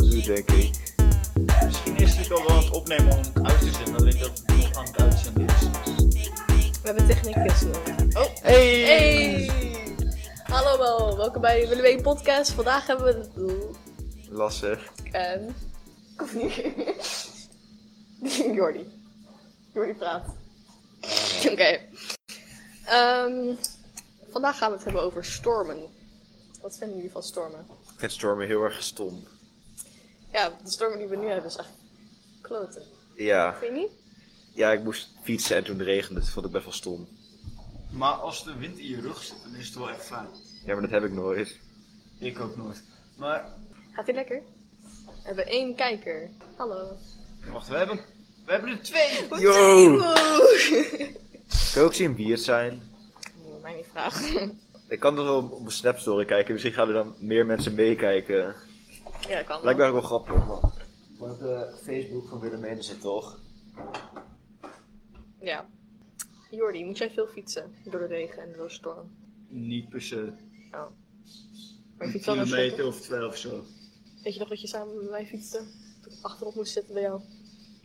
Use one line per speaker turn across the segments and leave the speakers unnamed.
doet, denk ik.
Misschien is dit al wel aan het opnemen om het uit te zenden, alleen dat het nog aan het uitzenden is.
We hebben technicus nodig.
Hey!
Hey! Hallo allemaal, welkom bij Willem Wee Podcast. Vandaag hebben we het doel.
Lastig.
En. Jordi. Jordi praat. Oké. Ehm, vandaag gaan we het hebben over stormen. Wat vinden jullie van stormen?
Ik vind stormen heel erg stom.
Ja, de stormen die we nu hebben is echt kloten.
Ja.
Vind je niet?
ja, ik moest fietsen en toen regende het. vond ik best wel stom.
Maar als de wind in je rug zit, dan is het wel echt fijn.
Ja, maar dat heb ik nooit.
Ik ook nooit. Maar,
Gaat ie lekker? We hebben één kijker. Hallo.
wacht, we hebben, we hebben er twee!
Yo!
Oeh.
Kan ook zien wie het zijn?
Moet mij niet vragen.
Ik kan er wel op op mijn Snap Story kijken. Misschien gaan er dan meer mensen meekijken.
Ja, dat kan wel.
Lijkt me eigenlijk wel grappig, man. Want de Facebook van Willem zit toch?
Ja. Jordi, moet jij veel fietsen door de regen en door de storm?
Niet per se.
Oh. Maar je
Een
fietst wel naar school,
kilometer
toch?
of twee of zo.
Weet je nog dat je samen met mij fietste? Toen ik achterop moest zitten bij jou.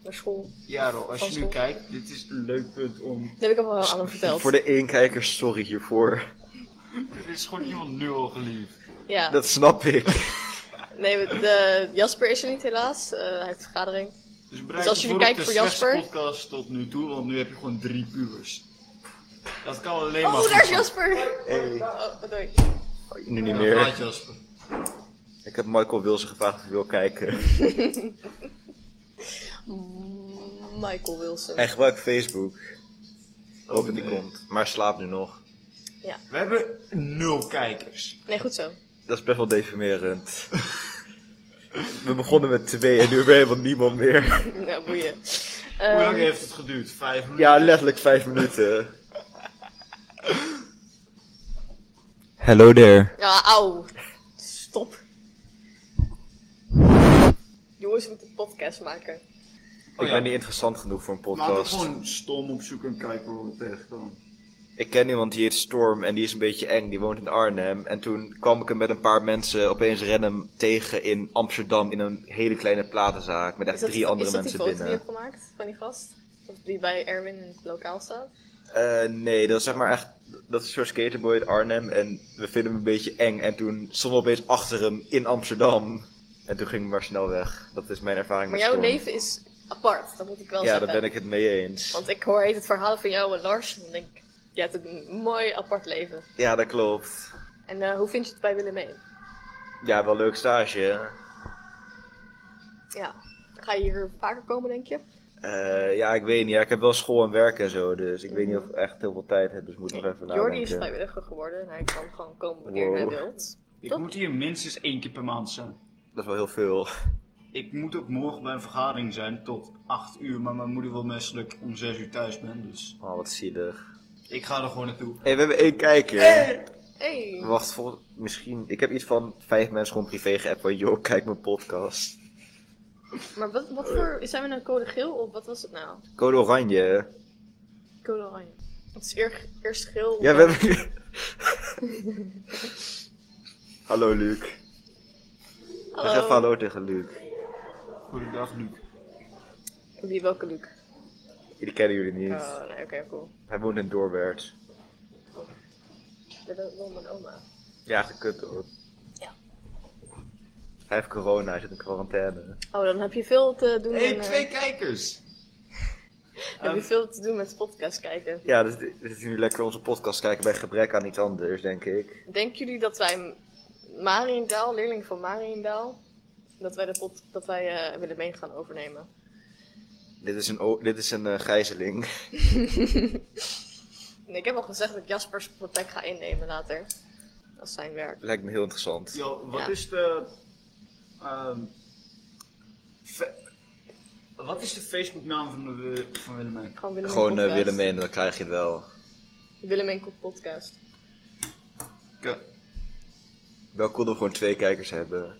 Naar school.
Jaro, als je nu
Alsnog.
kijkt, dit is een leuk punt om...
Dat heb ik al wel aan hem verteld.
Voor de één kijker, sorry hiervoor.
Er is gewoon iemand nu al geliefd.
Ja.
Dat snap ik.
Nee, we- de... Jasper is er niet helaas. Eh, hij heeft vergadering.
Dus,
Dus als je nu kijkt voor Jasper-
de slechtste podcast tot nu toe, want nu heb je gewoon drie puurs. Dat kan alleen maar
Oh,
goed
daar is
zijn.
Jasper!
Hey.
Oh, oh, doei.
Nu niet
Ja, praat
meer.
Jasper.
Ik heb Michael Wilson gevraagd of hij wil kijken.
Mm, Michael Wilson.
Hij gebruikt Facebook. Hoop dat die
nee.
komt. Maar slaapt nu nog.
We hebben nul kijkers.
Nee, goed zo.
Dat is best wel deprimerend. We begonnen met twee en nu hebben we helemaal niemand meer.
Nou, boeien.
Hoe
Ehm,
lang heeft het geduurd? Vijf minuten?
Ja, letterlijk vijf minuten. Hello there.
Ja, auw. Stop. Jongens, we moeten een podcast maken.
Ik
ja.
ben niet interessant genoeg voor een
Laten we
podcast.
gewoon stom opzoeken en kijken waar we tegenkomen.
Ik ken iemand die heet Storm en die is een beetje eng. Die woont in Arnhem. En toen kwam ik hem met een paar mensen opeens random tegen in Amsterdam in een hele kleine platenzaak. Met echt
Is dat-
drie andere mensen
Is dat die foto die je
binnen.
hebt gemaakt van die gast? Of die bij Erwin in het lokaal staat?
Eh, nee, dat is zeg maar echt. Dat is zo'n skaterboy uit Arnhem. En we vinden hem een beetje eng. En toen stonden we opeens achter hem in Amsterdam. En toen ging we maar snel weg. Dat is mijn ervaring
Maar
met
jouw
Storm.
leven is apart, dat moet ik wel
Ja,
zeggen.
daar ben ik het mee eens.
Want ik hoor heet het verhaal van jou en Lars en dan denk ik, je hebt een mooi apart leven.
Ja, dat klopt.
En eh, hoe vind je het bij Willem mee?
Ja, wel leuk stage. hè?
Ja. Ga je hier vaker komen, denk je?
Eh, ja, ik weet niet. Ja, ik heb wel school en werk en zo. Dus ik weet niet of ik echt heel veel tijd heb. Dus moet ik nog even
Jordi is
nadenken.
vrijwilliger geworden en hij kan gewoon komen wanneer
Wow.
hij wilt.
Ik
Toch?
moet hier minstens één keer per maand zijn.
Dat is wel heel veel.
Ik moet ook morgen bij een vergadering zijn tot 8 uur, maar mijn moeder wil menselijk om 6 uur thuis ben, dus
Oh, wat zielig.
ik ga er gewoon naartoe.
Hé, we hebben één kijker.
Hey.
Wacht, vol- misschien... Ik heb iets van vijf mensen gewoon privé geappt van... Yo, kijk mijn podcast.
Maar wat, wat voor. Zijn we nou code geel of wat was het nou?
Code oranje.
Code oranje. Het is eer- eerst geel.
Ja, we hebben. hallo Luc.
Hallo.
Zeg even hallo tegen Luc.
Goedendag, Luc.
Wie welke Luc?
Die kennen jullie niet.
Oh, nee, oké, cool.
Hij woont in Doorwerth.
Dat is wel mijn oma.
Ja, gekut hoor.
Ja.
Hij heeft corona, hij zit in quarantaine.
Oh, dan heb je veel te doen.
Hey,
en, eh,
twee kijkers!
heb je veel te doen met podcast kijken.
Ja, dus dit dit is nu lekker onze podcast kijken bij gebrek aan iets anders, denk ik.
Denken jullie dat wij Mariendaal, leerling van Mariendaal, dat wij, de pod, dat wij eh, willen mee gaan overnemen?
Dit is een, o- dit is een eh, gijzeling.
Nee, ik heb al gezegd dat ik Jaspers plek ga innemen later. Als zijn werk.
Lijkt me heel interessant.
Yo, wat
Ja.
is de... ehm, fe- wat is de Facebooknaam van, de, van Willemijn?
Gewoon Willem
Gewoon eh,
podcast.
willen menen, dan krijg je het wel.
Willem en Koek podcast.
Ke-
Wel cool dat we gewoon twee kijkers hebben.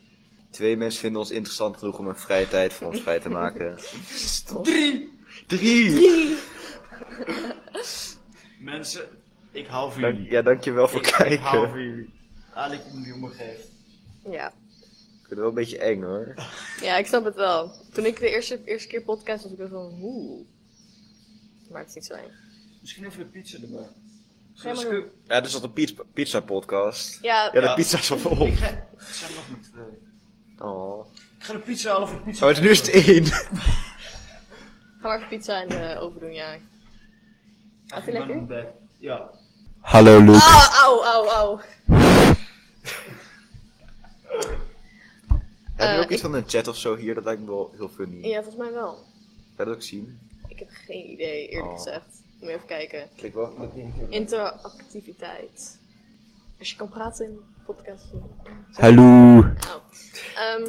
Twee mensen vinden ons interessant genoeg om een vrije tijd voor ons vrij te maken.
Drie!
Drie!
Mensen, ik hou van
Dank,
jullie.
ja, dankjewel voor
Ik- Ik hou
kijken.
van jullie. Eigenlijk om die omgeeft.
Ja.
vind het wel een beetje eng hoor.
Ja, ik snap het wel. Toen ik de eerste, eerste keer podcast was, ik wel van hoe. Maar het is niet zo eng.
Misschien even de pizza erbij.
Ga maar
Zoals
doen.
ik-
Ja, dus dat een pizza, pizza podcast.
Ja,
Ja, de
Ja.
pizza is al vol.
Ik ga... Ik zeg nog met... eh,
Oh.
ik ga de pizza half voor de pizza.
Oh, het is nu is het één.
ga maar even pizza in de oven doen, ja.
Ja,
Vind je
ik ben
lekker?
bij- Ja.
Hallo Luke.
Au, au, au, au.
Heb je
Eh,
ook iets van een chat of zo hier? Dat lijkt me wel heel funny.
Ja, volgens mij wel.
Ga je dat ook zien?
Ik heb geen idee, eerlijk
Oh.
gezegd. Moet je even kijken.
Klik wel.
Interactiviteit. Als je kan praten in podcast.
Hallo.
Nou, ehm,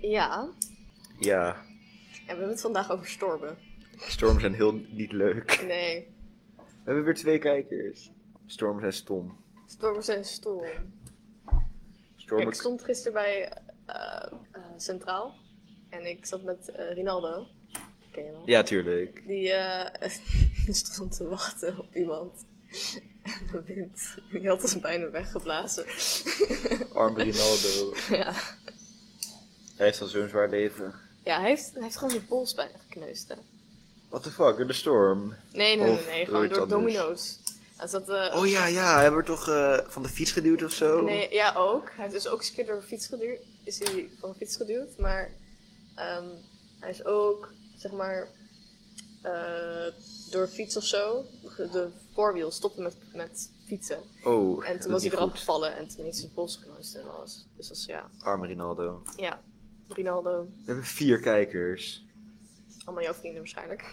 ja.
Ja,
En we hebben het vandaag over stormen.
stormen zijn heel niet leuk.
Nee,
We hebben weer twee kijkers. Stormen zijn stom.
stormen zijn storm. Kijk,
Stormen,
ik stond gisteren bij eh, eh, Centraal. En ik zat met eh, Rinaldo. Ken je hem?
Ja, tuurlijk.
Die eh, stond te wachten op iemand. En de wind. Die had ons bijna weggeblazen.
Arm Rinaldo.
ja.
Hij heeft al zo'n zwaar leven.
ja, hij heeft, hij heeft gewoon zijn pols bijna gekneusd. Hè.
What the fuck, in de storm.
Nee, nee, nee,
Of
nee.
door
Gewoon
iets
door
anders.
domino's. Hij zat, eh,
Oh ja, ja, hij wordt toch eh, van de fiets geduwd of zo?
Nee, ja, ook. Hij is dus ook eens een keer door een fiets geduwd. Is hij van een fiets geduwd, maar ehm, hij is ook, zeg maar, eh, door een fiets of zo. De voorwiel stopte met, met fietsen.
Oh,
En
dat
toen was
is
hij
niet
eraf
goed.
gevallen en toen heeft zijn pols gekneusd en alles. Dus dat is ja.
Arme Rinaldo.
Ja, Rinaldo,
We hebben vier kijkers.
allemaal jouw vrienden waarschijnlijk.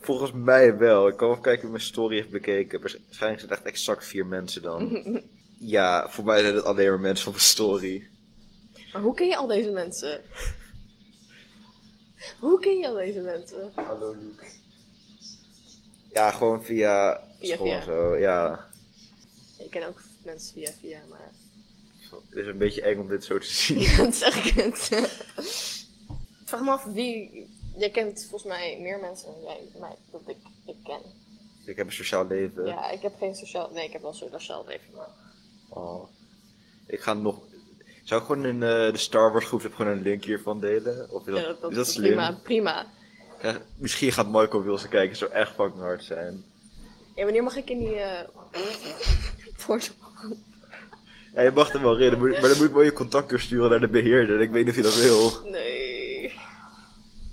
Volgens mij wel. Ik kan wel kijken of mijn story heeft bekeken. Waarsch- Waarschijnlijk zijn het echt exact vier mensen
Mhm.
dan. ja, voor mij zijn het alleen maar mensen van mijn story.
Maar hoe ken je al deze mensen? Hoe ken je al deze mensen?
Hallo Luke. Ja, gewoon via,
Via,
school en
via.
zo. Ja,
Ik ken ook mensen via via, maar
het is een beetje eng om dit zo te zien.
Ja, dat zeg ik het. Ik Vraag me af wie. Jij kent volgens mij meer mensen dan jij mij dat ik, ik ken.
ik heb een sociaal leven.
Ja, ik heb geen sociaal. Nee, ik heb wel een sociaal leven, maar.
Oh. Ik ga nog... Zou ik gewoon in eh, de Star Wars groep gewoon een link hiervan delen? Of is dat,
Ja,
is dat slim?
prima, prima.
Ja, misschien gaat Michael Wilson kijken, zou echt fucking hard zijn.
Ja, wanneer mag ik in die. eh Portugal?
Ja, je mag hem wel redden, maar maar dan moet je wel je contact doorsturen naar de beheerder. Ik weet niet of je dat wil.
Nee.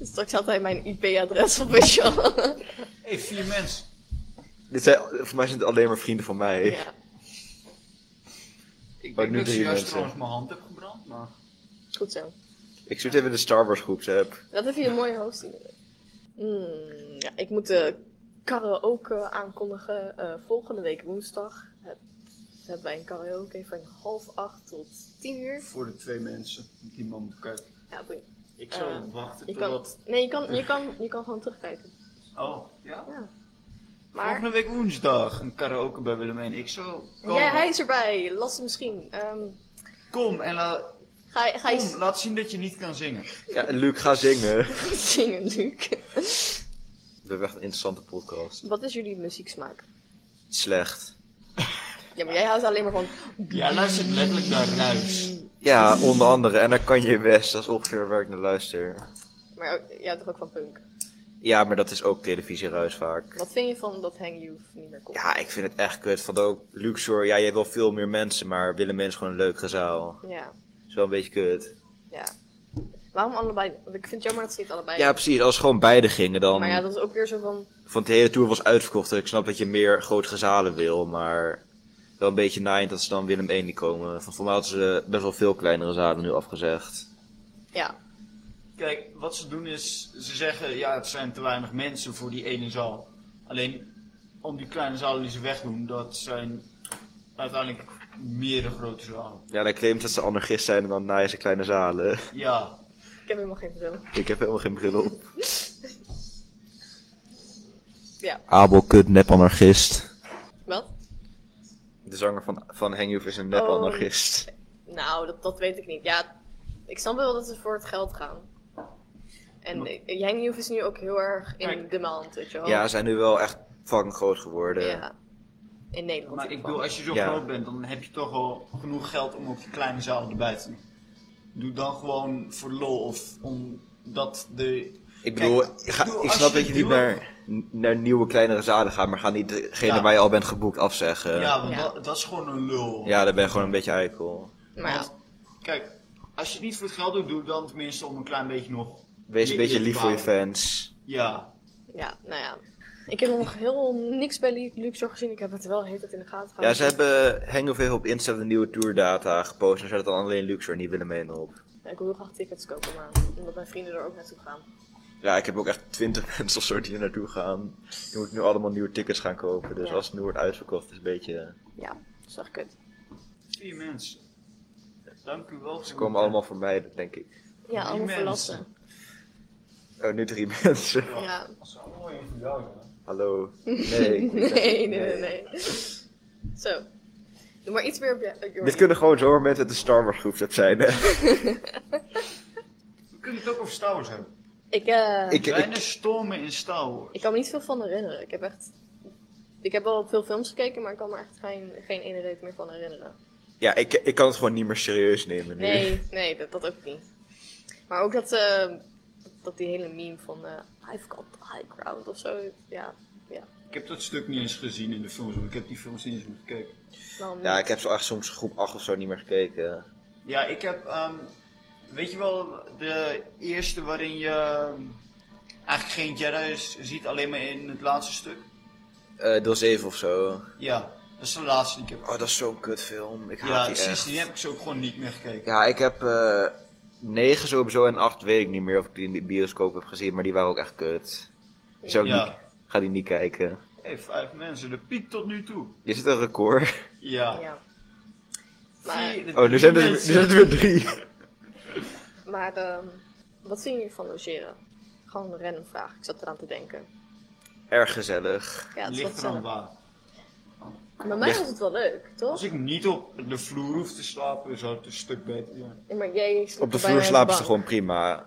Straks had hij mijn IP-adres op, weet je wel.
hey, vier mensen.
Dit zijn, voor mij zijn het alleen maar vrienden van mij.
Ja.
Ik
Maar
denk
nu
dat ik
drie
juist
mensen.
trouwens mijn hand heb gebrand, maar...
Goed zo.
Ik zoet even de Star Wars groepsapp.
Dat heb je een mooie host Hmm, ja, ik moet de karaoke aankondigen. Eh, volgende week woensdag heb- hebben wij een karaoke van half acht tot tien uur.
Voor de twee mensen die man moet kijken.
Ja, boeien.
Ik
Eh,
zou wachten
je
tot
kan,
dat...
nee, je kan, je, kan, je kan gewoon terugkijken.
Oh, ja?
Ja. Maar
Volgende week woensdag een karaoke bij Willemijn. Ik zou komen.
jij, hij is erbij. Last misschien. Ehm,
Kom en la-
ga, je- ga je
kom, laat zien dat je niet kan zingen.
Ja, en Luc, ga zingen. We
zingen, Luc?
hebben echt een interessante podcast.
Wat is jullie muzieksmaak?
Slecht.
Ja, maar jij houdt alleen maar van...
Ja, luister letterlijk naar ruis.
Ja, onder andere. En dan kan je best. Dat is ongeveer waar ik naar luister.
Maar ook- jij houdt toch ook van punk?
Ja, maar dat is ook televisieruis vaak.
Wat vind je van dat Hang Youth niet meer komt?
Ja, ik vind het echt kut. Van ook Luxor, ja, je hebt wel veel meer mensen, maar Willem is gewoon een leuk gezaal.
ja.
Is wel een beetje kut.
Ja. Waarom allebei? Want ik vind het jammer dat ze niet allebei.
Ja, precies. Als gewoon beide gingen dan.
maar ja, dat is ook weer zo van.
Van de hele tour was uitverkocht. en Ik snap dat je meer grote gezalen wil, maar wel een beetje naaiend dat ze dan Willem 1 niet komen. Van voor mij hadden ze best wel veel kleinere zalen nu afgezegd.
Ja.
Kijk, wat ze doen is, ze zeggen ja, het zijn te weinig mensen voor die ene zaal. Alleen om die kleine zalen die ze wegdoen, dat zijn uiteindelijk meer grote zalen.
Ja, dan claimt dat ze anarchist zijn en dan naaien ze kleine zalen.
Ja,
Ik heb helemaal geen bril.
Ik heb helemaal geen bril op.
Ja.
Abel kut nep anarchist.
Wat?
De zanger van, van Henghoef is een nep
Oh.
anarchist.
Nou, dat, dat weet ik niet. Ja, ik snap wel dat ze voor het geld gaan. En eh, Hang Youth is nu ook heel erg in
Kijk.
demand, weet je wel.
Ja, eh, ze zijn nu wel echt fucking groot geworden.
Oh. Ja. In Nederland.
maar
in
ik
ieder
bedoel,
geval.
als je zo
Ja.
groot bent, dan heb je toch al genoeg geld om ook die kleine zalen erbij te doen. Doe dan gewoon voor lol of omdat de...
Ik bedoel,
Kijk,
ik, ga-
ik bedoel,
ik
als
snap
je
dat je niet
nieuwe-
naar, naar nieuwe, kleinere zaden gaat, maar ga niet degene
Ja.
waar je al bent geboekt afzeggen.
ja, want
Ja.
Dat, dat is gewoon een lul.
eh, Ja, daar ben je gewoon een beetje eikel.
Maar ja,
Want, kijk, als je het niet voor het geld doet, doe het dan tenminste om een klein beetje nog...
Wees
je-
een beetje
te
lief voor je
bouwen.
fans.
Ja,
ja, nou ja. Ik heb nog heel niks bij Lu- Luxor gezien. Ik heb het wel de hele tijd in de gaten
Ja,
gehouden.
ze hebben Hangover op Insta de nieuwe tourdata gepost en ze hadden dan alleen Luxor niet willen meenemen op.
Ja, Ik wil heel graag tickets kopen, maar omdat mijn vrienden er ook naartoe gaan.
Ja, ik heb ook echt 20 mensen of zo die er naartoe gaan. Die moeten nu allemaal nieuwe tickets gaan kopen. Dus
Ja.
als het nu wordt uitverkocht, is het een beetje.
Ja, dat is echt kut.
vier mensen. Dank u wel.
Ze komen allemaal voor mij, dat denk ik.
Ja, allemaal
mensen.
verlassen.
Oh, nu drie mensen.
Ja.
Dat is allemaal één voor jou, ja.
Hallo. Nee, ik-
Nee, nee, nee, nee. Zo. Doe maar iets meer op je... op je-
Dit kunnen gewoon zomaar mensen uit de Star Wars groep zijn. Hè?
We kunnen het ook over Star Wars hebben.
Ik, eh,
Ik-
Kleine stormen in Star Wars.
ik kan me niet veel van herinneren. Ik heb echt... Ik heb wel veel films gekeken, maar ik kan me echt geen, geen ene reet meer van herinneren.
Ja, ik, ik kan het gewoon niet meer serieus nemen nu.
Nee, nee, dat, dat ook niet. Maar ook dat, eh, dat die hele meme van eh, I've got the high ground of zo. Ja, ja.
Ik heb dat stuk niet eens gezien in de films, want ik heb die films niet eens meer gekeken.
Waarom
Ja,
niet?
ik heb zo echt soms groep 8 of zo niet meer gekeken.
Ja, ik heb, ehm, weet je wel, de eerste waarin je ehm, eigenlijk geen Jedi's ziet, alleen maar in het laatste stuk.
Eh deel 7 of zo.
Ja, dat is de laatste die ik heb.
Oh, dat is zo'n kutfilm. Ik haat
ja,
die
precies,
echt.
die heb ik zo ook gewoon niet meer gekeken.
Ja, ik heb eh 9 sowieso en 8 weet ik niet meer of ik die in de bioscoop heb gezien, maar die waren ook echt kut. Dus ook
Ja.
niet, ga die niet kijken.
Hey, vijf mensen, de piek tot nu toe.
Is het een record?
Ja.
Ja. Maar,
Vier-
Oh, nu
drie
zijn er, nu
mensen.
zijn er weer drie.
maar ehm, wat vind je van logeren? Gewoon een random vraag. Ik zat eraan te denken.
Erg gezellig.
Ja, het is wel
Ligt er aan
gezellig.
waar.
Bij mij was het wel leuk, toch?
Als ik niet op de vloer hoef te slapen, zou het een stuk beter zijn.
Ja, maar jij sliep
Op de
bijna
vloer
in
slapen ze
bank.
gewoon prima.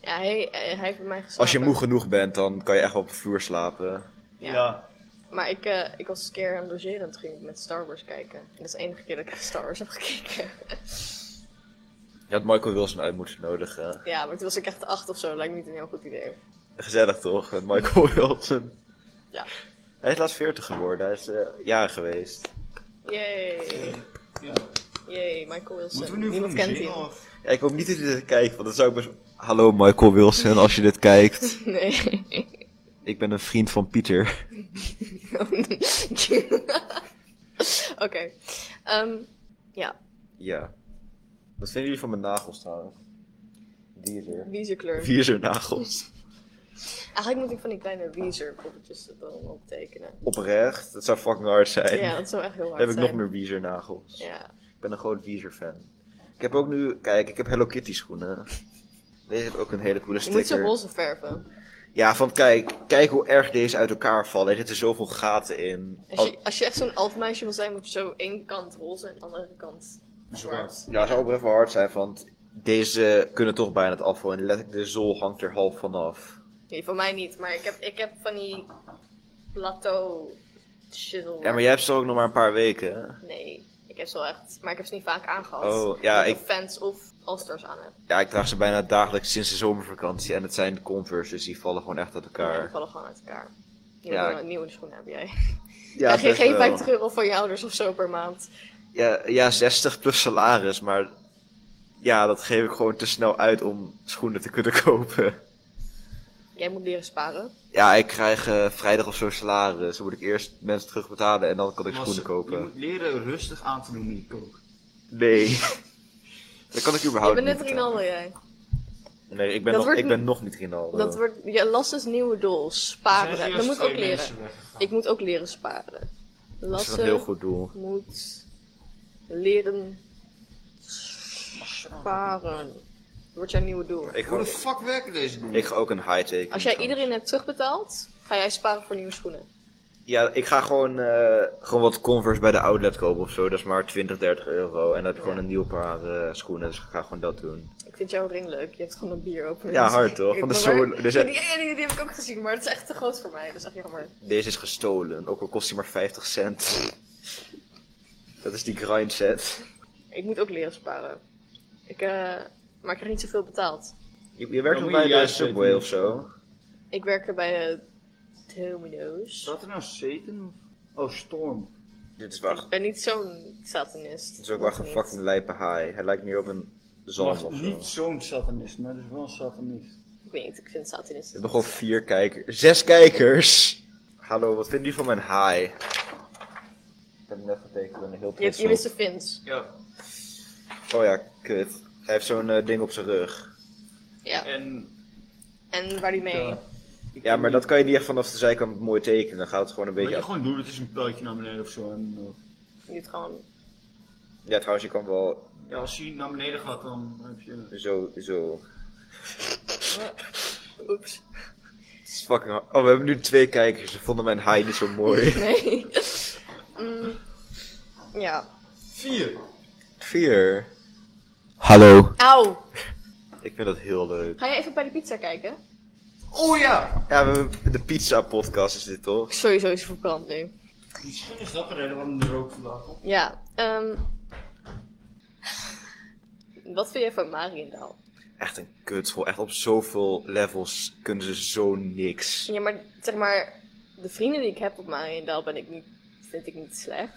Ja, hij, eh, hij heeft bij mij geslapen.
Als je moe genoeg bent, dan kan je echt wel op de vloer slapen.
Ja.
Ja.
Maar ik, eh, ik was eens een keer aan het logeren en toen ging ik met Star Wars kijken. En dat is de enige keer dat ik Star Wars heb gekeken.
Je had Michael Wilson uit moeten nodigen.
ja, maar toen was ik echt acht of zo. Lijkt me niet een heel goed idee.
Gezellig toch, met Michael Wilson.
Ja.
Hij is laatst 40 geworden, hij is eh jaren geweest.
Yay.
Ja.
Yay, Michael
Moeten
Wilson.
we nu
Niemand
voor
kent
hem
hem.
of?
Ja, ik hoop niet dat hij dit kijkt, want dan zou ik best... Hallo Michael Wilson, als je dit kijkt.
Nee.
Ik ben een vriend van Pieter.
Oké. Ehm, ja,
Ja. Wat vinden jullie van mijn nagels trouwens? Wiezer.
wiezer kleur.
Wiezer nagels.
Eigenlijk moet ik van die kleine wiezer poppetjes er dan optekenen.
Oprecht, dat zou fucking hard zijn.
Ja, dat zou echt heel
Dan
hard
heb ik
zijn.
nog meer Wiezer nagels.
Ja.
Ik ben een groot Wiezer fan. Ik heb ook nu, kijk, ik heb Hello Kitty schoenen. Deze heeft ook een hele coole
Je moet ze
sticker.
roze verven.
ja, van kijk, kijk hoe erg deze uit elkaar vallen. Er zitten zoveel gaten in.
Als je, als je echt zo'n altmeisje wil zijn, moet je zo één kant roze en de andere kant zwart.
Ja, het zou oprecht wel hard zijn, want deze kunnen toch bijna het afvallen. En letterlijk, de zool hangt er half vanaf.
Nee, van mij niet, maar ik heb, ik heb van die plateau shizzle.
Ja, maar jij hebt ze ook nog maar een paar weken. hè?
Nee, ik heb ze wel echt, maar ik heb ze niet vaak aangehad.
Oh, ja,
Omdat
ik-
fans of all-stars aan heb.
Ja, ik draag ze bijna dagelijks sinds de zomervakantie. En het zijn Converse, dus die vallen gewoon echt uit
Ja, die
elkaar.
vallen gewoon uit elkaar. Je
Ja,
moet
ik-
wel een nieuwe schoenen hebben jij.
Ja, dus, eh,
Ja, geen, geen 50 euro van je ouders of zo per maand.
ja, ja, 60 plus salaris, maar ja, dat geef ik gewoon te snel uit om schoenen te kunnen kopen.
Jij moet leren sparen.
Ja, ik krijg eh, vrijdag of zo salaris. Dan moet ik eerst mensen terugbetalen en dan kan ik
Maar
schoenen
ze- Je
kopen.
moet leren rustig aan te doen in koken.
Nee. Dat kan ik
Je
überhaupt
bent
niet.
net Rinaldo jij.
betalen. Nee, ik ben,
Dat
nog,
wordt
ik ben nog niet Rinaldo.
Dat wordt, je last is nieuwe doel, sparen. Dat Ah, moet ik ook leren. Ik moet ook leren sparen.
dat is
Lasse
een heel goed doel.
moet leren sparen. Wordt jouw nieuwe doel.
Ik
Hoe de
ga,
fuck werken deze dingen?
ik ga ook een high take.
Als jij iedereen hebt terugbetaald, ga jij sparen voor nieuwe schoenen.
Ja, ik ga gewoon, eh, gewoon wat Converse bij de outlet kopen of zo. Dat is maar 20, 30 euro. En dan heb je gewoon een nieuw paar eh, schoenen. Dus ik ga gewoon dat doen.
Ik vind jouw ring leuk. Je hebt gewoon een bier open.
Ja, hard, toch? Van de solo- dus-
Ja, die, die, die heb ik ook gezien, maar het is echt te groot voor mij. Dat is echt jammer.
Deze is gestolen. Ook al kost hij maar 50 cent. Dat is die grind set.
Ik moet ook leren sparen. Ik, eh, maar ik krijg niet zoveel betaald.
Je, je werkt
Dan
nog
moet
bij
je
de
juist
Subway
weten.
of zo.
Ik werk er bij eh, Domino's.
Staat er nou Satan? Oh, Storm.
Dit is wel,
Ik ben niet zo'n satanist.
dit is ook wel echt een
Niet.
fucking lijpe haai. Hij lijkt meer op een zalm
Wacht,
of
niet
zo.
zo'n satanist, maar dat is wel een satanist.
Ik weet niet, ik vind
We
satanisten.
hebben gewoon vier kijkers. Zes kijkers! Hallo, wat vindt u van mijn haai? Ik heb hem net getekend en heel
Je,
trots
je mist de fins.
Ja.
op. Oh ja, kut. Hij heeft zo'n eh, ding op zijn rug.
Ja.
En...
En waar die mee?
ja, ik
Ja,
weet
maar
niet.
dat kan je niet echt vanaf de zijkant mooi tekenen. Dan gaat het gewoon een
Weet
beetje...
je gewoon doen, het is een pijltje naar beneden of zo. En, eh,
Je doet gewoon.
Ja, trouwens, je kan wel
ja, als je naar beneden gaat, dan heb je...
zo... zo.
Oeps.
Het is fucking... hard. Oh, we hebben nu twee kijkers. Ze vonden mijn haai niet zo mooi.
Nee. Mm. Ja.
Vier!
Vier. Hallo.
Auw.
Ik vind dat heel leuk.
Ga je even bij de pizza kijken?
Oh ja!
Ja, we hebben de pizza podcast is dit toch?
Sowieso is het verbrand nu.
Misschien is dat de reden waarom de rook vandaag komt.
Ja. ehm. Wat vind jij van Mariendaal?
Echt een kutschool. Echt op zoveel levels kunnen ze zo niks.
Ja, maar zeg maar, de vrienden die ik heb op Mariendaal ben ik niet, vind ik niet slecht.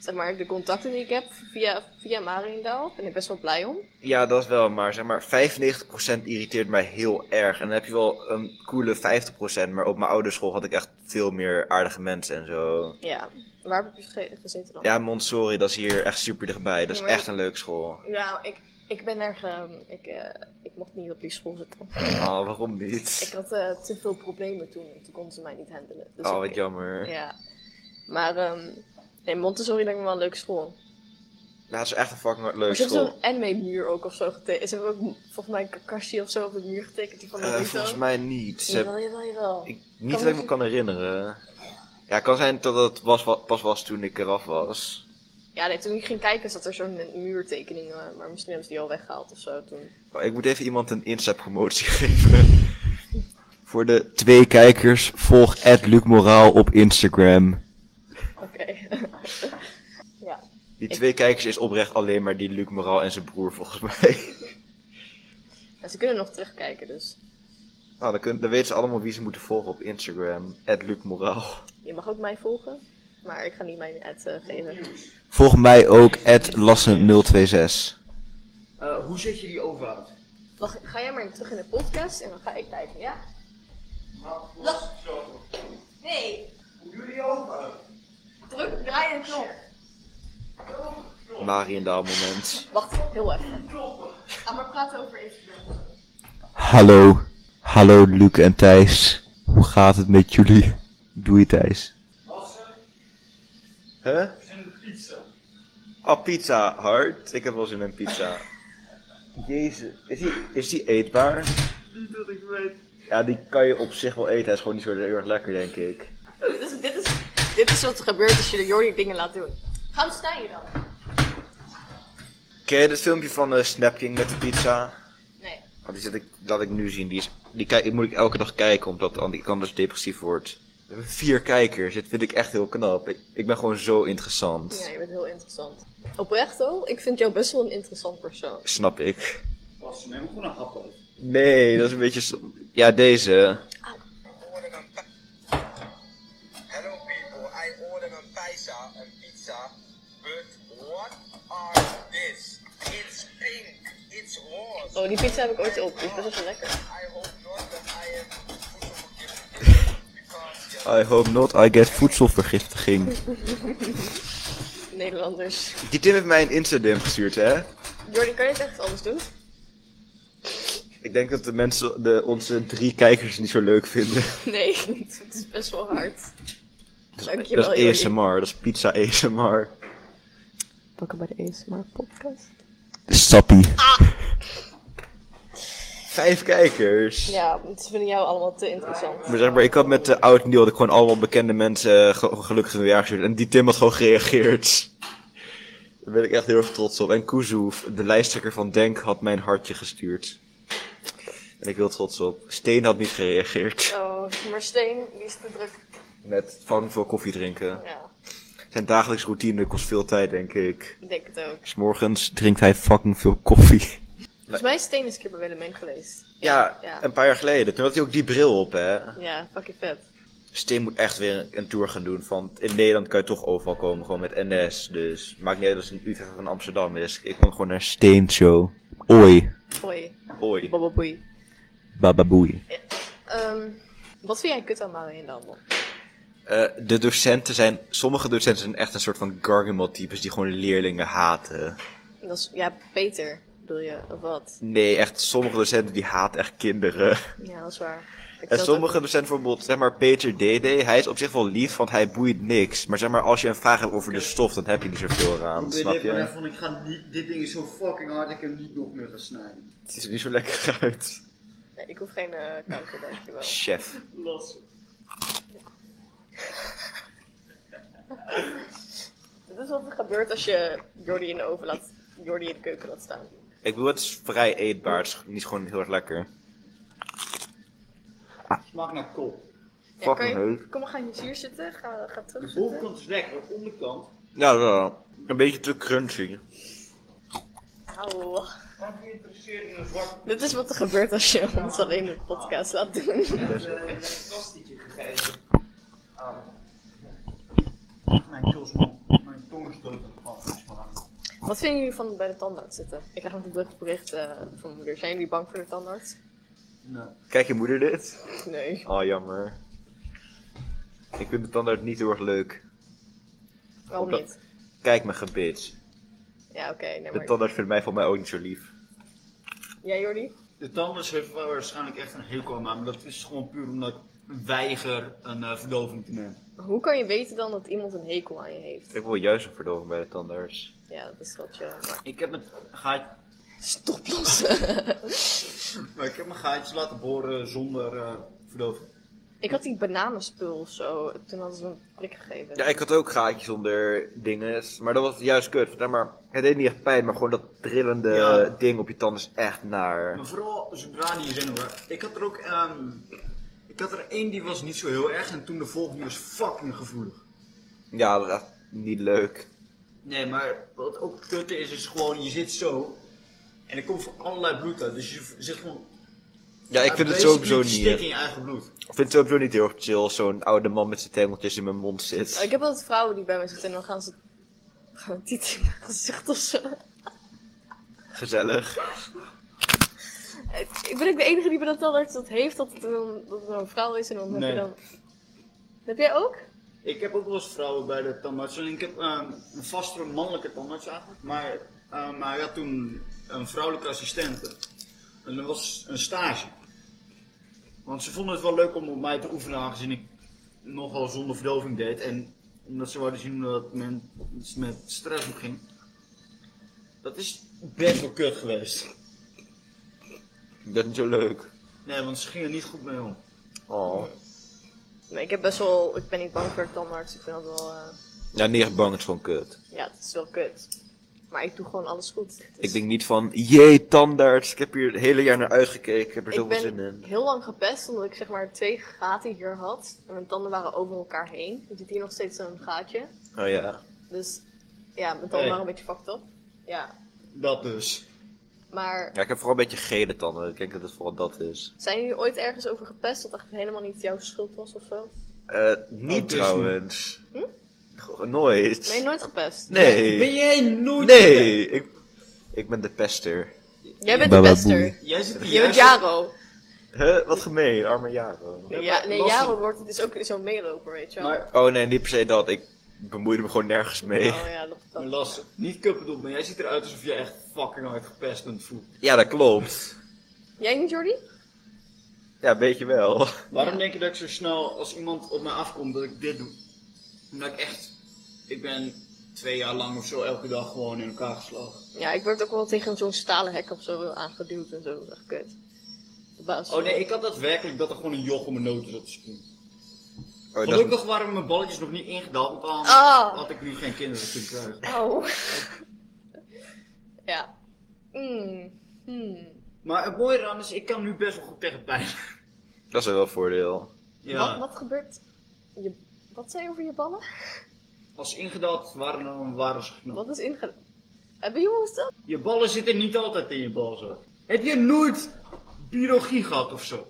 Zeg maar, de contacten die ik heb via, via Mariendaal ben ik best wel blij om.
Ja, dat wel, maar zeg maar 95% irriteert mij heel erg. En dan heb je wel een coole 50%, maar op mijn oude school had ik echt veel meer aardige mensen en zo.
Ja. Waar heb je ge- gezeten dan?
Ja, Montessori, dat is hier echt super dichtbij. Dat is
Ja, maar-
echt een leuke school.
Ja, Nou, ik, ik ben erg, ehm, ik, eh, ik mocht niet op die school zitten.
Oh, waarom
Ik
niet?
had eh, te veel problemen toen en toen konden ze mij niet handelen. Dus
Oh,
ik-
wat jammer.
Ja. Maar, ehm nee, Montessori lijkt me wel een leuke school.
Dat is echt een fucking leuke
Maar ze hebben
school.
zo'n anime-muur ook of zo getekend. Ze hebben ook volgens mij Kakashi of zo op de muur getekend. die Van
Eh,
Naruto.
volgens mij niet. Ze hebben-
Jawel, jawel, jawel.
Ik, niet dat ik me kan herinneren. Ja, kan zijn dat het was, wa- pas was toen ik eraf was.
Ja, nee, toen ik ging kijken zat er zo'n muurtekening, eh, maar misschien hebben ze die al weggehaald of zo toen.
Oh, ik moet even iemand een Insta-promotie geven. Voor de twee kijkers, volg Luc Moraal op Instagram.
Oké. ja.
Die
Ik-
twee kijkers is oprecht alleen maar die Luc Moraal en zijn broer, volgens mij.
En ze kunnen nog terugkijken, dus
Nou, dan, kun- dan weten ze allemaal wie ze moeten volgen op Instagram. Luc Moraal.
je mag ook mij volgen, maar ik ga niet mijn ad eh, geven.
Volg mij ook, Lassen026.
Eh, hoe zet je die overhoud?
Wacht, ga jij maar terug in de podcast en dan ga ik kijken, ja? Nee,
Hoe doe je die overhoud?
druk, draai een knop.
Mariendaal moment.
Wacht, heel even. Ga maar praten over Instagram.
Hallo. Hallo Luc en Thijs. Hoe gaat het met jullie? Doei Thijs. Huh?
En pizza.
Ah, pizza hard. Ik heb wel zin in pizza. Jezus. Is die, is die eetbaar?
Niet dat ik weet.
Ja, die kan je op zich wel eten. Hij is gewoon niet zo heel erg lekker, denk ik.
Oh, Dit is, dit, is, dit is wat er gebeurt als je de Jordi dingen laat doen. Ga hem snijden dan.
Ken je dat filmpje van eh Snap King met de pizza?
Nee.
Want Ah, die zit ik, laat ik nu zien. Die, is, die, kijk, die moet ik elke dag kijken, omdat an- ik anders depressief word. We hebben vier kijkers. Dit vind ik echt heel knap. Ik, ik ben gewoon zo interessant.
Ja, je bent heel interessant. Oprecht hoor, ik vind jou best wel een interessant persoon.
Snap ik.
Pas, neem gewoon een hap uit.
Nee, dat is een beetje... zo- Ja, deze.
ordered een pi- Hello people, I ordered een pizza, een pizza, but what are this? It's pink, it's rose.
Oh, die pizza heb ik ooit op. Die is best wel lekker.
I hope not that I am food because
I hope not, I get voedselvergiftiging.
Nederlanders.
Die Tim heeft mij een Instagram gestuurd, hè?
Jordi, kan je het echt anders doen?
Ik denk dat de mensen de, onze drie kijkers niet zo leuk vinden.
Nee, het is best wel hard. Dankjewel,
Dat is
Jordi.
ASMR, dat is pizza ASMR.
Welkom bij de ASMR podcast.
Sappie. Vijf kijkers.
Ja, ze vinden jou allemaal te interessant.
Maar zeg maar, ik had met de oud Neil dat ik gewoon allemaal bekende mensen eh, ge- gelukkig een jaar gestuurd. En die Tim had gewoon gereageerd. Daar ben ik echt heel erg trots op. En Kuzu, de lijsttrekker van Denk, had mijn hartje gestuurd. En ik heel trots op. Steen had niet gereageerd.
Oh, maar Steen, die is te druk.
Met van veel koffie drinken.
Ja,
Zijn dagelijkse routine kost veel tijd, denk ik.
ik denk het ook.
Dus morgens drinkt hij fucking veel koffie.
Volgens mij is Steen eens een keer bij Willem Meng geweest.
Ja,
ja.
een paar jaar geleden. Toen had hij ook die bril op, hè.
Ja, fucking vet.
Steen Dus moet echt weer een, een tour gaan doen. Want in Nederland kan je toch overal komen, gewoon met NS. Dus maakt niet uit als het in Utrecht of in Amsterdam is. Ik kom gewoon naar Steen Show. Oi.
Hoi,
Oi.
bababoei.
Bababoei.
Ehm, wat vind jij kut aan Mario in de handel?
Eh, de docenten zijn, sommige docenten zijn echt een soort van gargamel types die gewoon leerlingen haten.
Dat is, ja, Peter bedoel je, of wat?
Nee, echt, sommige docenten die haat echt kinderen.
Ja, dat is waar. Ik
En
zat
sommige
ook-
docenten bijvoorbeeld, zeg maar Peter DD, hij is op zich wel lief, want hij boeit niks. Maar zeg maar, als je een vraag hebt over de stof, dan heb je niet zoveel aan,
Probeer
snap
dit maar
je?
even, want ik ga niet, dit ding is zo fucking hard, ik kan hem niet nog meer gaan snijden.
Het ziet er niet zo lekker uit.
Nee, ik hoef geen eh kanker, dankjewel.
Chef.
Lastig.
Dit is wat er gebeurt als je Jordi in de oven laat, Jordi in de keuken laat staan.
Ik bedoel, het is vrij eetbaar, het is niet gewoon heel erg lekker.
Smaakt naar kop.
Ja, kan
Fucking
je,
leuk.
kom, we gaan hier zitten, ga, ga terug
De
zitten.
bovenkant is lekker, de onderkant.
Nou, wel. Een beetje te crunchy.
Auw.
Wat geïnteresseerd in een zwart
Dit is wat er gebeurt als je ons alleen de podcast laat doen.
kastietje eh, gegeven. Ah. Mijn kulsman, mijn tong is dood aan het
Wat vinden jullie van bij de tandarts zitten? Ik krijg nog een terugbericht eh, van mijn moeder. Zijn jullie bang voor de tandarts?
Nee.
Kijk je moeder dit?
Nee.
Oh, jammer. Ik vind het tandarts niet heel erg leuk.
Waarom
Omdat-
niet?
Kijk mijn gebit.
Ja, oké. nee,
De
maar...
tandarts vindt mij volgens mij ook niet zo lief.
Jij, Jordi?
De tandarts heeft wel waarschijnlijk echt een hekel aan mij, maar dat is gewoon puur omdat ik weiger een eh, verdoving te nemen.
Hoe kan je weten dan dat iemand een hekel aan je heeft?
Ik wil juist een verdoving bij de tandarts.
Ja, dat is wel chill. Maar...
Ik heb het gaatje
Stop lossen!
Maar ik heb mijn gaatjes laten boren zonder eh, verdoving.
ik had die bananenspul of zo. Toen hadden ze me een prik gegeven.
Ja, ik had ook gaatjes onder dingen, maar dat was juist kut. Nou, maar het deed niet echt pijn, maar gewoon dat trillende
Ja.
ding op je tand is echt naar.
Maar vooral zodra die je zenuwen. Ik had er ook. ehm, ik had er één die was niet zo heel erg en toen de volgende was fucking gevoelig.
Ja, dat is echt niet leuk.
Nee, maar wat ook kutte is, is gewoon je zit zo en er komt van allerlei bloed uit. Dus je zit gewoon.
Ja, ik vind het sowieso niet.
Stik in je eigen bloed.
Ik vind het sowieso niet heel erg chill, als zo'n oude man met zijn tengeltjes in mijn mond zit.
Ik heb altijd vrouwen die bij mij zitten en dan gaan ze... Gaan tieten in mijn gezicht of zo.
Gezellig.
Ik ben ook de enige die bij de tandarts dat heeft. Dat het een, dat het een vrouw is en dan heb
Nee.
je dan... Heb jij ook?
Ik heb ook wel eens vrouwen bij de tandarts. En ik heb ehm, een vastere mannelijke tandarts eigenlijk. Maar ehm, hij had toen een vrouwelijke assistente. En dat was een stage. Want ze vonden het wel leuk om op mij te oefenen, aangezien ik nogal zonder verdoving deed. En omdat ze wilden zien dat men iets met stress omging. Dat is best wel kut geweest.
Dat is niet zo leuk.
Nee, want ze gingen er niet goed mee om.
Oh.
Nee, ik heb best wel... Ik ben niet bang voor de tandarts. Ik vind dat wel... eh,
Ja, niet echt bang, het is gewoon kut.
Ja, het is wel kut. Maar ik doe gewoon alles goed. Dus-
Ik denk niet van, jee, tandarts, ik heb hier het hele jaar naar uitgekeken, ik heb er
ik
zoveel
ben
zin in.
heel lang gepest omdat ik zeg maar twee gaten hier had. En mijn tanden waren over elkaar heen. Er zit hier nog steeds zo'n gaatje.
Oh ja.
Dus ja, mijn tanden
Hey.
waren een beetje fucked up. Ja,
Dat dus.
maar
Ja, ik heb vooral een beetje gele tanden, ik denk dat het vooral dat is.
zijn jullie ooit ergens over gepest dat echt helemaal niet jouw schuld was of zo?
Eh, niet
Autisme.
trouwens. Goh, Nooit.
Ben je Hm? nooit gepest?
Nee.
Ben jij nooit...
Nee, ik, ik ben de pester.
Jij bent de pester.
Jij zit hier
Je bent
juist-
Jaro.
Huh? Wat gemeen, arme Jaro.
Ja,
Ja,
maar
nee,
lastig.
Jaro wordt dus ook zo'n meeloper, weet je wel.
Maar
Oh nee, niet per se dat. Ik bemoeide me gewoon nergens mee.
Oh ja, dat,
Maar
dat.
Las, niet kut bedoeld, maar jij ziet eruit alsof je echt fucking hard gepest bent voelt.
Ja, dat klopt.
Jij niet, Jordi?
Ja, weet je wel. Oh,
Waarom
Ja.
denk je dat ik zo snel als iemand op mij afkomt dat ik dit doe? Omdat ik echt, ik ben twee jaar lang of zo elke dag gewoon in elkaar geslagen.
Ja, ik word ook wel tegen zo'n stalen hek of zo aangeduwd en zo. Dat is echt kut. De baas.
Oh nee, ik had daadwerkelijk dat er gewoon een joch om mijn noten zat te springen.
Oh, dat is-
Gelukkig waren mijn balletjes nog niet ingedaald, want anders
Ah.
had ik nu geen kinderen kunnen krijgen.
Au. Oh. ja. Mm. Hmm.
Maar het mooie eraan is, ik kan nu best wel goed tegen pijn.
dat is wel een voordeel.
Ja,
Wat, wat gebeurt... Je, wat zei je over je ballen?
als ze ingedaald waren, dan waren ze geknapt.
Wat is inge... Hebben jongens dat?
Je ballen zitten niet altijd in je balzak. Heb je nooit biologie gehad of zo?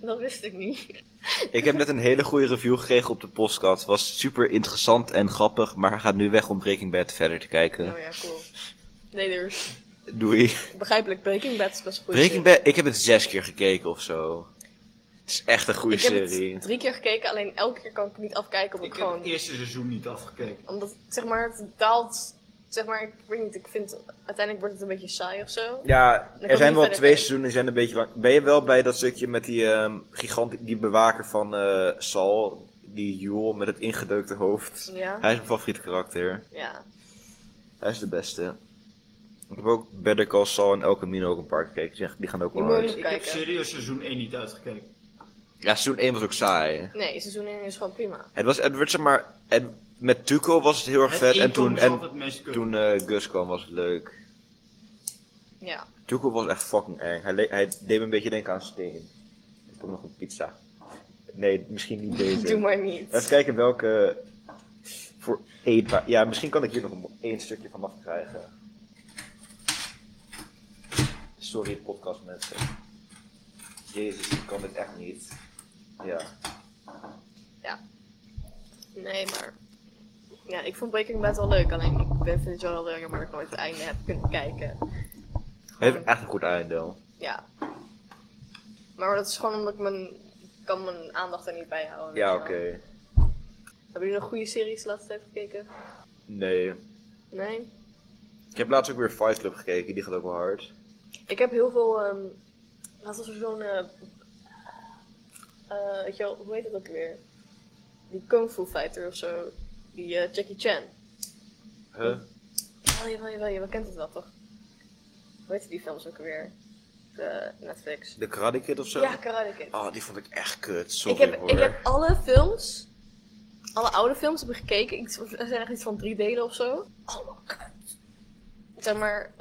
Dat wist ik niet.
Ik heb net een hele goede review gekregen op de podcast. Was super interessant en grappig, maar gaat nu weg om Breaking Bad verder te kijken.
Nou ja, cool. Nee, dus
Doei.
begrijpelijk. Breaking Bad is best een goede
Breaking
serie.
Bad, ik heb het zes keer gekeken of zo. Het is echt een goede
Ik heb
serie.
het drie keer gekeken, alleen elke keer kan ik het niet afkijken omdat
Ik
ik
heb het
gewoon...
eerste seizoen niet afgekeken.
Omdat, zeg maar, het daalt... Zeg maar, ik weet niet, ik vind... Uiteindelijk wordt het een beetje saai of zo.
Ja,
kan
er
niet
zijn wel
verder
twee
kijken.
seizoenen, die zijn een beetje lang. Ben je wel bij dat stukje met die ehm, gigant, die bewaker van eh, Sal, die Joel met het ingedeukte hoofd?
Ja.
Hij is mijn favoriete karakter.
Ja.
Hij is de beste. Ik heb ook Better Call Saul en El Camino ook een paar keer gekeken. Die zijn- Die gaan ook
Die
wel
moet je
uit.
Ik heb
Kijken.
serieus seizoen 1 niet uitgekeken.
Ja, seizoen 1 was ook saai.
Nee, seizoen 1 is gewoon prima.
Het was Edward, zeg maar... Ed- met Tuco was het heel erg
Het
vet. En
inkomen
toen,
is
en
altijd het meest kut.
toen eh, Gus kwam was het leuk.
Ja.
Tuco was echt fucking eng. Hij, le- hij deed me een beetje denken aan Steen. Ik kom nog een pizza. Nee, misschien niet deze.
Doe maar
Even
niet.
kijken welke voor eetbaar. Ja, misschien kan ik hier nog een, één stukje van afkrijgen. Sorry, podcast mensen. Jezus, ik kan dit echt niet. Ja.
Ja. Nee, maar... Ja, ik vond Breaking Bad wel leuk. Alleen ik ben- vind het wel heel jammer dat ik nooit het einde heb kunnen kijken.
Hij heeft echt een goed einde.
Ja. Maar dat is gewoon omdat ik mijn... Ik kan mijn aandacht er niet bij houden.
Ja,
weet
oké.
je wel. Hebben jullie nog goede series de laatste tijd gekeken?
Nee.
Nee?
Ik heb laatst ook weer Fight Club gekeken, die gaat ook wel hard.
Ik heb heel veel... ehm laatst was er zo'n... eh, eh, weet je wel, hoe heet dat ook weer? Die Kung Fu Fighter of zo. Die eh, Jackie Chan.
Huh?
Oh, jawel, jawel, jawel, kent het wel toch? Hoe heet die films ook alweer? De Netflix.
De Karate Kid of zo?
Ja, Karate Kid.
Oh, die vond ik echt kut.
ik,
Sorry
heb,
hoor.
ik heb alle films, alle oude films heb ik gekeken. Iets- Er zijn echt iets van drie delen of zo. Allemaal kut. Zeg maar,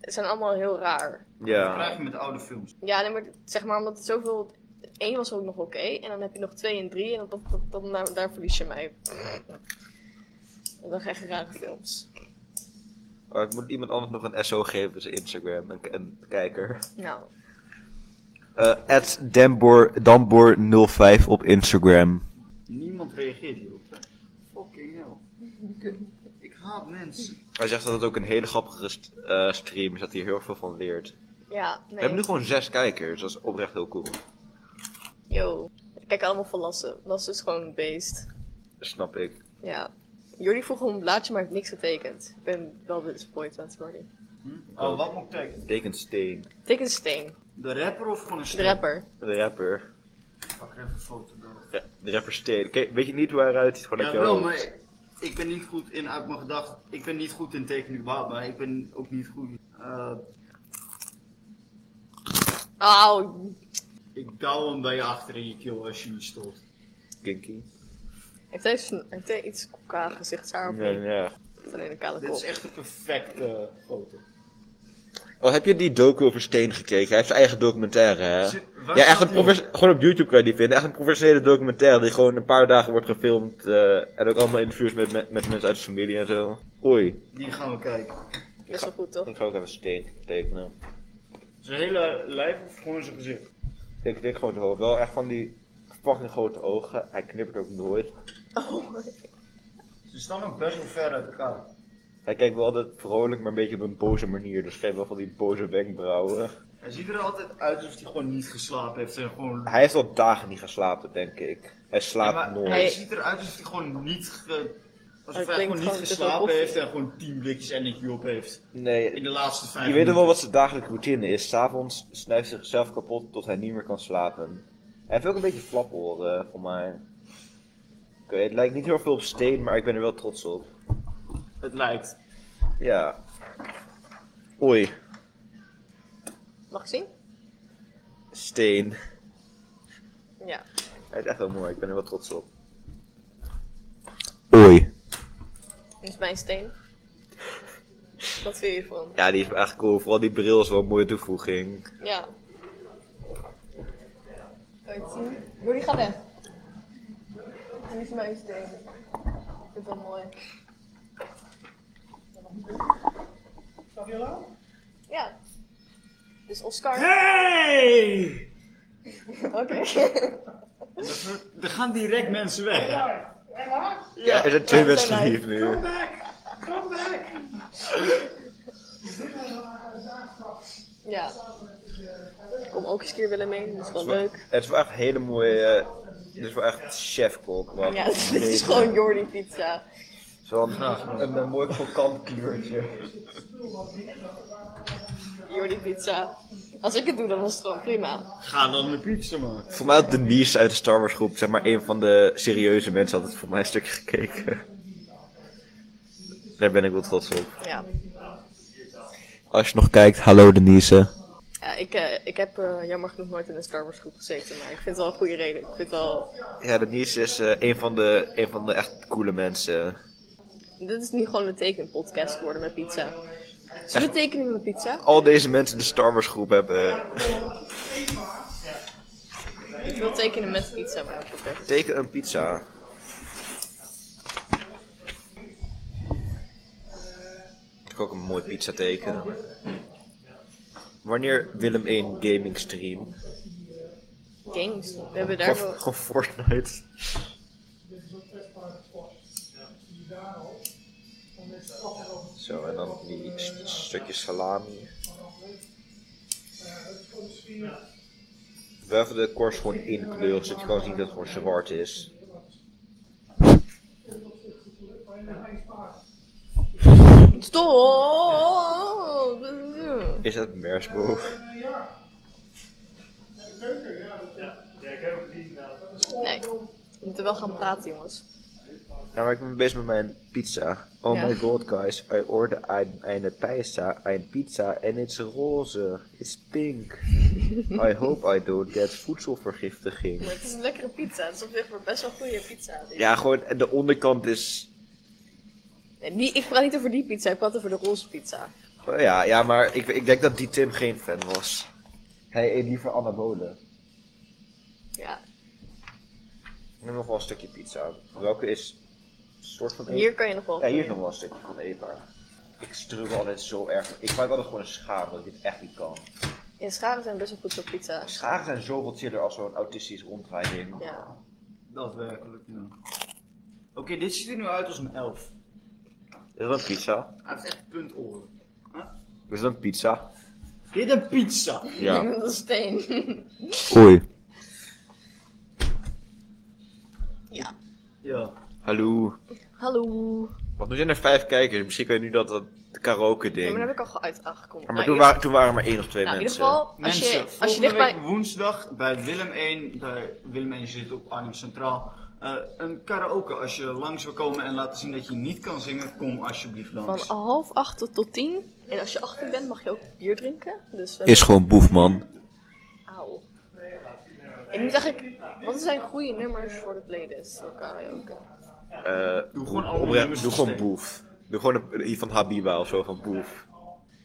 het zijn allemaal heel raar.
Dat
Ja.
krijg je met oude films.
Ja, nee, maar zeg maar, omdat het zoveel... Eén was ook nog oké, en dan heb je nog twee en drie, en dat, dat, dan, nou, daar, daar verlies je mij. Dan krijg je rare films.
Oh, ik moet iemand anders nog een SO geven, dus Instagram, een, een kijker.
Nou,
Eh, At Damboor05 op Instagram.
Niemand reageert hierop. Fucking hell. Ik, ik haat mensen.
Hij zegt dat het ook een hele grappige st- eh, stream is, dat hij er heel veel van leert.
ja, nee.
We hebben nu gewoon zes kijkers, dat is oprecht heel cool.
Yo. Kijk allemaal van Lasse. Lasse is gewoon een beest.
Snap ik.
Ja. Jullie vroegen om een blaadje, maar heeft niks getekend. Ik ben wel disappointed, sorry.
Oh, wat moet ik kijken?
Tekent Steen,
Teken Steen,
De rapper of gewoon een
de rapper.
de rapper.
Ik pak er even een foto door.
Ja, de rapper Steen. Oké, weet je niet hoe hij eruit ziet? Gewoon
Ja,
uit
wel,
jou.
maar ik ben niet goed in uit mijn gedachten. Ik ben niet goed in tekenen überhaupt, maar ik ben ook niet goed. eh,
Auw.
ik douw hem bij je achter in je keel als je niet stopt.
Kinky.
Heeft hij, zijn- heeft hij iets qua gezichtshaar of
Ja,
niet?
ja.
Of alleen een kale
Dit
kop?
is echt een perfecte foto.
Oh, heb je die docu over Steen gekeken? Hij heeft zijn eigen documentaire, hè?
Zit- waar
Ja,
staat
echt een
die?
profes- gewoon op YouTube kan je die vinden. Echt een professionele documentaire die gewoon een paar dagen wordt gefilmd. eh, en ook allemaal interviews met, met, met mensen uit zijn familie en zo. Oei.
Die gaan we kijken.
Best wel goed, toch?
Ik ga ook even steen tekenen.
Zijn hele lijf of gewoon zijn gezicht?
Ik denk gewoon zijn hoofd. Wel echt van die fucking grote ogen. Hij knippert ook nooit.
Oh,
Ze staan ook best wel ver uit elkaar.
Hij kijkt wel altijd vrolijk, maar een beetje op een boze manier. Dus geef wel van die boze wenkbrauwen.
Hij ziet er altijd uit alsof hij gewoon niet geslapen heeft en gewoon...
Hij heeft al dagen niet geslapen, denk ik. Hij
Ja,
slaapt
maar
nooit.
hij
Hij-
ziet eruit alsof hij gewoon niet ge...
Hij
Alsof hij
drinkt
gewoon niet
gewoon te veel
geslapen
koffie.
heeft en gewoon tien blikjes energie op heeft.
Nee,
In de laatste vijf
Je weet toch wel
minuten.
wat zijn dagelijkse routine is. S'avonds snuift hij zichzelf kapot tot hij niet meer kan slapen. Hij heeft ook een beetje flaporen, voor mij. Oké, het lijkt niet heel veel op steen, maar ik ben er wel trots op.
Het lijkt.
Ja. Oei,
mag ik zien?
steen.
Ja.
Hij is echt wel mooi, ik ben er wel trots op. Oei.
Dit is mijn steen. Wat vind je van?
Ja, die is echt cool. Vooral die bril is wel een mooie toevoeging.
Ja. Kan je het zien? Jullie gaat weg. En is mijn steen. Ik vind het wel mooi. Ja. Dus Oscar.
Hey!
Oké.
Er gaan direct mensen weg.
Ja, er zijn twee
Ja,
mensen
zijn wij.
lief nu.
ja. Ik kom ook eens een keer willen mee. Dat is wel leuk.
Het is wel echt een hele mooie. eh, Dit is wel echt chefkok. man.
Ja, dit is gewoon Jordi pizza.
Zo'n een, een mooi krokant kleurtje.
Jordi pizza. Als ik het doe, dan is het gewoon prima.
Ga dan de pizza maken.
Voor mij had Denise uit de Star Wars groep, zeg maar een van de serieuze mensen, had het voor mij een stukje gekeken. Daar ben ik wel trots op.
Ja.
Als je nog kijkt, hallo Denise.
ja ik, eh, ik heb eh, jammer genoeg nooit in een Star Wars groep gezeten. Maar ik vind het wel een goede reden. Ik vind het wel...
Ja, Denise is eh, een, van de, een van de echt coole mensen.
Dit is nu gewoon een tekenpodcast geworden met pizza. Zullen we tekenen met pizza?
Al deze mensen in de Star Wars groep hebben.
Ik wil tekenen met pizza, maar dat lukt.
Teken een pizza. Ik kan ook een mooi pizza tekenen. Wanneer Willem 1 gaming stream?
games. We hebben daar
Gewoon
wel...
gewoon Fortnite. Zo, en dan die st- stukjes salami. Wel even de korst gewoon inkleuren, zodat je kan zien dat het gewoon zwart is.
Stop!
Is dat Mersbo?
Nee, we moeten wel gaan praten, jongens.
Ja, maar Nou, ik ben bezig met mijn pizza. Oh
Ja.
my god, guys. I ordered ein, eine pizza, ein pizza and it's roze. It's pink. I hope I don't get voedselvergiftiging.
Maar het is een lekkere pizza. Het is op zich maar best wel een goede pizza.
Ja, gewoon en de onderkant is...
Nee, die, ik praat niet over die pizza, ik praat over de roze pizza.
Oh ja, ja, maar ik, ik denk dat die Tim geen fan was. Hij eet liever anabolen.
Ja.
Ik neem nog wel een stukje pizza. Welke is een soort van... eet-
Hier kan je nog wel.
Ja, hier is nog wel een stukje van eetbaar. Ik struggle altijd zo erg. Ik maak altijd gewoon een schaam dat ik dit echt niet kan.
Ja, scharen zijn best wel goed voor pizza.
Schagen zijn zoveel chiller als zo'n autistisch ronddraaiding.
Ja.
Dat werkelijk, ja. Oké, dit ziet er nu uit als een elf.
Is dat een pizza?
Hij heeft echt puntoren.
Is dat een pizza?
Dit een pizza.
Ja.
Met een steen.
Oei.
ja.
Ja.
Hallo.
Hallo.
Want nu zijn er vijf kijkers. Misschien kan je nu dat, dat karaoke
Ja, maar
ding.
daar
maar
heb ik al ge- uit aangekomen.
toen, waren, toen waren er maar één of twee
Nou, in ieder
mensen.
geval, als
Mensen,
je, als je
volgende
dicht
week
bij...
woensdag bij Willem 1, bij Willem 1 zit op Arnhem Centraal, eh, een karaoke. Als je langs wil komen en laten zien dat je niet kan zingen, kom alsjeblieft
Van
langs.
half acht tot- tot tien. En als je 18 bent, mag je ook bier drinken. Dus we
gewoon boef, man.
Auw. Ik moet eigenlijk, wat zijn goede nummers voor de playlist? Voor karaoke.
Doe gewoon alle
Oprecht,
nummers
doe gewoon
te
boef. Doe gewoon een, die van Habiba of zo, van boef.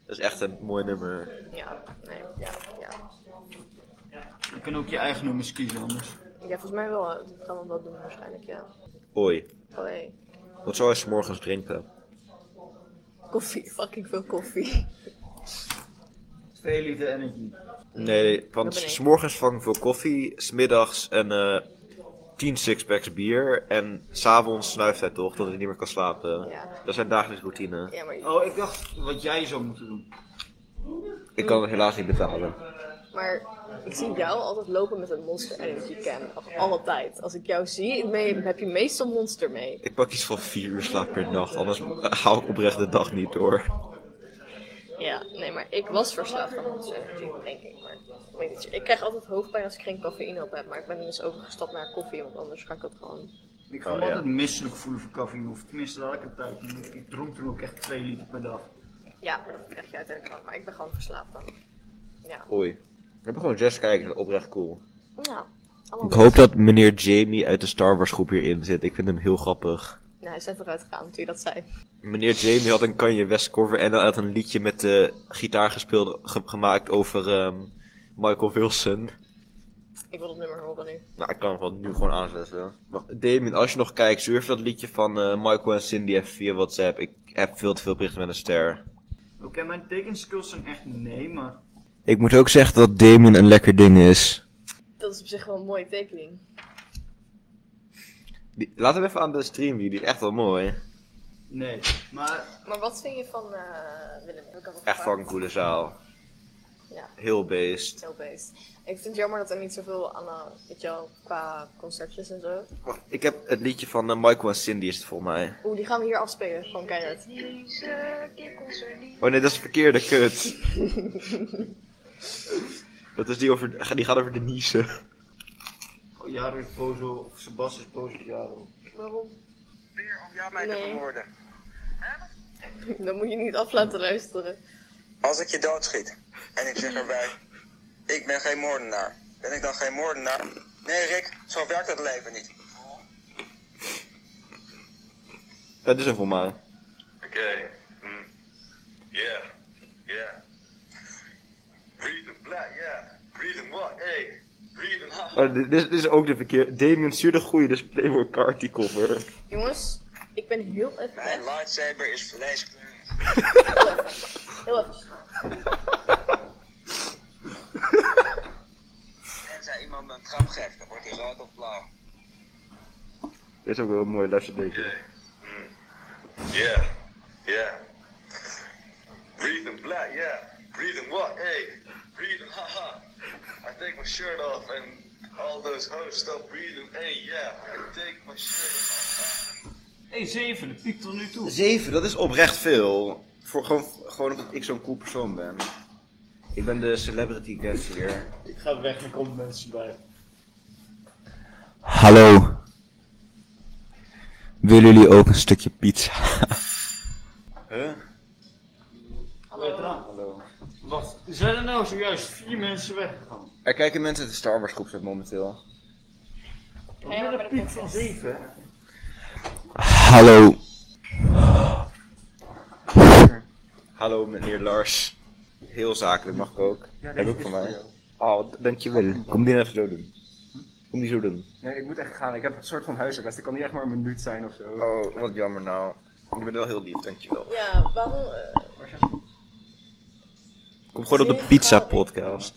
Dat is echt een mooi nummer.
Ja, nee, ja, ja.
steken. Je kan ook je eigen nummers kiezen anders.
Ja, volgens mij wel. hè. Dat gaan we wel doen waarschijnlijk, ja. Oh,
Oei.
Allee.
Wat zou je 's morgens drinken?
Koffie, fucking veel koffie.
Veel liefde en energie.
Nee, want
Dat ben ik.
s'morgens vang ik veel koffie, smiddags een eh 10 sixpacks bier en s'avonds snuift hij toch, dat hij niet meer kan slapen.
Ja.
Dat zijn dagelijks routine.
Ja, maar
Oh, ik dacht wat jij zou moeten doen.
Ik kan het helaas niet betalen.
Maar ik zie jou altijd lopen met een Monster Energy can. Of altijd. Als ik jou zie, ik mee- heb je meestal Monster mee.
Ik pak iets van 4 uur slaap per nacht, anders hou ik oprecht de dag niet door.
Ja, nee, maar ik was verslaafd aan Monster Energy, denk ik. Maar ik, weet niet, ik krijg altijd hoofdpijn als ik geen cafeïne op heb. Maar ik ben dus overgestapt naar koffie, want anders ga ik dat gewoon...
Ik ga
Oh,
me
ja.
altijd misselijk voelen voor cafeïne, of tenminste dat had ik het tijd. niet. Ik dronk toen ook echt 2 liter per dag.
Ja, maar dat krijg je uiteindelijk wel. Maar ik ben gewoon verslaafd aan. Ja.
Oei. We hebben gewoon zes kijkers, oprecht cool.
Ja.
Ik hoop dat meneer Jamie uit de Star Wars groep hierin zit, ik vind hem heel grappig.
Nou, hij is even eruit gegaan toen je dat zei.
Meneer Jamie had een Kanye West cover en hij had een liedje met de gitaar gespeeld, ge- gemaakt over ehm, Michael Wilson.
Ik wil dat nummer horen nu.
Nou, ik kan hem gewoon nu gewoon aanzetten. Wacht, Damien, als je nog kijkt, surf dat liedje van eh, Michael en Cindy even via WhatsApp. Ik heb veel te veel berichten met een ster.
Oké, mijn tekenskills zijn echt nee, maar
Ik moet ook zeggen dat Damon een lekker ding is.
Dat is op zich wel een mooie tekening.
Die, laat hem even aan de stream zien, die is echt wel mooi.
Nee, maar
Maar wat vind je van eh Willem? Heb ik al
Echt
gevraagd.
fucking coole zaal.
Ja.
Heel beest.
Heel beest. Ik vind het jammer dat er niet zoveel aan, eh, weet je wel, qua concertjes en zo.
Ik heb het liedje van eh, Michael en Cindy is het volgens mij.
Oeh, die gaan we hier afspelen, gewoon keihard.
Oh nee, dat is de verkeerde kut. dat is die over, die gaat over de niezen.
oh, Jaro is boos op- of Sebas is boos op Jaro.
Waarom?
Weer om jou mij te
Nee.
vermoorden.
Dan moet je niet af laten luisteren.
Als ik je doodschiet en ik zeg erbij, ik ben geen moordenaar. Ben ik dan geen moordenaar? Nee Rick, zo werkt het leven niet.
Dat is hem volgens mij.
Okay. Mm. Yeah. Yeah. Reason black, yeah. Reason what? Hey. Reason huh?
Oh, dit, dit is- dit is ook de verkeerde. Damien stuur de goede, dus Playboy Carty cover.
Jongens, ik ben heel even
Mijn
weg.
lightsaber is vleeskleur.
Heel even. Heel even.
Tenzij iemand me een trap geeft, dan wordt hij rood of blauw.
Dit is ook wel een mooi lesje, denk
Okay. Mm. Yeah. Yeah. Reason black, yeah. Reason what? Hey. Reason haha. I take my shirt off and all those hoes stop breathing. Hey, yeah. I take my shirt off.
Hé, hey, zeven, dat piekt tot nu toe.
7, dat is oprecht veel. Voor gewoon, gewoon omdat ik zo'n cool persoon ben. Ik ben de celebrity guest hier.
Ik ga weg, er komen mensen bij.
Hallo. Willen jullie ook een stukje pizza? huh?
Hallo.
Hallo.
Wacht, zijn er nou zojuist vier mensen weggegaan?
Er kijken mensen uit de Star Wars groep momenteel.
Wat met een piek van zeven?
Hallo. Hallo meneer Lars. Heel zakelijk mag ik ook. Heb ook van mij. Oh, d- dankjewel. Kom die even zo doen. Kom die zo doen.
Nee, ik moet echt gaan. Ik heb een soort van huisarrest. Ik kan niet echt maar een minuut zijn of zo.
Oh, wat jammer nou. Ik ben wel heel lief, dankjewel.
Ja, waarom? eh,
Kom gewoon op de pizza podcast.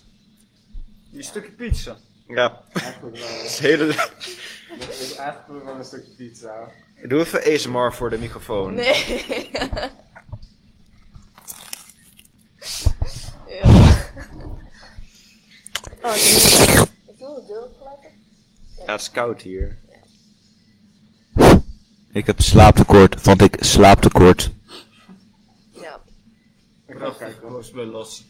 Die stukje pizza.
Ja.
Eigenlijk wel.
Het hele...
Ik eigenlijk wil ik wel een stukje pizza.
Doe even ASMR voor de microfoon.
nee. ja. Oh, nee. Ik wil de deur opgelaten.
Ja, het is koud hier. Ik heb slaaptekort, want ik slaaptekort.
Ja.
Ik ga even
Prachtig,
kijken.
boos bij Lassie.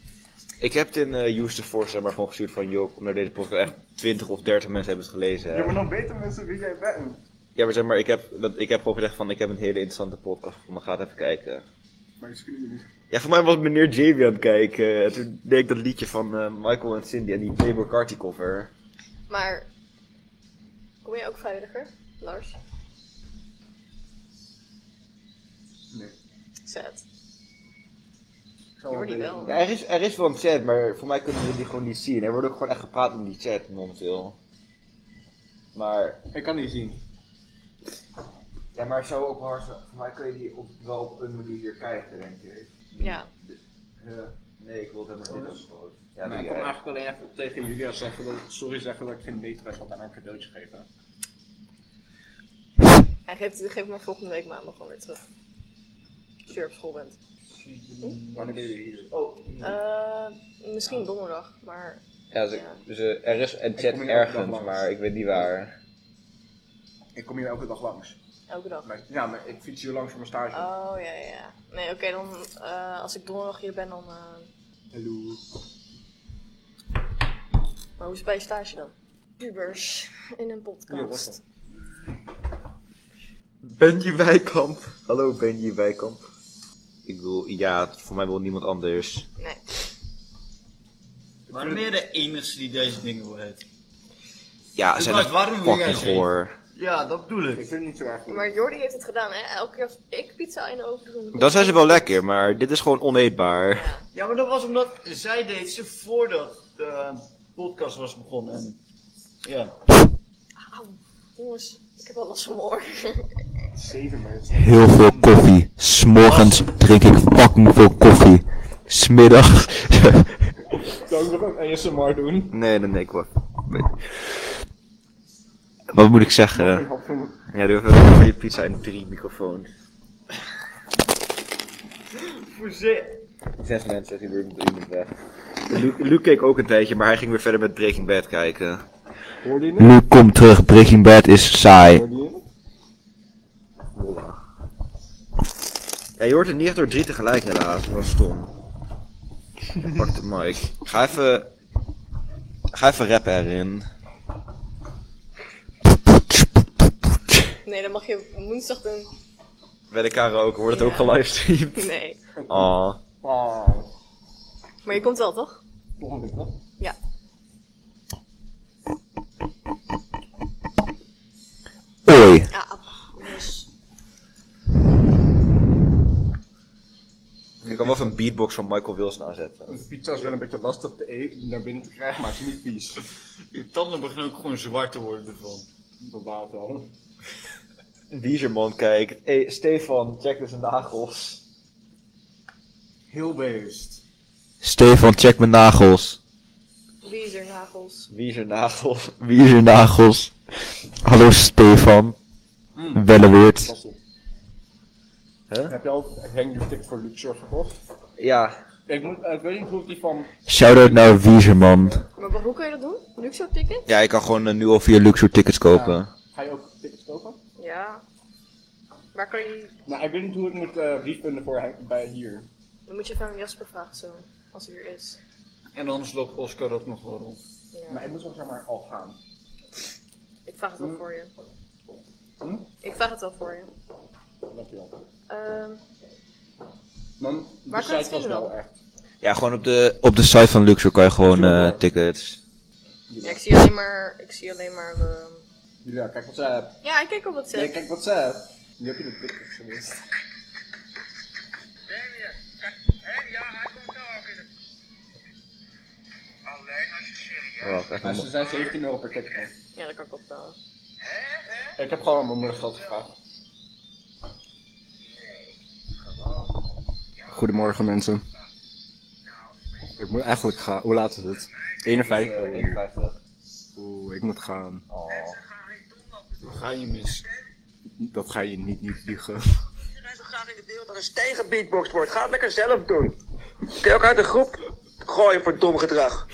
Ik heb het in eh Houston Force maar gewoon gestuurd van joh, naar deze podcast echt 20 of 30 mensen hebben het gelezen. hè.
Je moet nog beter mensen wie jij bent.
Ja, maar zeg maar, ik heb, dat, ik heb gewoon gezegd van ik heb een hele interessante podcast voor me, ga het even kijken.
Maar excuse me.
Ja, voor mij was meneer Jamie aan het kijken en toen deed ik dat liedje van eh, Michael en Cindy en die Playboy Carty cover.
Maar, kom jij ook veiliger, Lars?
Nee.
Zet.
Ik zal
Jordi
beter-
wel.
Ja, er, is, er is wel een chat, maar voor mij kunnen jullie gewoon niet zien. Er wordt ook gewoon echt gepraat in die chat momenteel. Maar
Ik kan niet zien.
Ja, maar zo ook wel hard- Voor mij kun je die op, wel op een manier krijgen, denk ik.
Ja.
Ja. Nee, ik wil het helemaal niet afsluiten. Oh, dus- Ja,
Maar
doe
ik kom
jij.
eigenlijk alleen even tegen Julia zeggen dat sorry zeggen dat ik geen meter had aan een cadeautje geven.
Hij geeft, geeft me volgende week maandag gewoon weer terug. Als je weer op school bent.
Wanneer ben je hier?
Oh,
Eh, misschien donderdag, maar
Ja, dus, ik-
Ja.
dus, eh, er is een
Ik
chat
kom hier elke dag
ergens,
langs.
maar ik weet niet waar.
Ik kom hier elke dag langs.
elke dag.
Maar, ja, maar ik fiets hier langs voor mijn stage.
Oh ja, ja. ja. Nee, oké, dan eh, als ik donderdag hier ben, dan. eh,
Hallo.
Maar hoe is het bij je stage dan? Pubers in een
Ja, was dat.
podcast.
Benji Wijkamp. Hallo Benji Wijkamp. Ik wil, ja, voor mij wil niemand anders.
Nee.
waarom ben je de enige die deze dingen wil hebben?
Ja,
Dus
ze zijn
Bart,
echt
waarom wil jij
fucking
zeggen?
goor.
Ja, dat bedoel
Ik vind het niet zo erg. goed.
Maar Jordi heeft het gedaan, hè? Elke keer als ik pizza in de oven doe.
Dan zijn ze wel lekker, maar dit is gewoon oneetbaar.
Ja.
Ja, maar dat was omdat zij deed ze voordat de podcast was begonnen. En, ja.
Auw, jongens, ik heb al last van mijn oor.
Zeven mensen.
Heel veel koffie. S'morgens drink ik fucking veel koffie. Smiddag.
Kan ik nog een ASMR doen?
Nee, nee, nee, ik word. Wat moet ik zeggen?
Ik had van-
Ja, doe even voor je pizza in drie microfoon. Zes mensen zijn weer met iemand weg. Luke, Luke keek ook een tijdje, maar hij ging weer verder met Breaking Bad kijken.
Hoorde je het?
Luke, kom terug, Breaking Bad is saai.
Hoorde je het?
Ja, je hoort het niet echt door drie tegelijk helaas, dat was stom. Pak de mic. Ga even... Ga even rappen erin.
Nee, dan mag je woensdag doen.
Bij de karaoke wordt het ook
Ja.
gelivestreamd.
Nee.
Oh.
Ah,
Maar je komt wel, toch?
volgende week toch?
Ja.
Oei.
Ja, dus
Ik kan wel even een beatbox van Michael Wilson aanzetten.
De pizza is wel een beetje lastig te eten, naar binnen te krijgen, maar het is niet vies.
Je tanden beginnen ook gewoon zwart te worden ervan.
Inderdaad wel.
Wieserman kijkt. Hé, Stefan, check dus zijn nagels.
Heel beest.
Stefan, check mijn nagels.
wie is er nagels?
Wieser nagels. Wieser nagels. Hallo Stefan. Welleweert.
Pas op.
Huh?
Heb je al Hang Your Tick voor Luxor gekocht?
Ja.
Ik, moet, eh, ik weet niet hoe ik die van...
Shoutout naar Wieserman.
Maar wa- hoe kan je dat doen? Luxo ticket?
Ja, ik kan gewoon eh, nu al via Luxor tickets kopen.
Ga je ook tickets kopen?
Ja. Waar kan je...
Nou, ik weet niet hoe ik moet eh refunden voor hij- bij hier.
Dan moet je even aan Jasper vragen zo. Als hij er is.
En anders loopt Oscar ook nog wel rond.
Ja.
Maar ik moet zo zeg maar al gaan.
Ik vraag het wel voor je.
Hm?
Ik vraag het wel voor je.
Dankjewel.
Ehm,
Man,
Waar
de
kan je het
site was
vinden
wel
dan?
echt.
Ja, gewoon op de, op de site van Luxor kan je gewoon eh, tickets.
ja, ik zie alleen maar... Ik zie alleen maar... ehm,
Julia, kijk eh, WhatsApp.
Ja, ik kijk op
Nee,
WhatsApp.
kijk WhatsApp. Nu heb je de tickets gemist.
Damien, kijk, hé, ja, hij komt wel ook in de... Alleen als je serieus...
Wacht, even
Maar
mo-
ze zijn 17 euro per ticket. man.
Ja, dat kan ik opbellen.
Hé, hé?
Ik heb gewoon aan mijn moeder geld gevraagd.
Goedemorgen mensen. Ik moet eigenlijk gaan. Hoe laat is het? 51
Eh, 51.
Oeh, ik moet gaan.
Oh.
Dan ga je mis.
Dat ga je niet, niet liegen.
Je rijdt zo graag in de wereld dat er tegen beatbox wordt. Ga het lekker zelf doen. Kun je ook uit de groep gooien voor dom gedrag.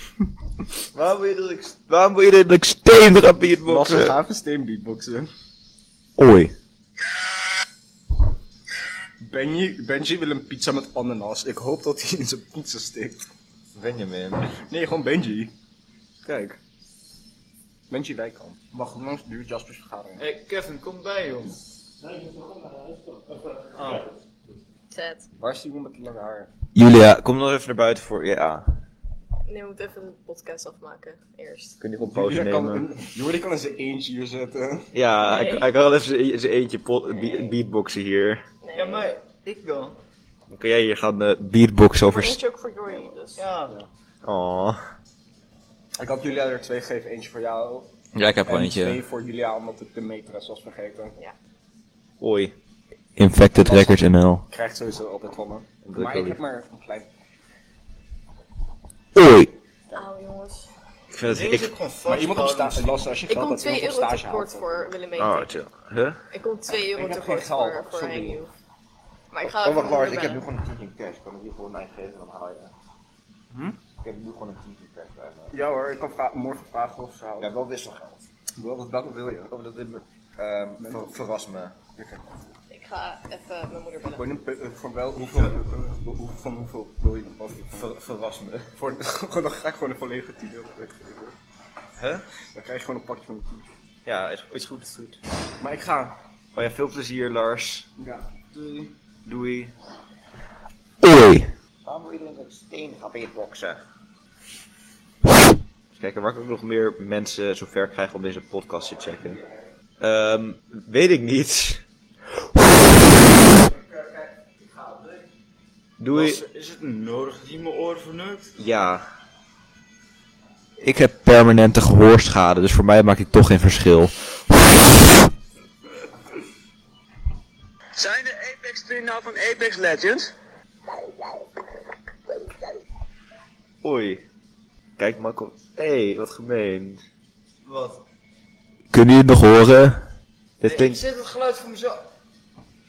Waarom wil je dat ik, waarom wil je dat ik steen erop
Wat een
beatboxen?
gave steenbeatboxen.
Oei.
Benji, Benji wil een pizza met ananas. Ik hoop dat hij in zijn pizza steekt.
Benjamin.
Nee, gewoon Benji. Kijk. Benji Wijkamp.
Wacht, hoe lang duurt Jaspers vergadering?
Hé, Kevin, kom bij joh.
Zet.
Waar is die iemand met lange haar?
Julia, kom nog even naar buiten voor... Ja.
Nee, we moeten even de podcast afmaken. Eerst.
Kun je gewoon pauze
Julia kan
nemen?
een, Jordi kan in zijn eentje hier zetten.
Ja,
Nee.
hij, hij kan wel even zijn- zijn eentje pot- be- beatboxen hier.
Nee.
Ja, maar ik dan?
Dan kun jij hier gaan eh, beatboxen over...
Maar
st-
eentje ook voor Jordi, dus.
Ja.
Aw.
Ik had Julia er twee gegeven, eentje voor jou.
Ja, ik heb
en twee voor Julia, omdat ik de metres was vergeten.
Oei. Infected Records NL.
Krijgt sowieso altijd van me.
ik
Maar
ook
ik heb
niet.
maar een klein...
Oei.
Auw, jongens.
Ik vind het...
Ik
Ik...
gewoon
Maar iemand op stage, Las, als je
Ik
geld
kom
hebt,
2
iemand op
euro
stage
tekort
haalt,
voor Willem
Oh,
Eentje.
chill. Huh?
Ik kom 2 euro
heb
tekort
geen geld,
voor, voor
sorry. Oh,
Hang You. Maar ik ga
Oh,
even weer bellen.
gewoon een tientje in cash. Kan ik hier gewoon een geven? Dan haal je... Ik heb nu gewoon een tientje in cash bij me.
Ja hoor, ik kan vra- morgen vragen of ze houden.
wel wisselgeld.
Wel, dat wil je.
Oh, dat dit me... ehm, ver- verras me.
Ik ga even mijn moeder bellen.
Gewoon een pe- eh, voor wel, hoeveel, eh, hoe- van hoeveel wil je? Of
Ver- verras me.
voor, gewoon, dan ga ik gewoon een volledige 10 euro uitgeven.
Huh?
Dan krijg je gewoon een pakje van de 10.
Ja, is, is goed. goed.
Maar ik ga.
Oh ja, veel plezier Lars.
Ja.
Doei. Oei.
Waarom wil je met steen gaan beatboxen?
Eens kijken waar ik ook nog meer mensen zover krijg om deze podcast te checken. Ehm, weet ik niet. Doei.
Bas, Is het nodig dat je mijn oren verneukt?
Ja. Ik heb permanente gehoorschade, dus voor mij maakt het toch geen verschil.
Zijn de Apex 3 nou van Apex Legends?
Oei. Kijk, Makko. Hé, hey, wat gemeen.
Wat?
Kunnen jullie het nog horen? Dit
Ik
klinkt...
zet het geluid voor mezelf.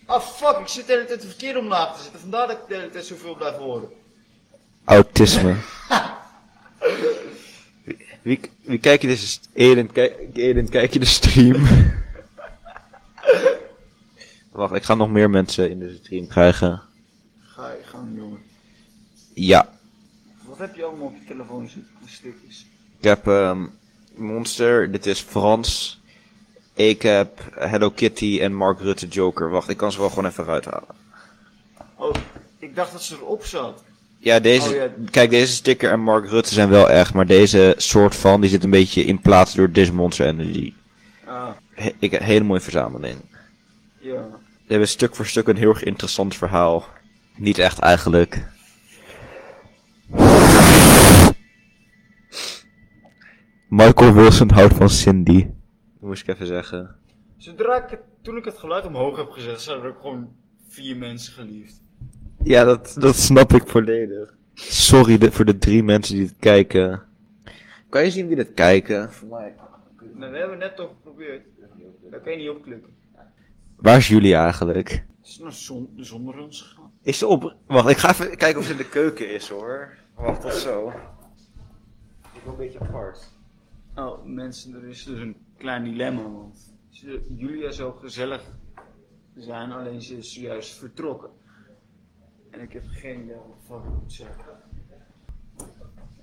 Ah fuck, ik zit de hele tijd de verkeerde omlaag te zetten. Vandaar dat ik de hele tijd zoveel blijf horen.
Autisme. wie, wie kijk je deze... st- Eden, kijk, Eden, kijk je de stream? Wacht, ik ga nog meer mensen in de stream krijgen.
Ga je gang, jongen.
Ja.
Wat heb je allemaal op je telefoon zitten? voor Stukjes.
Ik heb ehm, Monster, dit is Frans. Ik heb Hello Kitty en Mark Rutte Joker. Wacht, ik kan ze wel gewoon even eruit halen.
Oh, ik dacht dat ze erop zat.
Ja, deze,
Oh, ja.
kijk, deze sticker en Mark Rutte zijn wel echt, maar deze soort van, die zit een beetje in plaats door This Monster Energy.
Ah,
He- ik heb een hele mooie verzameling.
ja.
Ze hebben stuk voor stuk een heel erg interessant verhaal. Niet echt eigenlijk. Michael Wilson houdt van Cindy. Dat moest ik even zeggen.
Zodra ik het, toen ik het geluid omhoog heb gezet, zijn er ook gewoon vier mensen geliefd.
Ja, dat, dat snap ik volledig. Sorry de- voor de drie mensen die dit kijken. Kan je zien wie dit kijken?
Maar we hebben net toch geprobeerd. Daar kan je niet op klikken.
Waar is jullie eigenlijk?
Is het nou zon, zonder ons gegaan?
Is ze op... Wacht, ik ga even kijken of ze in de keuken is hoor. Wacht, tot zo. Ik wil een beetje apart.
Oh, mensen, er is dus een klein dilemma. Want ze- Julia zou gezellig zijn, alleen ze is juist vertrokken. En ik heb geen idee wat ik moet zeggen.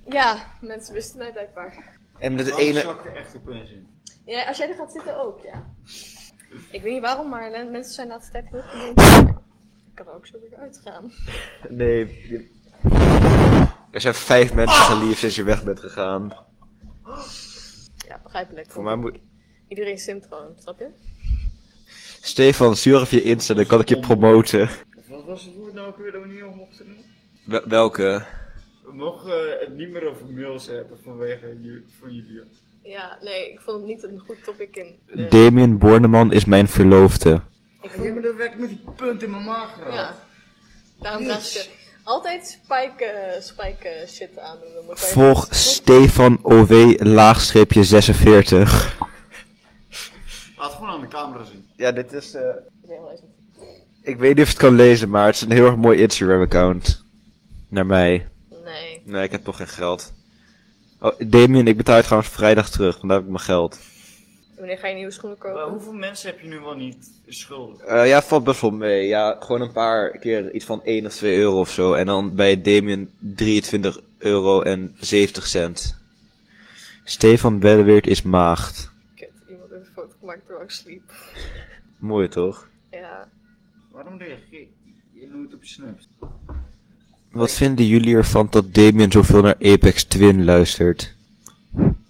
Ja, mensen wisten mij blijkbaar.
En met het
Ik
ene...
zak er echt opeens in.
Ja, als jij er gaat zitten ook, ja. Ik weet niet waarom, maar le- mensen zijn de laatste tijd heel gemeen. Ik kan er ook zo weer uitgaan.
Nee. Ah! je- Er zijn vijf mensen geliefd sinds je weg bent gegaan.
Ja, begrijpelijk.
Voor mij moet...
Iedereen simt gewoon, snap je?
Stefan, stuur even je Insta, dan kan ik je promoten.
Wat was het woord nou ook weer dat we niet op mochten doen?
Wel- welke?
We mogen eh, het niet meer over mails hebben vanwege ju- van Julia.
Ja, nee, ik vond het niet een goed topic in. de-
Damien Borneman is mijn verloofde.
ik
Ik heb
vond,
me er weg met die punt in mijn maag gehad.
ja. Daarom dacht je altijd spike, eh, spike eh, shit aan doen. Dan moet je-
Volg Stefan OW laagstreepje 46.
Laat het gewoon aan de camera zien.
Ja, dit is... eh,
Ik weet wel eens-
ik weet niet of je het kan lezen, maar het is een heel erg mooi Instagram-account. Naar mij.
Nee.
Nee, ik heb toch geen geld. Oh, Damien, ik betaal je trouwens vrijdag terug, want daar heb ik mijn geld.
Wanneer ga je nieuwe schoenen kopen?
Maar hoeveel mensen heb je nu wel niet schuldig?
Eh, ja, valt best wel mee. Ja, gewoon een paar keer iets van 1 of 2 euro of zo. En dan bij Damien 23 euro en 70 cent. Stefan Belleweert is maagd.
Kut, iemand heeft een foto gemaakt terwijl ik sliep.
Mooi toch?
Ja.
Waarom reageer je nooit op je snaps?
Wat vinden jullie ervan dat Damien zoveel naar Apex Twin luistert?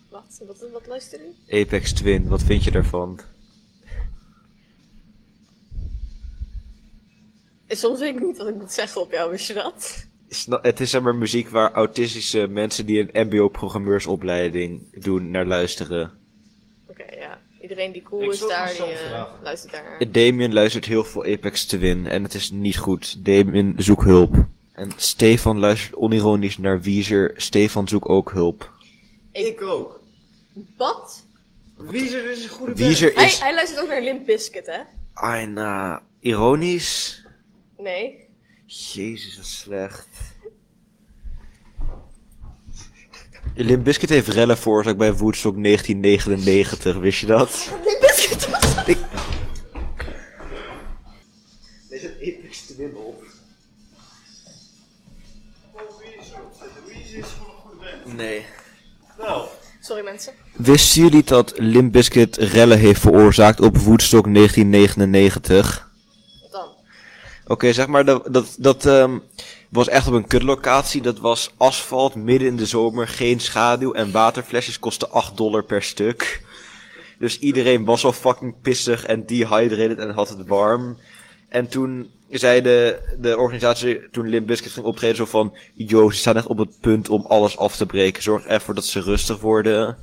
Wacht, wat, wat luister je?
Apex Twin, wat vind je daarvan?
Eh, Soms weet ik niet wat ik moet zeggen op jou, wist je dat?
Is na- Het is zeg maar muziek waar autistische mensen die een mbo-programmeursopleiding doen naar luisteren.
Oké, ja. Iedereen die cool
Ik
is
zal
daar,
het
die
maar
eh,
soms vragen.
luistert daar.
Damien luistert heel veel Apex Twin en het is niet goed. Damien, zoek hulp. En Stefan luistert onironisch naar Weezer. Stefan, zoek ook hulp.
Ik-
Ik, ook.
Wat?
Wiezer is een goede band.
Weezer
Hij,
is...
hij luistert ook naar Limp Bizkit, hè?
Ai, na. Ironisch?
Nee.
Jezus, wat slecht. Limp Bizkit heeft rellen veroorzaakt bij Woodstock 1999, wist je dat?
Limp Bizkit was dat?
Is het Apex Twin op?
Oh, Wiezer. Wiezer is gewoon een goede band.
Nee.
Nou,
Sorry mensen.
Wisten jullie dat Limp Bizkit rellen heeft veroorzaakt op Woodstock 1999?
Wat dan?
Oké, zeg maar, dat, dat, dat ehm, was echt op een kutlocatie. Dat was asfalt, midden in de zomer, geen schaduw en waterflesjes kosten 8 dollar per stuk. Dus iedereen was al fucking pissig en dehydrated en had het warm. En toen zei de, de organisatie, toen Limp Bizkit ging optreden, zo van... Yo, ze staan echt op het punt om alles af te breken. Zorg ervoor dat ze rustig worden.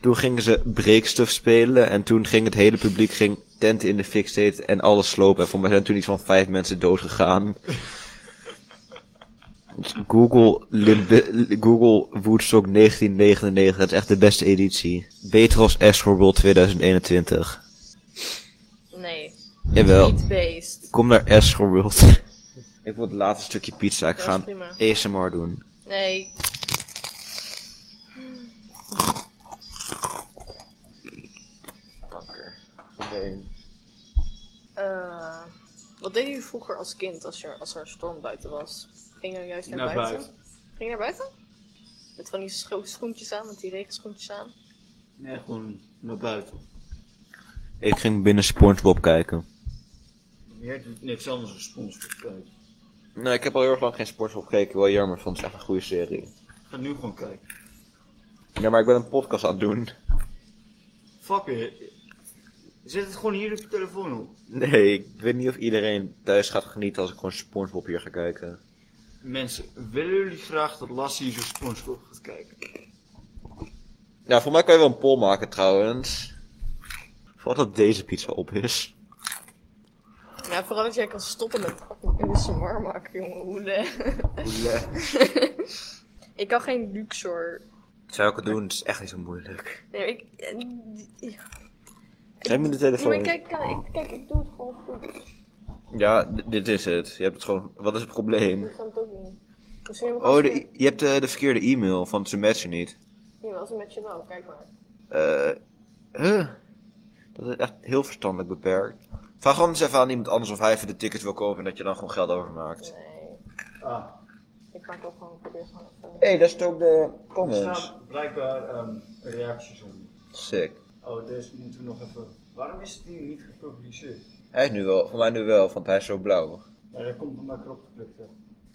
Toen gingen ze breekstuf spelen en toen ging het hele publiek ging tenten in de fik zitten en alles slopen. En voor mij zijn toen iets van vijf mensen dood gegaan. Google, Limbe- Google Woodstock 1999. Dat is echt de beste editie. Beter als Astro World 2021.
Nee.
Jawel.
Niet based.
Kom naar Astro World. Ik wil het laatste stukje pizza. Ik
Dat
ga
is prima.
een ASMR doen.
Nee. Eh, wat deed je vroeger als kind als er, als er een storm buiten was? Ging je nou juist naar,
Naar
buiten?
buiten.
Ging je naar buiten? Met van die scho- schoentjes aan, met die regenschoentjes aan.
Nee, gewoon naar buiten.
Ik ging binnen Spongebob kijken.
Meer doet niks anders dan sponsor kijken.
Nee, ik heb al heel erg lang geen Spongebob gekeken. Wel jammer, want het is echt een goede serie.
Ik ga nu gewoon kijken.
Ja, maar ik ben een podcast aan het doen.
Fuck it. Zet het gewoon hier op je telefoon op.
Nee, ik weet niet of iedereen thuis gaat genieten als ik gewoon Spongebob hier ga kijken.
Mensen, willen jullie graag dat Lassie zo sponsor gaat kijken?
Nou, voor mij kan je wel een poll maken trouwens. Vooral dat deze pizza op is.
Ja, vooral dat jij kan stoppen met fucking ASMR maken, jongen. Hoele. ik kan geen Luxor.
Zou ik het doen? Het is echt niet zo moeilijk.
Nee, ik... Ja.
Geef me de
Nee, maar
telefoon.
kijk, kijk, ik- kijk, ik doe het gewoon goed.
Ja, d- dit is het. Je hebt het gewoon... Wat is het probleem?
Ik kan het ook niet. Misschien hebben we
Oh,
gewoon
de, je hebt eh, de verkeerde e-mail van ze matchen niet.
Hier, als een met je wel, kijk maar.
Eh... huh? Dat is echt heel verstandelijk beperkt. Vraag gewoon eens even aan iemand anders of hij even de tickets wil kopen en dat je dan gewoon geld overmaakt.
Nee,
Ah,
ik maak ook gewoon probeer gewoon even.
hey, dat is ook de
er staan blijkbaar ehm, reacties onder.
Sick.
Oh, deze moeten we nog even... Waarom is het hier niet gepubliceerd?
Hij is nu wel, voor mij nu wel, want hij is zo blauw.
Ja, dat komt omdat ik erop geklikt heb.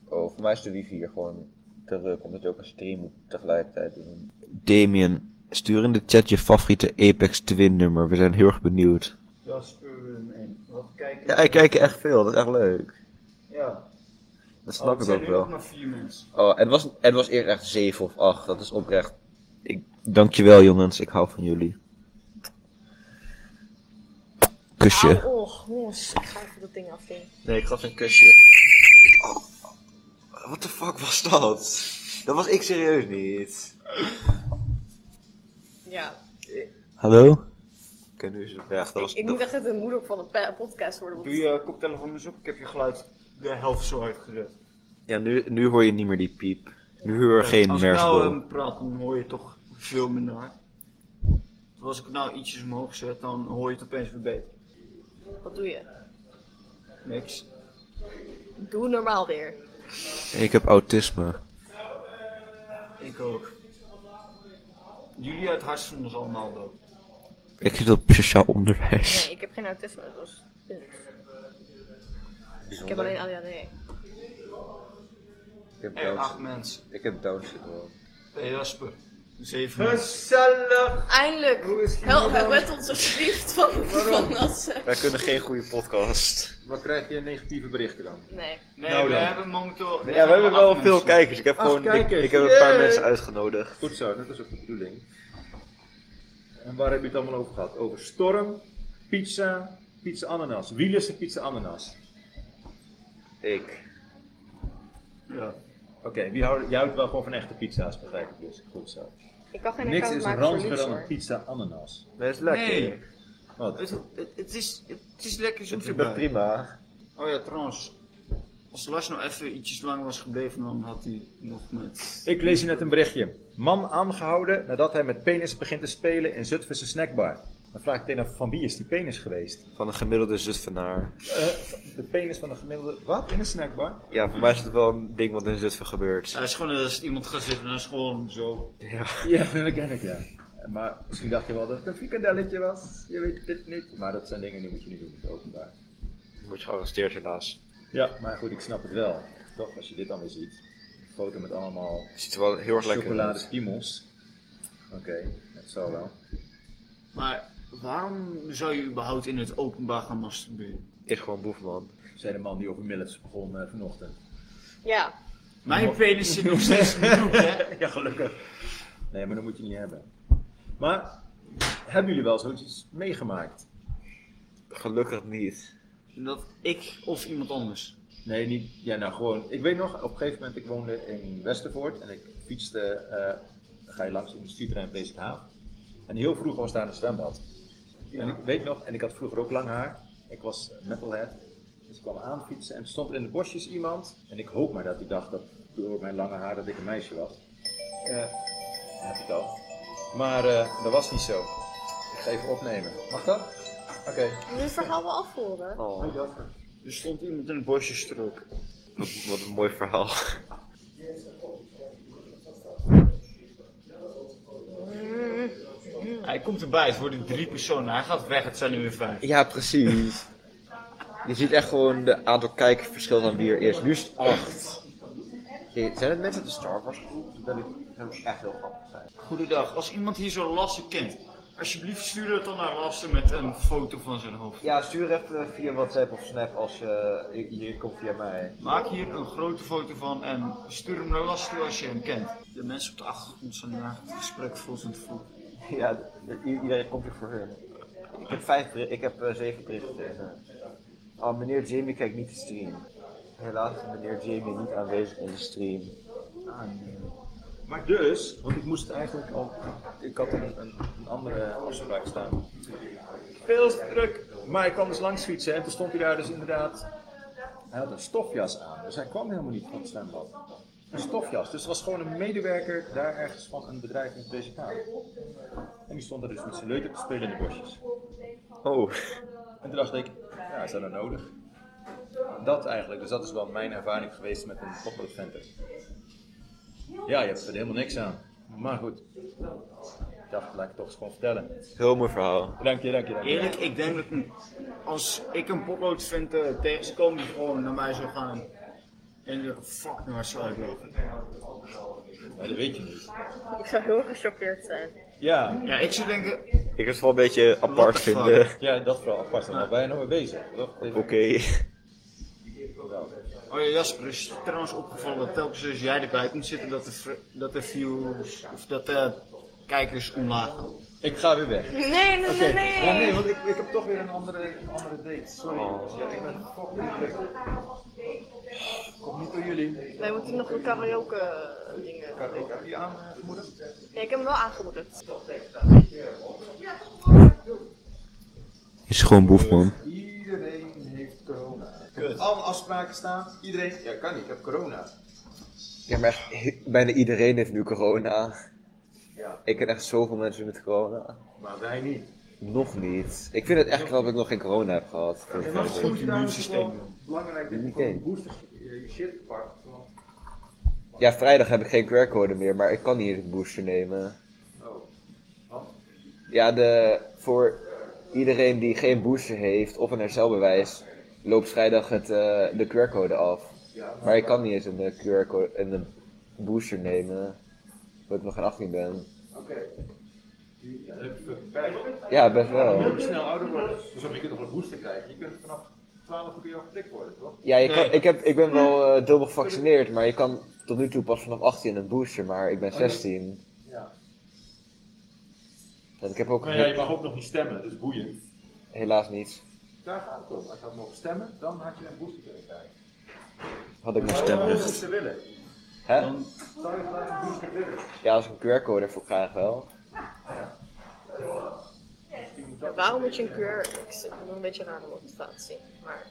Oh, voor mij is de wifi hier gewoon terug, omdat je ook een stream moet tegelijkertijd doen. Damien, stuur in de chat je favoriete Apex Twin nummer, we zijn heel erg benieuwd.
Ja, speur hem in. Wat kijken?
Ja, ik kijk echt veel, dat is echt leuk.
Ja.
Dat
Oh,
snap
het
ik
zijn
ook
nu
wel.
nog maar vier mensen.
Oh, en het was, het was eerst echt 7 of 8, dat is oprecht. Ik, dankjewel jongens, ik hou van jullie. Kusje.
Au, och, jongens, ik ga even dat ding afdoen.
Nee, ik gaf een kusje. Oh, what the fuck was dat? Dat was ik serieus niet.
Ja,
Hallo? Oké, nu is het weg. Dat
ik,
was,
ik moet echt de moeder van een pe- podcast worden.
Doe je
Want...
koptelefoon eens op, ik heb je geluid de helft zo uitgezet.
Ja, nu, nu hoor je niet meer die piep. Nu hoor je geen
Als ik nou
merkbol.
ehm, praat, dan hoor je toch veel minder hard. Dus als ik het nou ietsjes omhoog zet, dan hoor je het opeens weer beter.
Wat doe je?
Niks.
Doe normaal weer.
Ik heb autisme.
Ik ook. Jullie uit hart zijn ons allemaal dood.
Ik zit op sociaal onderwijs.
Nee, ik heb geen autisme, dus. Ik heb alleen ADHD.
Ik heb
Hey, acht
Down-
mensen.
Ik heb Down syndroom.
Hey Jasper. Zeven mensen.
Eindelijk! Help, red ons alsjeblieft van, van Assen.
Wij kunnen geen goede podcast.
Wat krijg je negatieve berichten dan?
Nee.
Nee,
Nou
we
dan.
hebben momenteel...
Ja, we hebben
acht
wel veel
mensen.
kijkers. Ik heb
Acht
gewoon ik,
kijkers,
ik heb een paar
yay!
mensen uitgenodigd.
Goed zo, dat is ook de bedoeling. En waar heb je het allemaal over gehad? Over storm, pizza, pizza ananas. Wie lust een pizza ananas?
Ik.
Ja.
Oké, wie houdt, jij houdt wel gewoon van echte pizza's, begrijp ik dus. Goed zo.
Ik kan geen
Niks
account
is
maken voor
ranziger dan een
Luxor.
pizza ananas.
Dat is lekker.
Nee.
Wat?
Het, het, het is, het is lekker
Het
zoet
is nog
erbij.
prima.
Oh ja, trouwens. Als Lars nou even ietsjes langer was gebleven, dan had hij nog met...
Ik lees hier net een berichtje. Man aangehouden nadat hij met penis begint te spelen in Zutphense snackbar. Dan vraag ik meteen af, van wie is die penis geweest?
Van een gemiddelde Zutphenaar.
Eh, de penis van een gemiddelde... Wat? In een snackbar?
Ja, voor mij is het wel een ding wat in Zutphen gebeurt.
Ja, het is gewoon als iemand gaat zitten, dan is het gewoon zo.
Ja, dat ken ik, ja. Maar misschien dacht je wel dat het een frikandelletje was. Je weet dit niet. Maar dat zijn dingen die moet je niet doen in het openbaar.
Word je gearresteerd helaas.
Ja, maar goed, ik snap het wel. Toch, als je dit dan weer ziet. Een foto met allemaal
Het ziet er wel heel erg lekker uit.
chocoladespiemels. Oké, dat zal wel.
Maar waarom zou je überhaupt in het openbaar gaan masturberen?
Is gewoon boefman.
Zei de man die over Millets begon eh, vanochtend.
Ja,
Mijn penis zit nog steeds in de broek, hè?
ja, gelukkig. Nee, maar dat moet je niet hebben. Maar, hebben jullie wel zoiets meegemaakt?
Gelukkig niet.
Dat ik of iemand anders.
Nee, niet. Ja, nou gewoon. Ik weet nog, op een gegeven moment, ik woonde in Westervoort en ik fietste. eh, dan ga je langs industrieterrein Presikhaaf. En heel vroeg was daar een zwembad. En ik weet nog, en ik had vroeger ook lang haar. Ik was metalhead. Dus ik kwam aanfietsen en er stond er in de bosjes iemand. En ik hoop maar dat hij dacht dat door mijn lange haar dat ik een meisje was. Eh, heb ik al. Maar eh, dat was niet zo. Ik ga even opnemen. Mag dat? Oké.
Nu het verhaal wel afhoren.
Oh,
Er stond iemand in een bosje strook.
wat, wat een mooi verhaal.
Hij komt erbij, het worden drie personen. Hij gaat weg, het zijn er weer vijf.
Ja, precies. Je ziet echt gewoon de aantal kijkverschil dan wie er is. Nu is het acht. Hey, Zijn het mensen uit de Star Wars groep? Dat zou echt heel grappig zijn.
Goedendag, als iemand hier zo'n laster kent, alsjeblieft stuur het dan naar Lasse met een foto van zijn hoofd.
Ja, stuur even via WhatsApp of Snap als je... Je komt via mij.
Maak hier een grote foto van en stuur hem naar Lasse toe als je hem kent. De mensen op de achtergrond zijn naar het gesprek volgens het voet.
Ja, i- iedereen komt hier voor hun. Ik heb, vijf, beri- ik heb eh, zeven berichten. eh. Oh, meneer Jamie kijkt niet de stream. Helaas is meneer Jamie niet aanwezig in de stream.
Maar dus, want ik moest eigenlijk al. Ik had een, een, een andere afspraak staan. Veel te druk. Maar ik kwam dus langs fietsen en toen stond hij daar dus inderdaad. Hij had een stofjas aan, dus hij kwam helemaal niet van het zwembad. Een stofjas, dus er was gewoon een medewerker daar ergens van een bedrijf in deze kamer. En die stond er dus met zijn leuter te spelen in de bosjes.
Oh,
En toen dacht ik, ja, is dat nou nodig? Dat eigenlijk, dus dat is wel mijn ervaring geweest met een corporate venter. Ja, je hebt er helemaal niks aan. Maar goed, ik dacht, laat ik het toch eens gewoon vertellen.
heel mooi verhaal.
Dank je, dank je, dank je.
Eerlijk, ik denk dat een- als ik een potlood vind eh, tegen zou komen, die gewoon naar mij zou gaan. En de fuck naar zou lopen.
Ja, dat weet je niet.
Ik zou heel gechoqueerd zijn.
Ja,
Ja, ik zou denken,
Ik het wel een beetje
apart vinden.
ja dat vooral apart, daar ben je nog mee bezig. toch? Even-
Oh ja, Jasper, is het trouwens opgevallen dat telkens als jij erbij komt zitten, dat de, fr- dat de views, of dat de kijkers omlaag gaan.
Ik ga weer weg.
Nee, nee, nee, nee.
Ja, nee, want ik, ik heb toch weer een andere, een andere date. Sorry.
Oh.
jongens. Ja, ik ben fucking druk. Komt niet door jullie.
Wij moeten nog een karaoke eh, dingen.
Ik heb je eh, aangemoedigd.
Ja, ik heb hem wel aangemoedigd.
Is gewoon boef, man.
Iedereen heeft corona. Alle afspraken staan. Iedereen. Ja, kan niet. Ik heb corona.
Ja, maar echt, he- bijna iedereen heeft nu corona.
Ja.
Ik ken echt zoveel mensen met corona.
Maar wij niet.
Nog niet. Ik vind het echt knap dat ik nog geen corona heb gehad. Voor de
Het
verder.
is
immuunsysteem.
gewoon belangrijk dat je
Niet
gewoon
één.
boosters eh, je shit pakt. want-
Ja, vrijdag heb ik geen QR-code meer, maar ik kan hier een booster nemen.
Oh. Want?
Ja, de, voor iedereen die geen booster heeft of een herstelbewijs, loopt vrijdag het, eh, de QR-code af. Maar ik kan niet eens een eh, QR-code en een booster nemen, omdat ik nog geen 18 ben.
Oké. Ja, dat heb ik beperkt.
Ja, best
Je moet
wel.
ook snel ouder worden. Dus om je kunt nog een booster krijgen. Je kunt vanaf 12 uur kun je al getikt worden, toch?
Ja, je kan, ik, heb, ik ben wel eh, dubbel gevaccineerd, maar je kan tot nu toe pas vanaf 18 een booster, maar ik ben 16.
Oh, Ja.
En ik heb ook
Maar ja, je
he-
mag ook nog niet stemmen, dus boeiend.
helaas niet.
Daar gaat het om. Als je had mogen stemmen, dan had je een booster kunnen krijgen.
Had ik mijn
Zou je een
stemrecht.
booster willen?
Hè?
Zou je graag een booster willen?
Ja, als ik een QR-code ervoor krijg wel.
Waarom moet je een keur... Ik zit nog een beetje raar motivatie. Maar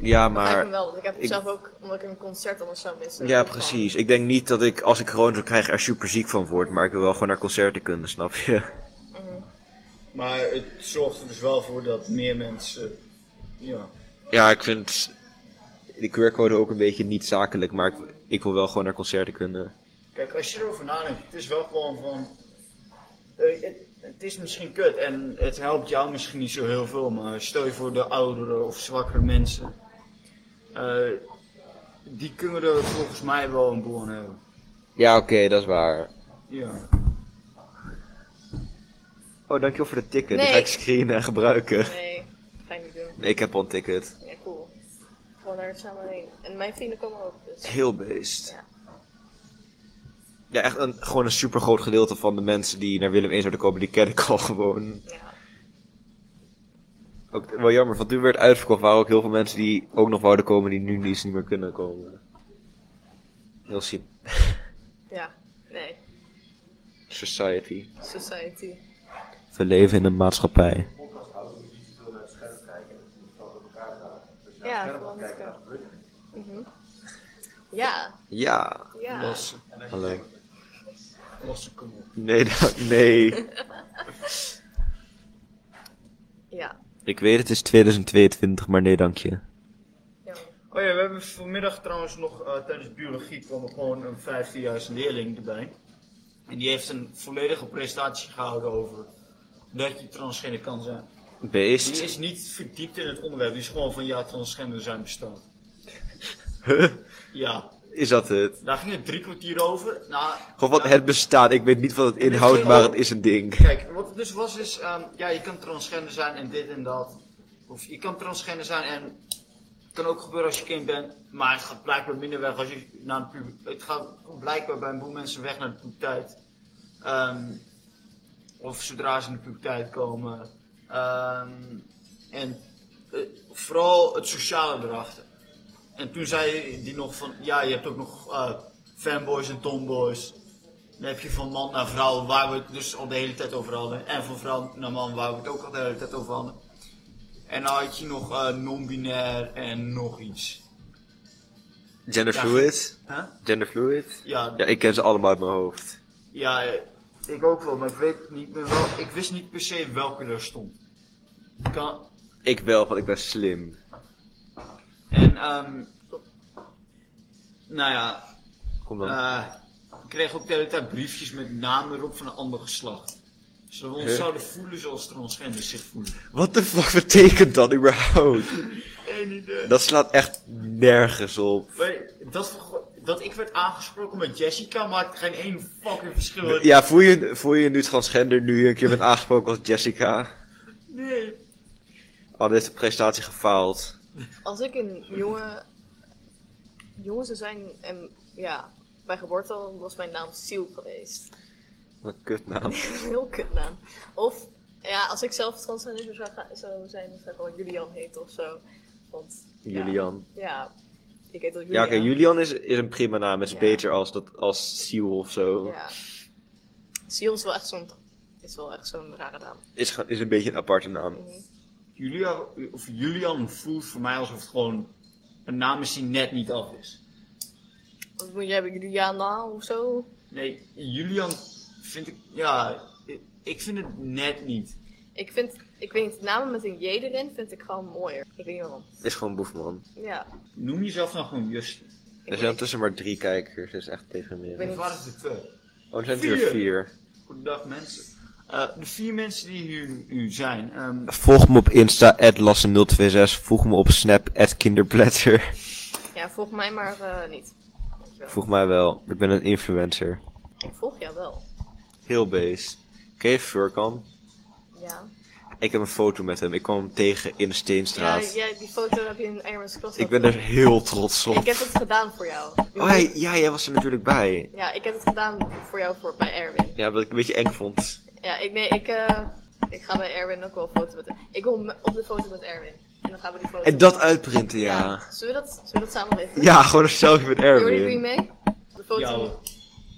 Ja,
ik heb hem wel, want ik heb hem
ik-
zelf ook, omdat ik een concert anders zou missen.
Ja,
ook wel.
precies. Ik denk niet dat ik, als ik corona zou krijgen, er super ziek van word. Maar ik wil wel gewoon naar concerten kunnen, snap je?
Maar het zorgt er dus wel voor dat meer mensen, ja.
Ja, ik vind de QR-code ook een beetje niet zakelijk. Maar ik, ik wil wel gewoon naar concerten kunnen.
Kijk, als je erover nadenkt, het is wel gewoon van, eh, het, het is misschien kut en het helpt jou misschien niet zo heel veel, maar stel je voor de oudere of zwakkere mensen. Eh, die kunnen er volgens mij wel een boel aan hebben.
Ja, oké, dat is waar.
Ja.
Oh, dankjewel voor de ticket.
Nee.
Die ga ik screenen en gebruiken.
Nee, ga ik niet doen.
Nee, ik heb al een ticket.
Ja, cool. Gewoon daar samen heen. En mijn vrienden komen ook, dus...
Heel beest.
Ja.
Ja, echt een, gewoon een super groot gedeelte van de mensen die naar Willem 1 zouden komen, die ken ik al gewoon.
Ja.
Ook wel jammer, want toen werd uitverkocht. waren ook heel veel mensen die ook nog wouden komen, die nu niet, niet meer kunnen komen. Heel sim.
Ja, nee.
Society.
Society.
We leven in een maatschappij.
Ja, gewoon elkaar. Mhm. Ja,
Ja.
ja.
Losse.
Hallo.
Losse, kom op.
Nee, dat- nee.
Ja.
Ik weet het is 2022, maar nee dank je.
ja.
Oh ja, we hebben vanmiddag trouwens nog eh, tijdens biologie kwam er gewoon een 15-jarige leerling erbij. En die heeft een volledige presentatie gehouden over dat je transgender kan zijn. Die
Beest.
is niet verdiept in het onderwerp, die is gewoon van ja, transgender zijn bestaat.
Huh?
Ja,
Is dat het?
daar ging het drie kwartier over. Nou,
Gewoon van
ja,
het bestaat. Ik weet niet wat het inhoudt, maar het is een ding.
Kijk, wat het dus was is, ehm, ja, je kan transgender zijn en dit en dat. Of je kan transgender zijn en het kan ook gebeuren als je kind bent, maar het gaat blijkbaar minder weg als je naar de puber- Het gaat blijkbaar bij een boel mensen weg naar de puberteit. Ehm, of zodra ze in de puberteit komen. Ehm, en eh, vooral het sociale erachter. En toen zei die nog van, ja, je hebt ook nog eh, fanboys en tomboys. Dan heb je van man naar vrouw, waar we het dus al de hele tijd over hadden. En van vrouw naar man, waar we het ook al de hele tijd over hadden. En dan had je nog eh, non-binair en nog iets.
Genderfluid?
Huh?
Genderfluid?
Ja,
Ja, ik ken ze allemaal uit mijn hoofd.
ja, eh, ik ook wel, maar ik weet niet meer wel. Ik wist niet per se welke er stond. Ik Kan,
Ik wel, want ik ben slim.
en, ehm nou ja,
Kom dan.
eh, ik kreeg ook de hele tijd briefjes met namen erop van een ander geslacht. Zodat we ons
Huh?
zouden voelen zoals transgenders zich voelen.
Wat de fuck betekent dat überhaupt?
Geen idee.
Dat slaat echt nergens op.
Maar dat, dat ik werd aangesproken met Jessica maakt geen één fucking verschil.
Ja, voel je, voel je je nu transgender nu je een keer bent aangesproken als Jessica?
Nee.
Oh, dit is de presentatie gefaald.
Als ik een jongen, jongen zou zijn en ja, bij geboorte al was mijn naam Siel geweest.
Wat een kutnaam.
Heel kutnaam. Of ja, als ik zelf transgender zou, ga- zou zijn, dan zou ik wel Julian heten of zo. Want, ja,
Julian.
Ja, ik heet al Julian.
Ja, oké, Julian is, is een prima naam. Het is
Ja.
beter als, dat, als Siel of zo.
Ja. Siel is wel echt zo'n, is wel echt zo'n rare naam.
Is, ge- is een beetje een aparte naam.
Mhm.
Julia, of Julian voelt voor mij alsof het gewoon een naam is die net niet af is.
Wat moet jij hebben, Juliana of zo?
Nee, Julian vind ik, ja, ik- ik vind het net niet.
Ik vind, ik weet niet, namen met een J erin vind ik gewoon mooier. Ik weet niet waarom.
Is gewoon boefman.
Ja.
Noem jezelf nou gewoon Justin.
Er zijn ondertussen maar drie kijkers, dus echt tegen
ben
meer.
Of waren het er twee?
Oh, er zijn er
Vier.
vier.
Goedendag mensen. Eh, de vier mensen die hier nu zijn, ehm,
Volg me op Insta, lassen026. Volg me op Snap, kinderpletter.
Ja, volg mij maar eh, niet. Dankjewel.
Volg mij wel, ik ben een influencer.
Ik volg jou wel.
Heel beest. Ken je Furkan?
Ja.
Ik heb een foto met hem. Ik kwam hem tegen in de
Ja,
Steenstraat.
jij- die foto heb je in Ironman's Cross.
Ik ben er
gedaan.
heel trots op.
Ik heb het gedaan voor jou.
Oh, hij- ja, jij was er natuurlijk bij.
Ja, ik heb het gedaan voor jou voor, bij Erwin.
Ja, wat ik een beetje eng vond.
Ja, ik, nee, ik, eh, ik ga bij Erwin ook wel een foto met hem. Ik wil me- op de foto met Erwin. En dan gaan we die foto...
En dat uitprinten, ja.
Zullen we dat, zullen we dat samen weten?
Ja, gewoon een selfie met
Jordi, doe je
Erwin.
mee? De foto...
jou.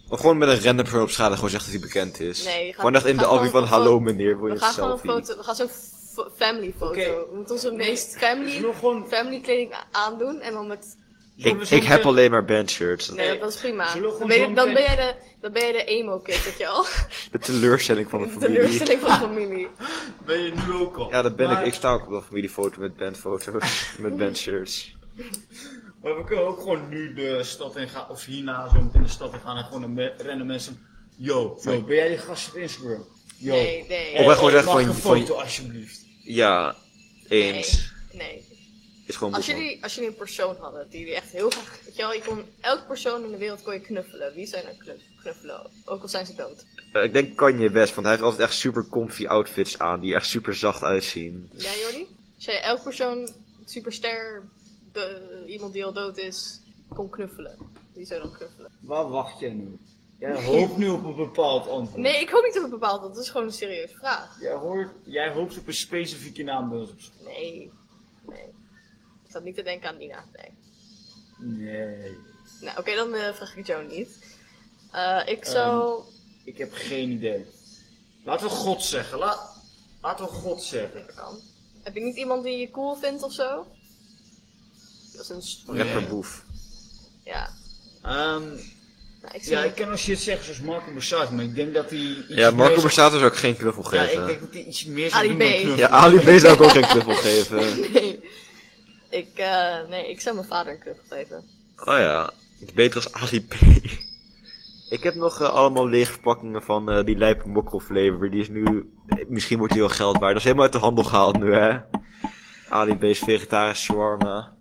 Of gewoon met een random persoon op schade gewoon zeggen dat hij bekend is.
Nee, je gaat-
gewoon echt in
we
de
gaan
album van
gewoon een
hallo
foto-
meneer, wil je
We
een
gaan gewoon een
selfie?
foto... We gaan zo'n f- family foto.
Oké.
We moeten onze meest family,
Zullen we gewoon-
family kleding a- aandoen. En dan met...
zullen
Ik,
we
ik
zometeen-
heb alleen maar bandshirts.
Nee,
Nee.
dat is prima.
Zullen we
Dan
gewoon
ben, je,
zo'n
dan, ben
pen-
jij de, dan ben jij de emo-kid, weet je al.
De teleurstelling van de
De
familie.
teleurstelling van de familie.
ben je nu ook al.
Ja, dat ben
Maar-
ik. Ik sta ook op een familiefoto met bandfoto's. met bandshirts.
Maar we kunnen ook gewoon nu de stad in gaan, of hierna zo meteen de stad in gaan en gewoon een me- random mensen. Yo, yo, ben jij die gast op Instagram? Yo.
Nee, nee.
Of wij gewoon zeggen
mag
van-
een
van-
foto alsjeblieft.
Ja, eens.
Nee.
Is gewoon
Als
boefman.
jullie, als jullie een persoon hadden die jullie echt heel graag. Weet je wel, je kon, elk persoon in de wereld kon je knuffelen. Wie zijn er knu- knuffelen? Ook al zijn ze dood.
Eh, ik denk Kanye West, want hij heeft altijd echt super comfy outfits aan, die echt super zacht uitzien.
Jij, Jordi? Als jij elk persoon, superster, de, iemand die al dood is, kon knuffelen. Wie zou dan knuffelen?
Waar wacht jij nu? Jij hoopt nu op een bepaald antwoord.
Nee, ik hoop niet op een bepaald antwoord. Dat is gewoon een serieuze vraag.
Jij, hoort, jij hoopt op een specifieke naam bij ons op school.
Nee. Nee. Ik zat niet te denken aan Nina. Nee.
Nee.
Nou, oké, dan eh, vraag ik Joan niet. Eh, ik zou...
Ik heb geen idee. Laten we God zeggen. La, laten we God zeggen.
Dat kan. Heb je niet iemand die je cool vindt of zo? Dat is een... s-
Rapperboef.
Ja.
Ehm,
Nou, ik zie
ja, ik kan als je het zegt zoals Marco Borsato, maar ik denk dat hij iets
Ja, Marco
meer zou-
Borsato zou ook geen knuffel
Ja, ik
geven.
denk dat hij iets meer
Ali
zou doen dan
B.
knuffelen.
Ja, Ali B zou ik ook geen knuffel geven.
Nee. Ik, eh, nee, ik zou mijn vader een knuffel geven.
Oh ja, het is beter als Ali B. Ik heb nog eh, allemaal lege verpakkingen van eh, die lijpe mokkel flavor. Die is nu, eh, misschien wordt die wel geld waard. Dat is helemaal uit de handel gehaald nu, hè. Ali B's vegetarisch shawarma.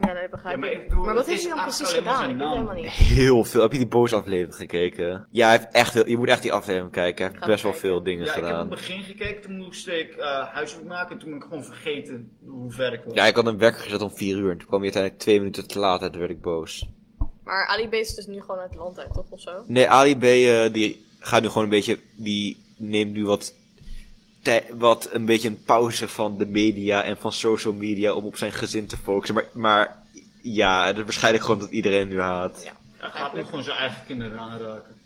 Ja, nee, begrijp
Ja, maar
ik.
ik bedoel,
maar wat
het
heeft hij
is
dan precies
eigenlijk alleen
gedaan?
maar
Ik weet het
zijn
helemaal
naam.
niet.
Heel veel. Heb je die boze aflevering gekeken? Ja, hij heeft echt, heel- je moet echt die aflevering kijken. Hij heeft
Ga
best wel
kijken.
veel dingen
Ja, ik heb in
gedaan.
het begin gekeken, toen moest ik eh, huiswerk maken en toen ben ik gewoon vergeten hoe ver ik was.
Ja, ik had een wekker gezet om 4 uur. En toen kwam hij uiteindelijk twee minuten te laat en toen werd ik boos.
Maar Ali B is dus nu gewoon uit het land uit, toch? Of zo?
Nee, Ali B, eh, die gaat nu gewoon een beetje, die neemt nu wat, tij- wat een beetje een pauze van de media en van social media om op zijn gezin te focussen. Maar, maar ja, het is waarschijnlijk gewoon dat iedereen nu haat.
Hij gaat nu gewoon zijn eigen kinderen aanraken.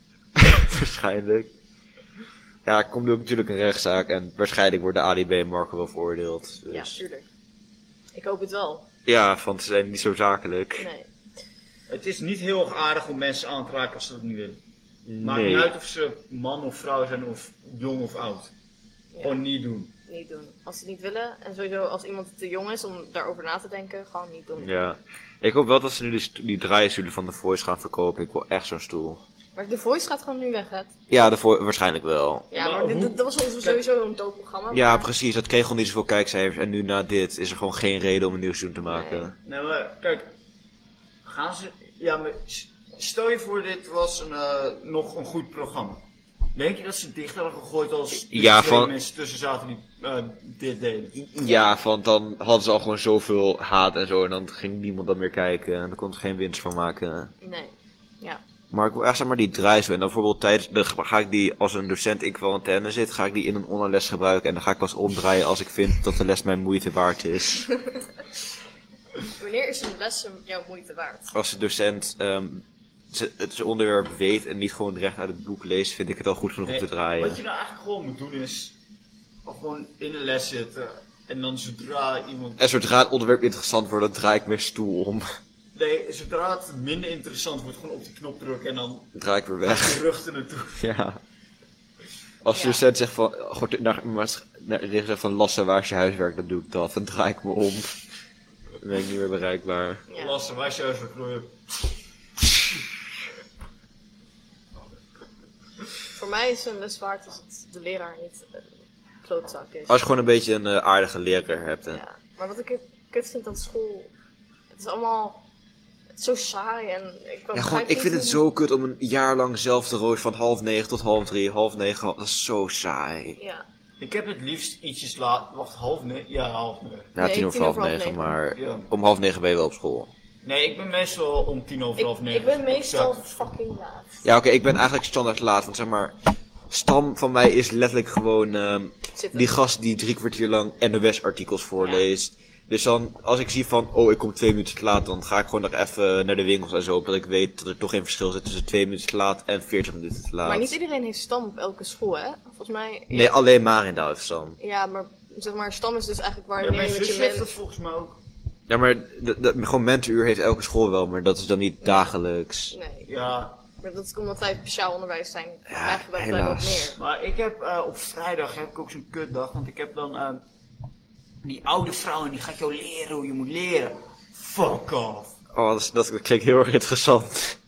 waarschijnlijk. Ja, er komt nu ook natuurlijk een rechtszaak en waarschijnlijk worden Ali B en Marco wel veroordeeld.
Ja,
Dus. Ja,
tuurlijk. Ik hoop het wel.
want ze zijn niet zo zakelijk.
Nee.
Het is niet heel erg aardig om mensen aan te raken als ze dat niet willen. Maakt
Nee.
niet uit of ze man of vrouw zijn of jong of oud.
Ja,
Gewoon niet doen.
Niet doen. Als ze het niet willen, en sowieso als iemand te jong is om daarover na te denken, gewoon niet doen.
Ja. Ik hoop wel dat ze nu die, st- die draaistoelen van de Voice gaan verkopen. Ik wil echt zo'n stoel.
Maar de voice gaat gewoon nu weg, hè?
Ja, de Vo- waarschijnlijk wel.
Ja,
Maar
maar dit-
hoe-
dit- dat was ons sowieso een dood programma.
Ja,
maar-
precies. Dat kreeg al niet zoveel kijkcijfers. En nu na dit is er gewoon geen reden om een nieuw seizoen te maken.
Nee.
Nou, maar kijk, gaan ze. Ja, maar s- stel je voor, dit was een, eh, nog een goed programma. Denk je dat ze dichter hadden gegooid als er
Ja,
twee
van-
mensen tussen zaten die eh, dit deden?
Ja, want dan hadden ze al gewoon zoveel haat en zo. En dan ging niemand dat meer kijken. En dan kon ze geen winst van maken.
Nee. Ja.
Maar ik wil echt zeg maar die draai zo. En dan bijvoorbeeld tijdens. Dan ga ik die als een docent in quarantaine zit. Ga ik die in een online les gebruiken. En dan ga ik pas omdraaien als ik vind dat de les mijn moeite waard is.
Wanneer is een les jouw moeite waard?
Als de docent. ehm, ze- het onderwerp weet en niet gewoon recht uit het boek leest. Vind ik het al goed genoeg om te
Nee,
draaien.
Wat je nou eigenlijk gewoon moet doen is of gewoon in de les zitten en dan zodra iemand.
En zodra het onderwerp interessant wordt, dan draai ik mijn stoel om.
Nee, zodra het minder interessant wordt, gewoon op die knop drukken en dan
Dan draai ik weer
met
weg.
je rug er naartoe.
Ja. Als de
Ja.
docent zegt van, goed, naar, maar- naar, de docent zegt van Lasse, waar is je huiswerk? Dan doe ik dat. Dan draai ik me om. Dan ben ik niet meer bereikbaar.
Ja.
Lassen, wij zijn zo knoeien.
Voor mij is een les waard als het de leraar niet eh, klootzak is.
Als je gewoon een beetje een eh, aardige leraar hebt. En,
Ja. Maar wat ik het kut vind aan school, het is allemaal het is zo saai en ik kan
ja, gewoon, ik vind het zo kut om een jaar lang zelf te rooien van half negen tot half drie, half negen. Dat is zo saai.
Ja.
Ik heb het liefst ietsjes laat. Wacht, half negen? Ja, half negen.
Nou,
Nee,
tien over half negen, maar
Ja.
om half negen ben je wel op school.
Nee, ik ben meestal om tien over
Ik,
half negen.
ik ben meestal
Exact.
fucking laat.
Ja, oké, ik ben eigenlijk standaard laat. Want zeg maar, stam van mij is letterlijk gewoon ehm,
Zitten.
die gast die drie kwartier lang NOS-artikels voorleest. Dus dan, als ik zie van, oh, ik kom twee minuten te laat, dan ga ik gewoon nog even naar de winkels en zo. Omdat ik weet dat er toch geen verschil zit tussen twee minuten te laat en veertig minuten te laat.
Maar niet iedereen heeft stam op elke school, hè? Volgens mij.
Nee, alleen maar in de huisstam.
Ja, maar zeg maar, stam is dus eigenlijk waar
Ja,
je
mijn
met je
zus heeft dat
bent.
volgens mij ook.
Ja, maar d- d- gewoon mentenuur heeft elke school wel, maar dat is dan niet dagelijks.
Nee,
Ja,
maar dat is omdat wij speciaal onderwijs zijn. Ja,
Ja,
eigenlijk wij wat
helaas.
meer.
Maar ik heb eh, op vrijdag heb ik ook zo'n kutdag, want ik heb dan eh, die oude vrouw en die gaat jou leren hoe je moet leren. Fuck off.
Oh, dat, is- dat klinkt heel erg interessant.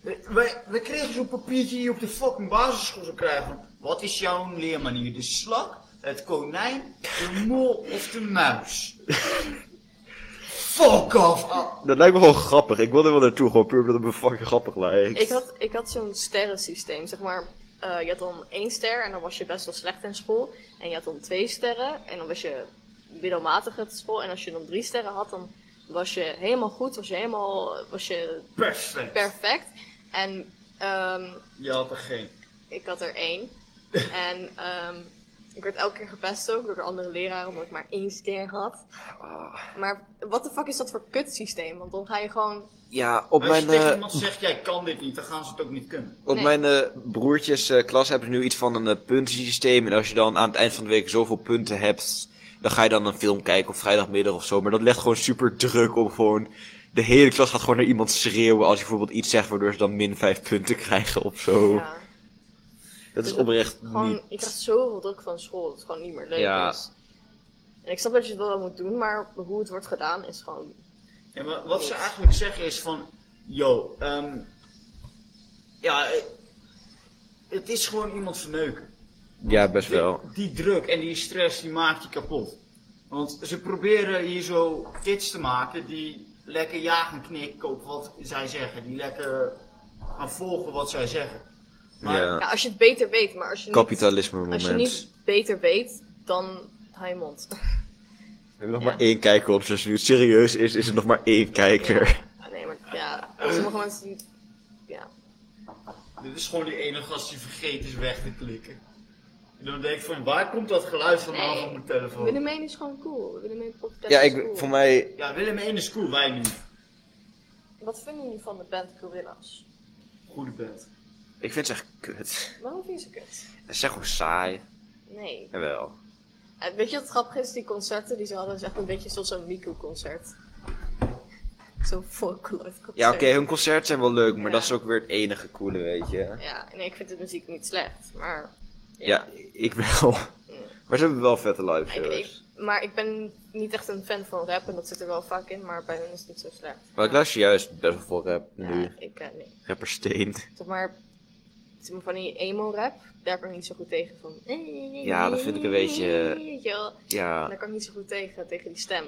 We, we, Eh, we kregen zo'n papiertje die je op de fucking basisschool zou krijgen. Wat is jouw leermanier? De slak, het konijn, de mol of de muis? Fuck off. ah.
Dat lijkt me gewoon grappig. Ik wil er wel naartoe, gewoon puur omdat het me fucking grappig lijkt.
Ik had, ik had zo'n sterrensysteem, zeg maar. eh, je had dan één ster en dan was je best wel slecht in school. En je had dan twee sterren en dan was je middelmatig uit school. En als je dan drie sterren had, dan was je helemaal goed, was je helemaal was je
Perfect.
perfect. En eh, Ehm,
Je had er geen.
ik had er één. En ehm, ik werd elke keer gepest ook door de andere leraar, omdat ik maar één ster had. Maar wat de fuck is dat voor kutsysteem? Want dan ga je gewoon...
Ja, op
Als
mijn,
je tegen
eh,
iemand zegt, jij kan dit niet, dan gaan ze het ook niet kunnen.
op
Nee.
mijn eh, broertjes eh, klas hebben ze nu iets van een eh, puntensysteem. En als je dan aan het eind van de week zoveel punten hebt, dan ga je dan een film kijken op vrijdagmiddag of zo. Maar dat legt gewoon super druk op gewoon... De hele klas gaat gewoon naar iemand schreeuwen als je bijvoorbeeld iets zegt waardoor ze dan min vijf punten krijgen of zo.
Ja, Dus
Dat is oprecht
gewoon,
niet...
Ik krijg zoveel druk van school, dat het gewoon niet meer leuk
Ja.
is. En ik snap dat je het wel moet doen, maar hoe het wordt gedaan is gewoon...
Ja, maar wat ze eigenlijk zeggen is van, yo, ehm, ja, eh, het is gewoon iemand verneuken.
Ja, best
Die-
wel.
Die, druk en die stress, die maakt je kapot. Want ze proberen hier zo kids te maken die lekker ja gaan knikken op wat zij zeggen. Die lekker gaan volgen wat zij zeggen. Maar
Ja.
Ja, als je het beter weet, maar als je niet,
Kapitalisme
als
moment.
je niet beter weet, dan hou je mond.
We hebben nog
Ja.
maar één kijker op. Dus nu het serieus is, is er nog maar één kijker.
Ja, nee, maar ja, sommige mensen die... Ja,
dit is gewoon die ene gast die vergeet is weg te klikken. En dan denk ik van, waar komt dat geluid vandaan
Nee.
op mijn telefoon?
Willem 1 is gewoon cool. Willem 1 podcast
Ja,
is
ik,
cool.
voor mij...
Ja, Willem 1 is cool, wij niet.
Wat vinden jullie van de band Gorillas?
Goede band.
Ik vind ze echt kut.
Waarom vind je ze kut?
Ze zijn gewoon saai.
Nee.
Jawel.
En weet je wat grappig is? Die concerten die ze hadden is echt een beetje zoals zo'n Miku-concert. Zo'n folklore-concert.
Ja, oké, hun concerten zijn wel leuk, maar
Ja.
dat is ook weer het enige coole, weet je. Ja,
Ja, nee, ik vind de muziek niet slecht, maar...
ik wel. Maar ze hebben wel vette live
Ik,
shows.
ik- maar ik ben niet echt een fan van rap en dat zit er wel vaak in, maar bij hen is het niet zo slecht.
Maar ik luister juist best wel veel rap
Ja,
nu.
ik eh, nee.
Rapper Steen.
Zeg maar, zeg maar van die emo-rap, daar kan ik niet zo goed tegen. Van...
Ja, dat vind ik een beetje- eh,
Weet je wel. En
Ja,
Daar kan ik niet zo goed tegen, tegen die stem.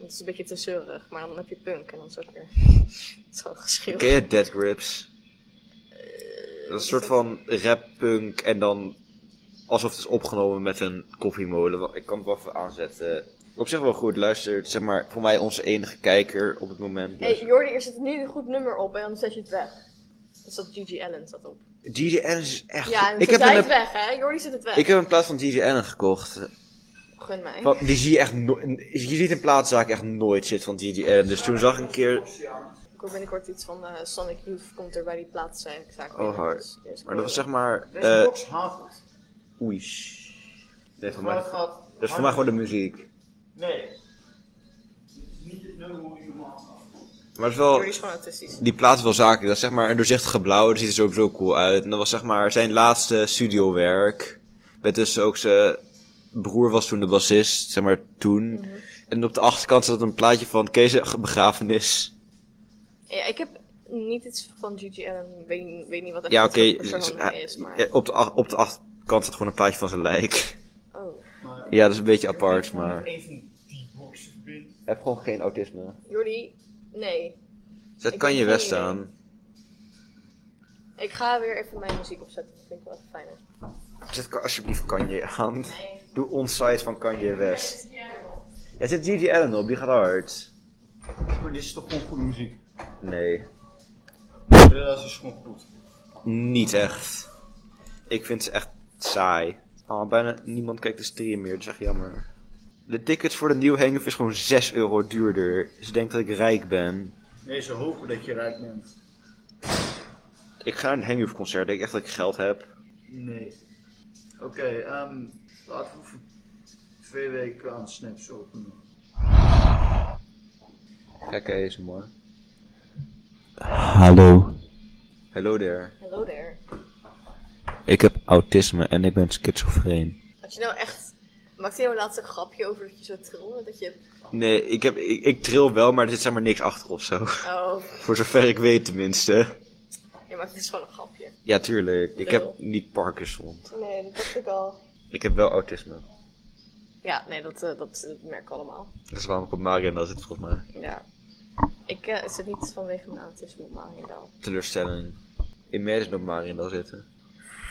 Het is een beetje te zeurig, maar dan heb je punk en dan is het ook weer zo'n geschil.
ken je Dead Grips?
Eh,
Dat is een soort van rap-punk en dan alsof het is opgenomen met een koffiemolen. Wel, Ik kan het wel even aanzetten. Op zich wel goed, luister, zeg maar, voor mij onze enige kijker op het moment. dus.
Hé, hey, Jordi, er zit niet een goed nummer op en dan zet je het weg. Dus dat Gigi Allen zat op.
DJ Allen is echt...
Ja, en
ik,
ik
heb
zet hij
een,
het weg, hè? Jordi zet het weg.
ik heb een plaats van DJ Allen gekocht.
Gun mij.
Want die zie je echt no- Je ziet een plaatszaak echt nooit zit van DJ Allen. Dus toen zag ik een keer...
Ik hoor binnenkort iets van eh, Sonic Youth komt er bij die plaats zijn. Ik zaak
Oh, hard. Maar dat was zeg maar...
Deze
eh
box haat het.
oei. shh. Nee, voor mij,
Geluid gaat
dat is voor mij
harder.
gewoon de muziek.
Nee. Dit is niet het nummer hoe je normaal gaat.
Maar het is wel...
Jordi is gewoon autistisch.
Die plaat is wel zakelijk. Dat is zeg maar een doorzichtige blauw. Dat ziet er sowieso cool uit. En dat was zeg maar zijn laatste studiowerk. Met dus ook zijn broer was toen de bassist. Zeg maar toen.
Mhm.
En op de achterkant zat een plaatje van Kees' begrafenis.
Ja, ik heb niet iets van Gigi Allen. Ik weet, niet- weet niet wat echt
Ja,
het
oké.
voor persoon
eh,
is, maar...
eh, Op, de ach- op de achterkant zat gewoon een plaatje van zijn lijk.
Oh.
Ja, dat is een beetje apart, maar...
Een van die boxen verbinden.
heb gewoon geen autisme.
Jordi, nee.
Dat
Ik
kan
heb
je
geen
best
idee.
aan.
Ik ga weer even mijn muziek opzetten. Dat vind ik wel even fijner.
Zet ka- alsjeblieft Kanye aan. Doe onsite van Kanye West. Ja, zit Gigi Allen op, die gaat hard.
Maar dit is toch gewoon goede muziek?
Nee.
Dat is gewoon goed.
Niet echt. Ik vind ze echt saai. Oh, bijna niemand kijkt de stream meer, dat is echt jammer. De tickets voor de nieuwe Hengif is gewoon 6 euro duurder. Ze denkt dat ik rijk ben.
Nee, ze hopen dat je rijk bent.
Ik ga naar een Hengif concert, denk echt dat ik geld heb.
Nee. Oké, ehm, laten we voor twee weken aan Snaps openen.
Kijk eens, man. Hallo. Hallo there.
Hello there.
Ik heb autisme en ik ben schizofreen.
Had je nou echt... Maakte je nou laatst een grapje over dat je zo trilde? Dat je...
Nee, ik, heb, ik, ik tril wel, maar er zit zeg maar niks achter of zo.
Oh,
Voor zover ik weet tenminste.
je maakt dus gewoon een grapje.
Ja, tuurlijk. Ik
Lul.
heb niet Parkinson.
Nee, dat dacht ik al.
Ik heb wel autisme.
Ja, nee, dat, eh, dat, eh, merk ik allemaal.
Dat is waarom ik op Mariendal zit volgens mij.
Ja. Ik eh, zit niet vanwege mijn autisme op Mariendal.
Teleurstelling. In mei is nog Mariendal zitten.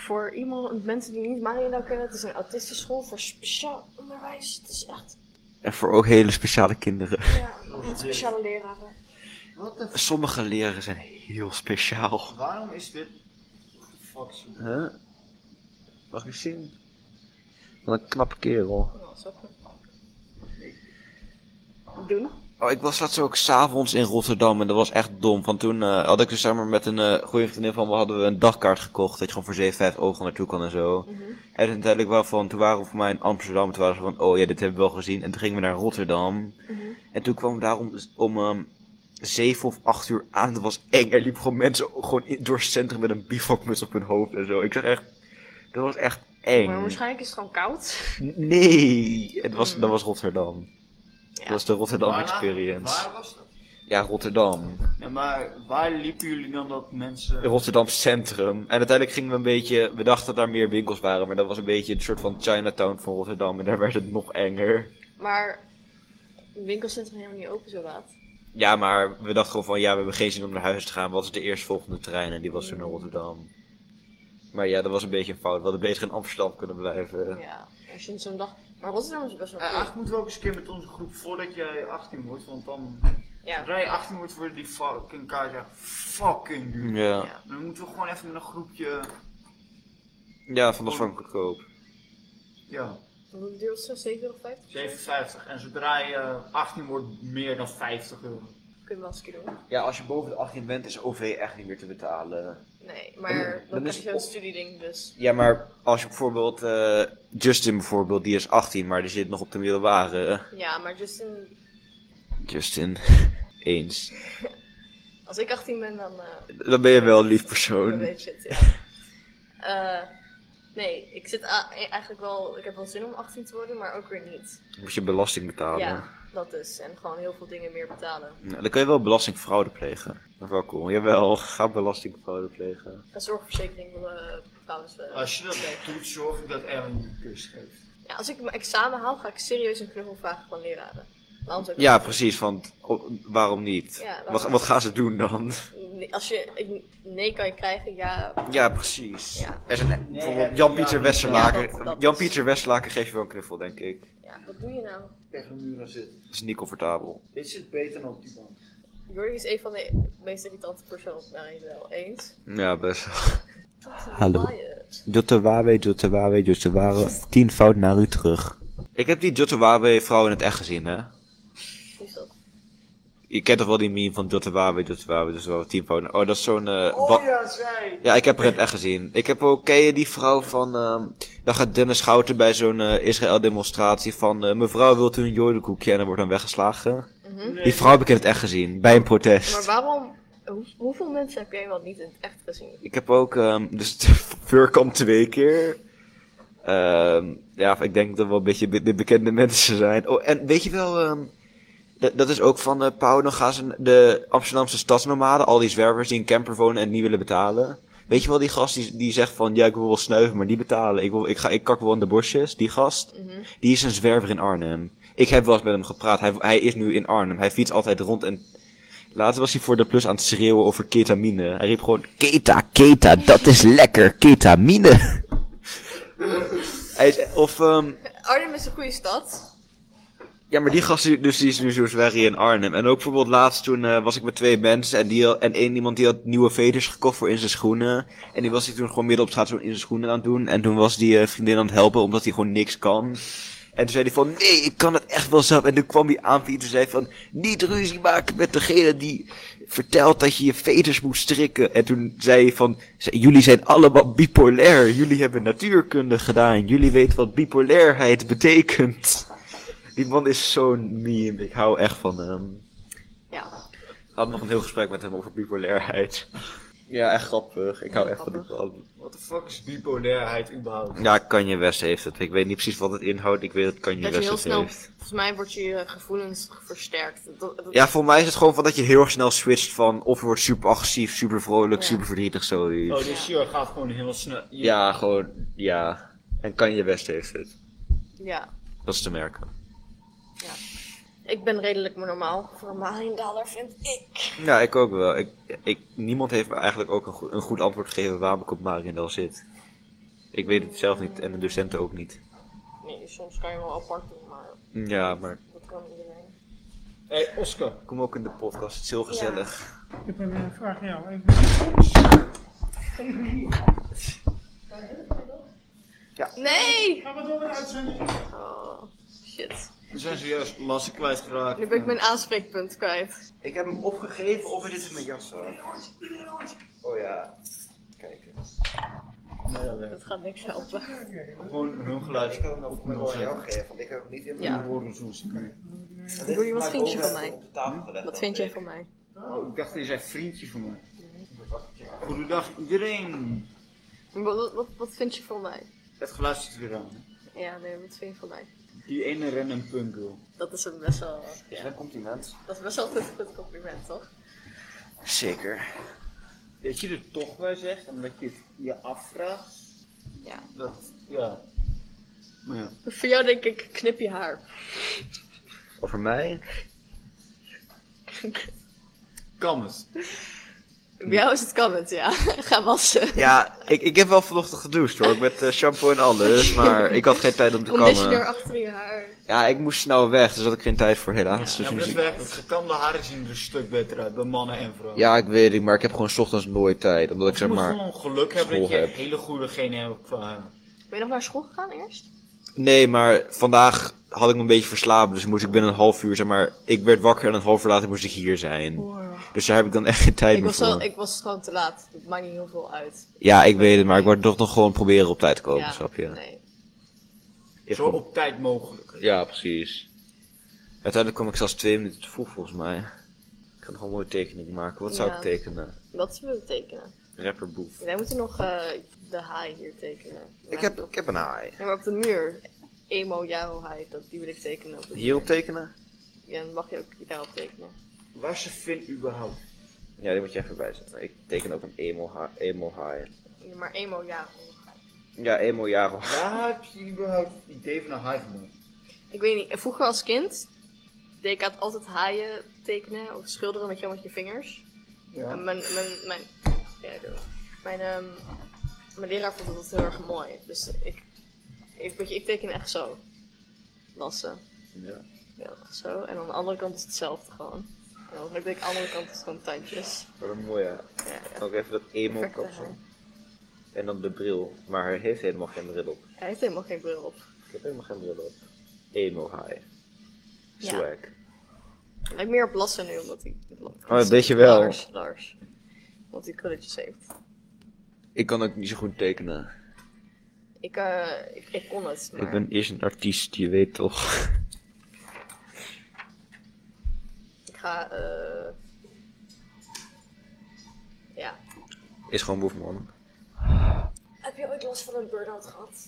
Voor iemand, mensen die niet Mariendal kennen, het is een autistische school voor speciaal onderwijs. Het is echt,
En voor ook hele speciale kinderen.
ja,
Oh,
met speciale Oh, leraren.
Wat de f...
Sommige leraren zijn heel speciaal.
Waarom is dit fuck you.
Huh? Mag ik zien? Wat een knappe kerel.
Oh, sappig. Doen?
Oh, ik was laatst ook s'avonds in Rotterdam en dat was echt dom. Want toen eh, had ik dus samen met een eh goede vriendin van me hadden we een dagkaart gekocht. Dat je gewoon voor 7, 5 ogen naartoe kan en zo.
Mhm.
En toen uiteindelijk waarvan, toen waren we voor mij in Amsterdam. Toen waren ze van, oh ja, dit hebben we wel gezien. En toen gingen we naar Rotterdam.
Mhm.
En toen kwamen we daar om, om ehm 7 of 8 uur aan. Dat was eng. Er liepen gewoon mensen gewoon in, door het centrum met een bivakmuts op hun hoofd en zo. Ik zag echt, dat was echt eng.
Maar waarschijnlijk is het gewoon koud.
Nee, het was,
Mm.
dat was Rotterdam. Dat was de Rotterdam
Waar-
Experience.
Waar was dat?
Ja, Rotterdam.
Ja, maar waar liepen jullie dan dat mensen...
Rotterdam Centrum. En uiteindelijk gingen we een beetje. We dachten dat daar meer winkels waren, maar dat was een beetje een soort van Chinatown van Rotterdam. En daar werd het nog enger.
Maar het winkelcentrum is helemaal niet open zo laat.
Ja, maar we dachten gewoon van ja, we hebben geen zin om naar huis te gaan. Wat is de eerstvolgende trein? En die was toen naar Rotterdam. Maar ja, dat was een beetje een fout. We hadden beter in Amsterdam kunnen blijven.
Ja, als je zo'n dag... Maar Rotterdam is best wel
Eh,
cool.
Ach, moeten we ook eens een keer met onze groep voordat jij 18 wordt, want dan...
Ja.
Rij je 18 wordt, worden die fucking kaarten echt fucking duur.
Ja,
Dan moeten we gewoon even met een groepje...
ja van de goedkoop.
Ja,
Hoe duurt het zo? 7 euro 50?
57. En zodra je eh, 18 wordt, meer dan 50 euro.
Kun je wel eens een keer doen.
Ja, als je boven de 18 bent, is OV echt niet meer te betalen.
Nee, maar
dan is
dan krijg je
het
zo'n
op-
studieding dus.
Ja, maar als je bijvoorbeeld, eh, Justin bijvoorbeeld, die is 18, maar die zit nog op de middelbare.
Ja, maar Justin,
Justin, eens.
als ik 18 ben, dan eh,
Dan ben je wel een lief
dan
persoon.
weet je het, ja. Eh, nee, ik zit a- e- eigenlijk wel... Ik heb wel zin om 18 te worden, maar ook weer niet.
Dan moet je belasting betalen.
Ja, dat dus. En gewoon heel veel dingen meer betalen.
Nou, dan kun je wel belastingfraude plegen. Dat is wel cool. Jawel, ga belastingfraude plegen.
En zorgverzekering wil eh trouwens... eh,
Als je dat doet, zorg ik dat Erwin je een kus geeft.
ja, als ik mijn examen haal, ga ik serieus een knuffel vragen van leraren. Waarom zou ik
Ja, precies, want oh, waarom niet?
Ja, waarom
wat,
niet?
wat gaan ze doen dan?
Nee, Als je een nee kan je krijgen, ja.
Ja, precies.
Ja.
Er zijn bijvoorbeeld
eh,
Jan-Pieter
ja,
Westerlaken.
ja, dat- dat is-
Jan-Pieter Westerlaken geeft je wel een knuffel, denk ik.
ja wat doe je nou?
Tegen de muur aan zitten.
Dat is niet comfortabel.
Dit zit beter dan op die bank.
Jordi is een van de meest irritante personen naar je wel eens.
Ja, best
Hallo.
Jotawawe, Jotawawe, Jotawawe. Tienvoud naar u terug. Ik heb die Jotawawe vrouw in het echt gezien, hè?
Is dat?
Je kent toch wel die meme van Jotawawe, Jotawawe, Jotawawe, tienvoud naar... Oh, dat is zo'n... eh,
Oh
wa-
ja, zij!
Ja, ik heb er in het echt gezien. Ik heb ook, ken je die vrouw van, ehm dan gaat Dennis Schouten bij zo'n eh, Israël-demonstratie van, eh, mevrouw wilt u een jodenkoekje en dan wordt dan weggeslagen. Die vrouw heb ik in het echt gezien, bij een protest.
Maar waarom? hoe- hoeveel mensen heb jij wel niet in het echt gezien?
Ik heb ook, ehm dus de Fur kwam twee keer. Ehm, ja, ik denk dat we wel een beetje be- de bekende mensen zijn. Oh, en weet je wel, ehm, dat- dat is ook van eh Pauw, dan gaan ze de Amsterdamse stadsnomaden, al die zwervers die in camper wonen en het niet willen betalen. Weet je wel, die gast die, die zegt van, ja, ik wil wel snuiven, maar niet betalen. Ik, wil, ik, ga, ik kak wel in de bosjes. Die gast, die is een zwerver in Arnhem. Ik heb wel eens met hem gepraat. Hij, hij is nu in Arnhem. Hij fietst altijd rond en Later was hij voor de plus aan het schreeuwen over ketamine. Hij riep gewoon: Keta, keta, dat is lekker, ketamine. hij is, of, ehm
Arnhem is een goede stad.
ja, maar die gast, die- dus die is nu zo zwerg hier in Arnhem. En ook bijvoorbeeld laatst toen eh, was ik met twee mensen en, die, had- en één iemand die had nieuwe veters gekocht voor in zijn schoenen. En die was hij toen gewoon midden op straat zo in zijn schoenen aan het doen. En toen was die eh, vriendin aan het helpen omdat hij gewoon niks kan. En toen zei hij van, nee, ik kan het echt wel zelf. En toen kwam hij aan en zei van, niet ruzie maken met degene die vertelt dat je je veters moet strikken. En toen zei hij van, "Z- jullie zijn allemaal bipolair. Jullie hebben natuurkunde gedaan. Jullie weten wat bipolairheid betekent. Die man is zo'n meme. Ik hou echt van hem.
Ja.
Had nog een heel gesprek met hem over bipolairheid. Ja, echt grappig. Ik hou echt van die man.
What the fuck is bipolairheid überhaupt?
Ja, Kanye West heeft het. Ik weet niet precies wat het inhoudt. Ik weet dat Kanye
Dat je
West
heel
het
snel.
heeft.
Volgens mij wordt je eh, gevoelens versterkt. Dat- dat-
Ja, voor mij is het gewoon van dat je heel erg snel switcht van of je wordt super agressief, super vrolijk,
Ja.
super verdrietig, zoiets.
Oh, dus hier gaat gewoon heel snel. Je-
Ja, gewoon, ja. En Kanye West heeft het.
ja.
Dat is te merken.
Ik ben redelijk maar normaal. Voor een Malingdaler vind ik.
Ja, ik ook wel. Ik, ik, niemand heeft me eigenlijk ook een, goed- een goed antwoord gegeven waarom ik op Mariendal zit. Ik weet het zelf niet en de docenten ook niet.
Nee, soms kan je wel apart doen, maar
Ja, maar
dat kan iedereen.
Hé, hey, Oscar.
ik kom ook in de podcast. Het is heel gezellig.
Ik heb een eh, vraag aan jou. Ik
Nee!
Ga maar door met de uitzending.
Oh, shit.
We zijn zojuist lastig kwijtgeraakt.
Nu ben ik mijn aanspreekpunt kwijt.
Ik heb hem opgegeven of het is in mijn jas. Oh ja. Kijk.
Dat gaat niks helpen.
Gewoon hun geluid.
Ik had hem ook wel aan jou gegeven, want ik heb hem niet in mijn
Ja.
woorden zoals ik nu.
Doe je wat vriendje van mij?
Op de tafel gelegd,
Wat
dat
vind jij
ik.
van mij?
Oh, ik dacht, hij zei vriendje van mij. Goedendag iedereen.
Wat, wat, wat vind je van mij?
Het geluid zit weer aan. hè.
Ja, nee, wat vind je van mij?
Die ene random punk wil.
Dat is een best wel,
Ja, een compliment.
dat is best wel een goed compliment, toch?
Zeker.
Dat je het toch wel zegt en dat je het je afvraagt.
Ja.
Dat, ja. Maar ja.
Voor jou denk ik, knip je haar.
Over mij?
Kan het.
Bij jou is het comment, ja. Ga wassen.
Ja, ik, ik heb wel vanochtend gedoucht hoor, met eh, shampoo en alles, maar ik had geen tijd om te
Conditioner
komen.
achter je haar.
Ja, ik moest snel weg, dus had ik geen tijd voor helaas. dus
Ja, maar
nu
dat
zie ik-
werkt. Het gekamde haren zien er een stuk beter uit bij mannen en vrouwen.
Ja, ik weet het, maar ik heb gewoon 's ochtends nooit tijd, omdat ik
je
zeg
moet
maar...
gewoon geluk hebben dat
school
je
heb.
hele goede genen hebt qua haar.
Ben je nog naar school gegaan eerst?
Nee, maar vandaag had ik me een beetje verslapen, dus moest ik binnen een half uur, zeg maar... Ik werd wakker en een half uur later moest ik hier zijn. Dus daar heb ik dan echt geen tijd
Oh. Ik
meer
was,
voor.
wel, ik was gewoon te laat. Het maakt niet heel veel uit.
Ja, ik weet het, maar ik word toch nog gewoon proberen op tijd te komen, snap je?
Nee.
Ik
Zo
kom-
op tijd mogelijk.
Ja, precies. Uiteindelijk kom ik zelfs twee minuten te vroeg, volgens mij. Ik kan nog een mooie tekening maken. Wat zou
Ja.
ik tekenen?
Wat zullen we tekenen?
Rapperboef.
Wij moeten nog eh, de haai hier tekenen.
Ik heb, ik heb een haai.
Ja, maar op de muur. Emo jouw haai, dat, die wil ik tekenen. Op de muur.
Hierop tekenen?
Ja, dan mag je ook daarop tekenen.
Waar ze vindt überhaupt.
Ja, die moet je even bijzetten. Ik teken ook een emo ha- emo haai.
Ja, maar emo jouw.
Ja, emo jaro.
Waar heb je überhaupt het idee van een haai gemaakt?
Ik weet niet, vroeger als kind deed ik altijd haaien tekenen of schilderen met je, met je vingers.
Ja.
En mijn, mijn, mijn, ja, doe. mijn, ehm, mijn leraar vond dat heel erg mooi. Dus ik, ik, weet je, ik teken echt zo. Lassen.
Ja.
Ja, zo. En aan de andere kant is hetzelfde gewoon. En dan denk ik, aan de andere kant is gewoon tandjes.
Wat een mooie. haai.
Ja, ja.
Ook even dat emo
Perfecte
kapsel.
haai.
En dan de bril. Maar hij heeft helemaal geen bril op.
Hij heeft helemaal geen bril op.
Ik heb helemaal geen bril op. Emo haai.
Ja.
Swag.
Hij heeft meer op lassen nu, omdat hij...
Oh, dat weet je wel.
Lars, Lars. Omdat hij krulletjes heeft.
Ik kan ook niet zo goed tekenen.
Ik, eh, ik, ik kon het, maar...
Ik ben eerst een artiest, je weet toch.
Ik ga, eh. Ja.
Is gewoon boef, man.
Heb je ooit last van een burn-out gehad?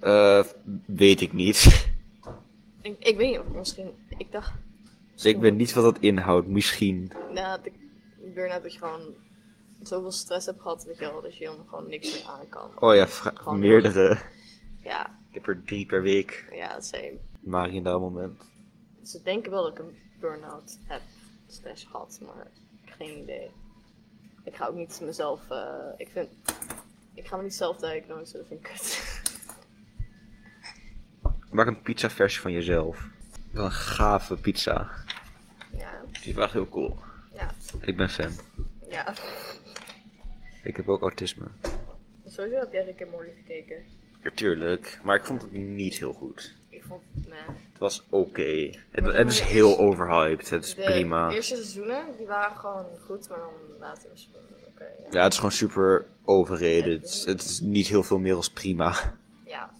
Eh, weet ik niet.
Ik, ik weet niet, of misschien... Ik dacht,
ik weet niet wat dat inhoudt, misschien.
na de burn-out dat je gewoon zoveel stress hebt gehad, weet je wel, dat je helemaal gewoon niks meer aan kan.
Oh ja, vra-
Gewoon-
meerdere.
Ja,
Ik heb er drie per week.
ja, same.
Maar in dat moment.
Ze denken wel dat ik een burn-out heb slash had, maar geen idee. Ik ga ook niet mezelf, eh, ik vind, ik ga me niet zelf diagnosen, dat vind ik kut.
Maak een pizza versie van jezelf. Wel een gave pizza.
ja,
Die is wel echt heel cool.
ja,
Ik ben fan.
ja.
Ik heb ook autisme.
Sowieso heb jij Rick en Morty gekeken.
Ja, tuurlijk. Maar ik vond het niet heel goed.
Ik vond, nee.
Het was oké. Het, het is heel overhyped. Het is
De
prima.
eerste seizoenen, die waren gewoon goed, maar dan later was het gewoon, oké, ja.
Ja, het is gewoon super overrated. Het is niet heel veel meer als prima.
Ja,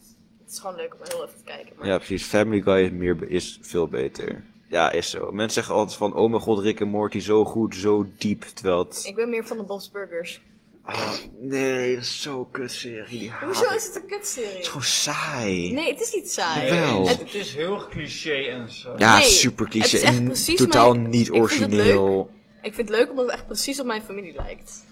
Het is gewoon leuk om heel even te kijken, maar
Ja, precies. Family Guy is, meer, be- is veel beter. Ja, is zo. Mensen zeggen altijd van, oh mijn god, Rick en Morty, zo goed, zo diep. Terwijl het...
ik ben meer van de Bob's Burgers.
Ah, nee, dat is zo'n kutserie. Die haat
Hoezo
ik.
is het een
Het Ah, is
kutserie?
gewoon saai.
Nee, het is niet saai.
Wel.
Het,
Het-
het is heel cliché en zo.
Nou. Ja,
nee,
super cliché.
het is echt
en
precies
totaal
mijn-
niet
ik vind het
origineel.
ik vind het leuk omdat het echt precies op mijn familie lijkt.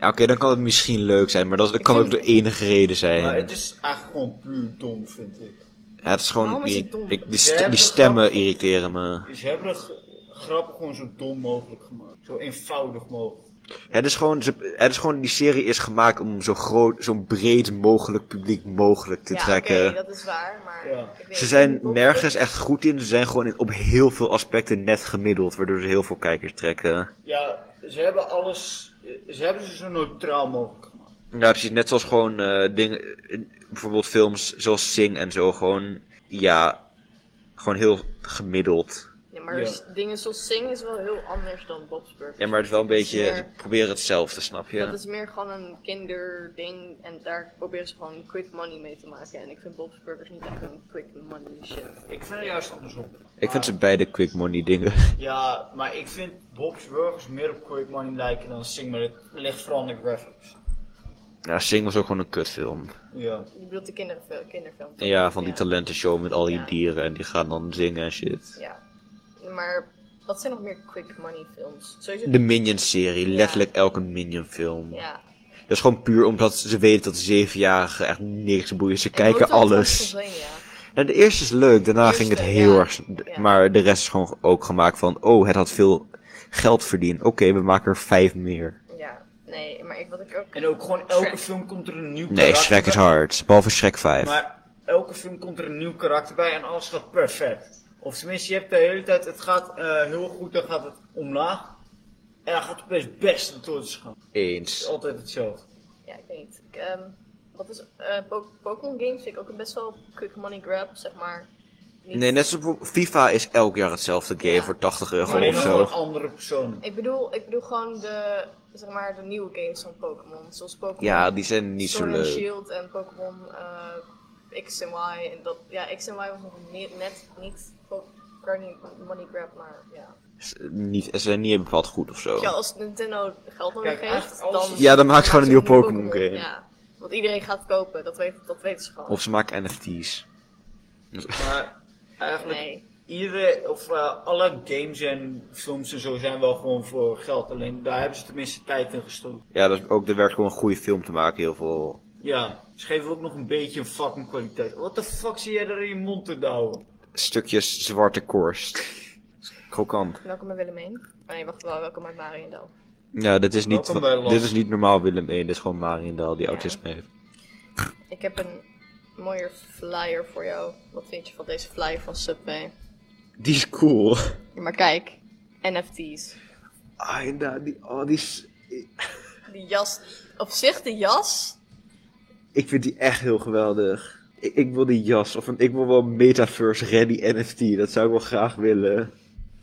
Ja, oké, dan kan het misschien leuk zijn, maar dat, dat
Ik
kan
vind-
ook de enige reden zijn.
Maar het is eigenlijk gewoon puur dom, vind ik.
ja, het is gewoon...
Waarom is het
ik-
dom?
ik, die,
Jij
st-
hebt
die
een
stemmen
grap.
irriteren me.
Dus ze hebben de g- grappen gewoon zo dom mogelijk gemaakt. Zo eenvoudig mogelijk.
Het is gewoon, ze- het is gewoon... Die serie is gemaakt om zo groot, zo breed mogelijk publiek mogelijk te
ja,
trekken.
oké, dat is waar, maar...
Ja.
ik weet
Ze
niet.
zijn
Bob's
nergens echt goed in. Ze zijn gewoon in- op heel veel aspecten net gemiddeld, waardoor ze heel veel kijkers trekken.
Ja, ze hebben alles. eh, Ze hebben ze zo neutraal mogelijk gemaakt.
Ja, precies. Net zoals gewoon eh, dingen, in- bijvoorbeeld films zoals Sing en zo, gewoon, ja, gewoon heel gemiddeld.
Ja, maar s- dingen zoals Sing is wel heel anders dan Bob's Burgers.
Ja, maar het is wel een beetje,
Ja.
ze proberen hetzelfde, snap je?
Dat is meer gewoon een kinderding en daar proberen ze gewoon quick money mee te maken. En ik vind Bob's Burgers niet echt een quick money shit.
Ik vind het juist andersom.
Ik vind ze beide quick money dingen.
Ja, maar ik vind Bob's Burgers meer op Quick Money lijken dan Sing, maar het ligt vooral aan de graphics.
Ja, Sing was ook gewoon een kutfilm.
Ja.
Je bedoelt de kinderfil- kinderfilm? toch?
Ja, van die talentenshow met al die
Ja.
dieren en die gaan dan zingen en shit.
Ja. Maar wat zijn nog meer quick money films? Sowieso...
De Minions-serie,
Ja.
letterlijk elke Minion-film.
Ja.
Dat is gewoon puur omdat ze weten dat zevenjarigen echt niks boeien. Ze kijken
Hotel
alles.
Transylvania.
Nou, de eerste is leuk, daarna
Eerste,
ging het heel
ja.
erg. de-
Ja.
Maar de rest is gewoon ook gemaakt van: oh, het had veel geld verdiend. Oké, we maken er vijf meer.
Ja. Nee, maar ik, wat ik ook...
En ook gewoon elke
Shrek.
film komt er een nieuw
Nee,
karakter
Shrek is
bij.
hard. Behalve Shrek 5.
Maar elke film komt er een nieuw karakter bij en alles gaat perfect. Of tenminste, je hebt de hele tijd, het gaat eh, heel goed, dan gaat het omlaag. En dan gaat het best best naartoe te gaan. Het is
Eens.
altijd hetzelfde.
Ja, ik weet niet. Ik, ehm, wat is... eh, Po- Pokémon games vind ik ook een best wel quick money grab, zeg maar. Niet-
Nee, net zoals bijvoorbeeld- FIFA is elk jaar hetzelfde game
Ja.
voor 80
Maar
euro
alleen
of
nog voor een
zo.
andere persoon.
Ik bedoel, ik bedoel gewoon de, zeg maar, de nieuwe games van Pokémon. Zoals Pokémon
Ja, die zijn niet zo
Sword and
leuk.
Shield en Pokémon eh, X en Y. En dat, ja, X en Y was nog ne- net niet po- Money, money grab, maar ja.
S- Niet, ze zijn niet bepaald goed of zo.
Ja, als Nintendo geld nodig
Kijk,
heeft,
eigenlijk alles
dan...
is-
Oh. Ja, dan maakt ze gewoon een
maakt ze
nieuwe
een nieuwe
Pokémon game.
Ja, want iedereen gaat kopen, dat, weet, dat weten ze gewoon.
Of ze maken NFT's.
Maar eigenlijk,
Nee,
iedere, of eh, alle games en films en zo zijn wel gewoon voor geld. Alleen daar hebben ze tenminste tijd in gestoken.
Ja, dat is ook de werk gewoon een goede film te maken, heel veel.
Ja, ze geven ook nog een beetje een fucking kwaliteit. Wat de fuck zie jij daar in je mond te douwen?
Stukjes zwarte korst. Krokant.
welkom bij Willemijn. Oh, nee, wacht wel, welkom bij Mariendal.
Ja, dit is niet,
Welkom bij Lars.
dit is niet normaal Willem 1, dit is gewoon Mariendal die autisme heeft.
Ik heb een mooier flyer voor jou. Wat vind je van deze flyer van Subway?
Die is cool.
Ja, Maar kijk, NFT's.
Ah, inderdaad, die, oh, die is...
Die jas, op zich de jas.
Ik vind die echt heel geweldig. Ik, ik wil die jas, of een, ik wil wel Metaverse Ready NFT, dat zou ik wel graag willen.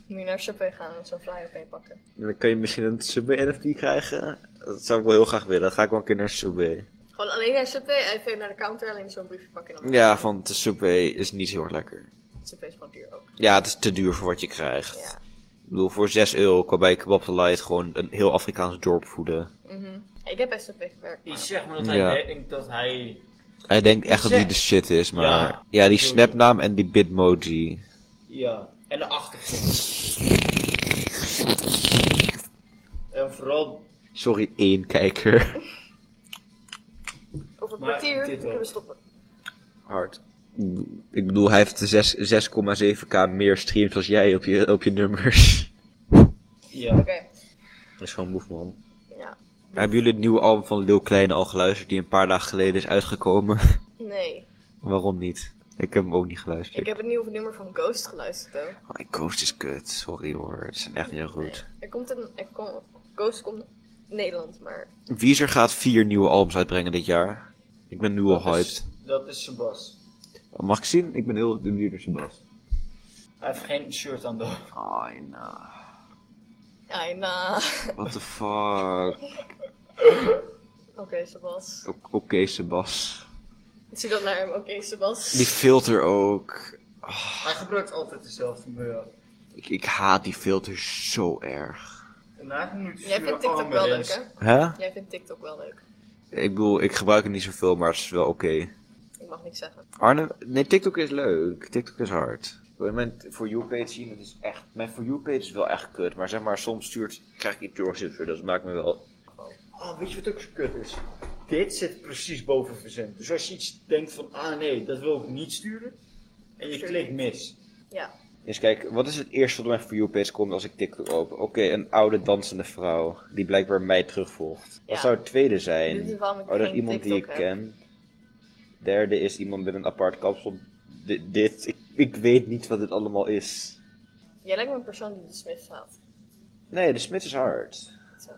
Moet je naar Subway gaan en zo'n flyer mee pakken.
En dan kan je misschien een Subway NFT krijgen. Dat zou ik wel heel graag willen, dan ga ik wel een keer naar Subway.
Gewoon alleen naar Subway, even naar de counter, alleen zo'n briefje pakken. En dan
Ja, want de Subway is niet heel erg lekker.
Subway is gewoon duur ook.
Ja, het is te duur voor wat je krijgt.
Ja.
Ik bedoel, voor 6 euro kan bij Kebab de Light gewoon een heel Afrikaans dorp voeden.
Mhm. Ik heb bij Subway gewerkt.
Ik
maar-
zeg maar dat hij
Ja.
denkt dat hij
Hij denkt echt dat die
Zeg.
de shit is, maar... Ja,
Ja.
die snapnaam en die bitmoji.
Ja, en de achtergrond. En vooral,
Sorry, één kijker.
Over een
Maar
kwartier
dit wel.
kunnen we stoppen.
Hard. Ik bedoel, hij heeft zes- 6,7k meer streams als jij op je, op je nummers.
ja,
Oké,
Dat is gewoon moef, man.
ja.
Hebben jullie het nieuwe album van Lil Kleine al geluisterd, die een paar dagen geleden is uitgekomen?
Nee,
Waarom niet? Ik heb hem ook niet geluisterd.
ik heb het nieuwe nummer van Ghost geluisterd ook.
Oh, en Ghost is kut. Sorry hoor, het is echt niet heel goed.
Er komt een, er kom, Ghost komt Nederland, maar
Weezer gaat vier nieuwe albums uitbrengen dit jaar. Ik ben nu al
dat
hyped.
is, dat is Sebas.
Mag ik zien? Ik ben heel benieuwd naar Sebas.
Hij heeft geen shirt aan de
Ai, nou.
ja, en, eh,
What the fuck?
Oké, Sebas.
O- Oké, Sebas.
Ik zie dat naar hem. Oké, Sebas.
Die filter ook.
Hij gebruikt altijd dezelfde muur.
Ik, ik haat die filter zo erg.
En hij heeft nu
Jij vindt TikTok wel leuk, hè?
Hè?
Jij vindt TikTok wel leuk.
Ik bedoel, ik gebruik het niet zoveel, maar het is wel oké.
Ik mag niks zeggen.
Arne, nee, TikTok is leuk. TikTok is hard. Wil je mijn For You page zien? Dat is echt, mijn For You page is wel echt kut. Maar zeg maar, soms stuurt, krijg ik iets doorgezet. Dat maakt me wel...
Ah, weet je wat ook zo kut is? Dit zit precies boven verzend. Dus als je iets denkt van, ah nee, dat wil ik niet sturen. En je
Sure.
klikt mis.
Ja.
Eens kijken, wat is het eerste wat op mijn For You page komt als ik TikTok open? Oké, een oude dansende vrouw. Die blijkbaar mij terugvolgt. Wat
Ja.
zou het tweede
Dit is
zijn?
waarom ik
Oh, dat is
geen
iemand die ik
TikTok heb.
ken. Derde is iemand met een apart kapsel. Di- dit, ik, ik weet niet wat dit allemaal is.
Jij lijkt me een persoon die de Smith haat.
Nee, de Smit is hard.
Zo.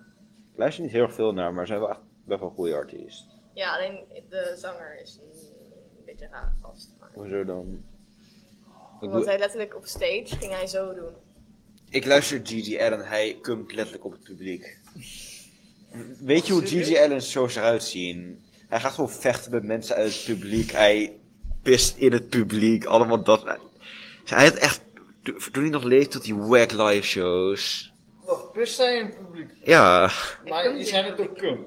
Ik luister niet heel erg veel naar, maar er zijn wel echt
best wel een goede artiest.
Ja, alleen de zanger is een beetje raar vast. Maar...
Hoezo dan? Ik,
Omdat
doe-
hij letterlijk op stage ging hij zo doen.
Ik luister Gigi Allen, hij komt letterlijk op het publiek. Weet je hoe
Serieus?
Gigi Allen shows eruit zien? Hij gaat gewoon vechten met mensen uit het publiek, hij pist in het publiek, allemaal dat. Hij had echt, to- toen hij nog leefde, tot die wack live shows.
Wacht, pist hij in het publiek?
Ja,
Maar is hij dat ook cum?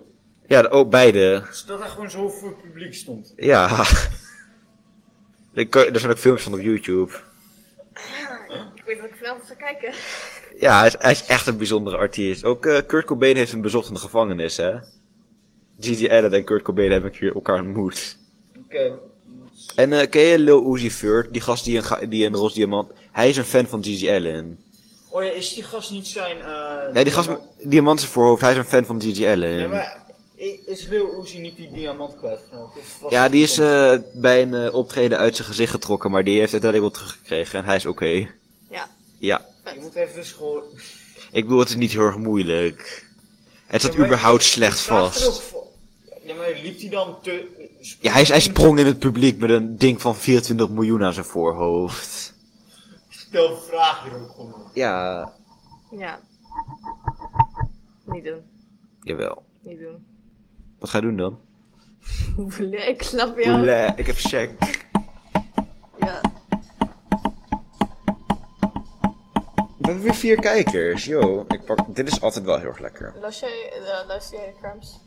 ja, ook beide.
Dus dat hij gewoon zo voor het publiek stond.
Ja. Er kan- er zijn ook filmpjes van op YouTube.
Ik weet dat ik vanavond ga kijken.
Ja, hij is, hij is echt een bijzondere artiest. Ook eh, Kurt Cobain heeft hem bezocht in de gevangenis, hè? Gigi Allen en Kurt Cobain hebben een keer elkaar ontmoet.
Oké.
En eh, ken je Lil Uzi Vert, die gast die een, ga- die een roze diamant... Hij is een fan van Gigi Allen.
Oh ja, is die gast niet zijn... eh
Ja, die gast met diamant zijn voorhoofd, hij is een fan van Gigi
Ja,
Allen.
maar i- is Lil Uzi niet die diamant Nou, kwijtgeraakt? Of was
Ja,
dat
die is
een-
eh, bij een eh, optreden uit zijn gezicht getrokken, maar die heeft het uiteindelijk wel teruggekregen en hij is oké.
Ja.
Ja.
Je moet even dus gewoon...
Ik bedoel, het eh, is niet heel erg moeilijk. Het staat
Ja, maar-
überhaupt slecht
Staat er ook
vast.
voor- Ja, maar liep hij dan te...
Ja, hij, hij sprong in het publiek met een ding van 24 miljoen aan zijn voorhoofd.
Stel vragen er ook gewoon.
Ja,
Ja. Niet doen.
jawel.
Niet doen.
Wat ga je doen dan?
Oele, ik snap jou.
Oele, ik heb check.
Ja.
We hebben weer vier kijkers, yo. Ik pak... Dit is altijd wel heel erg lekker.
Luister jij, eh, luister jij de crumbs?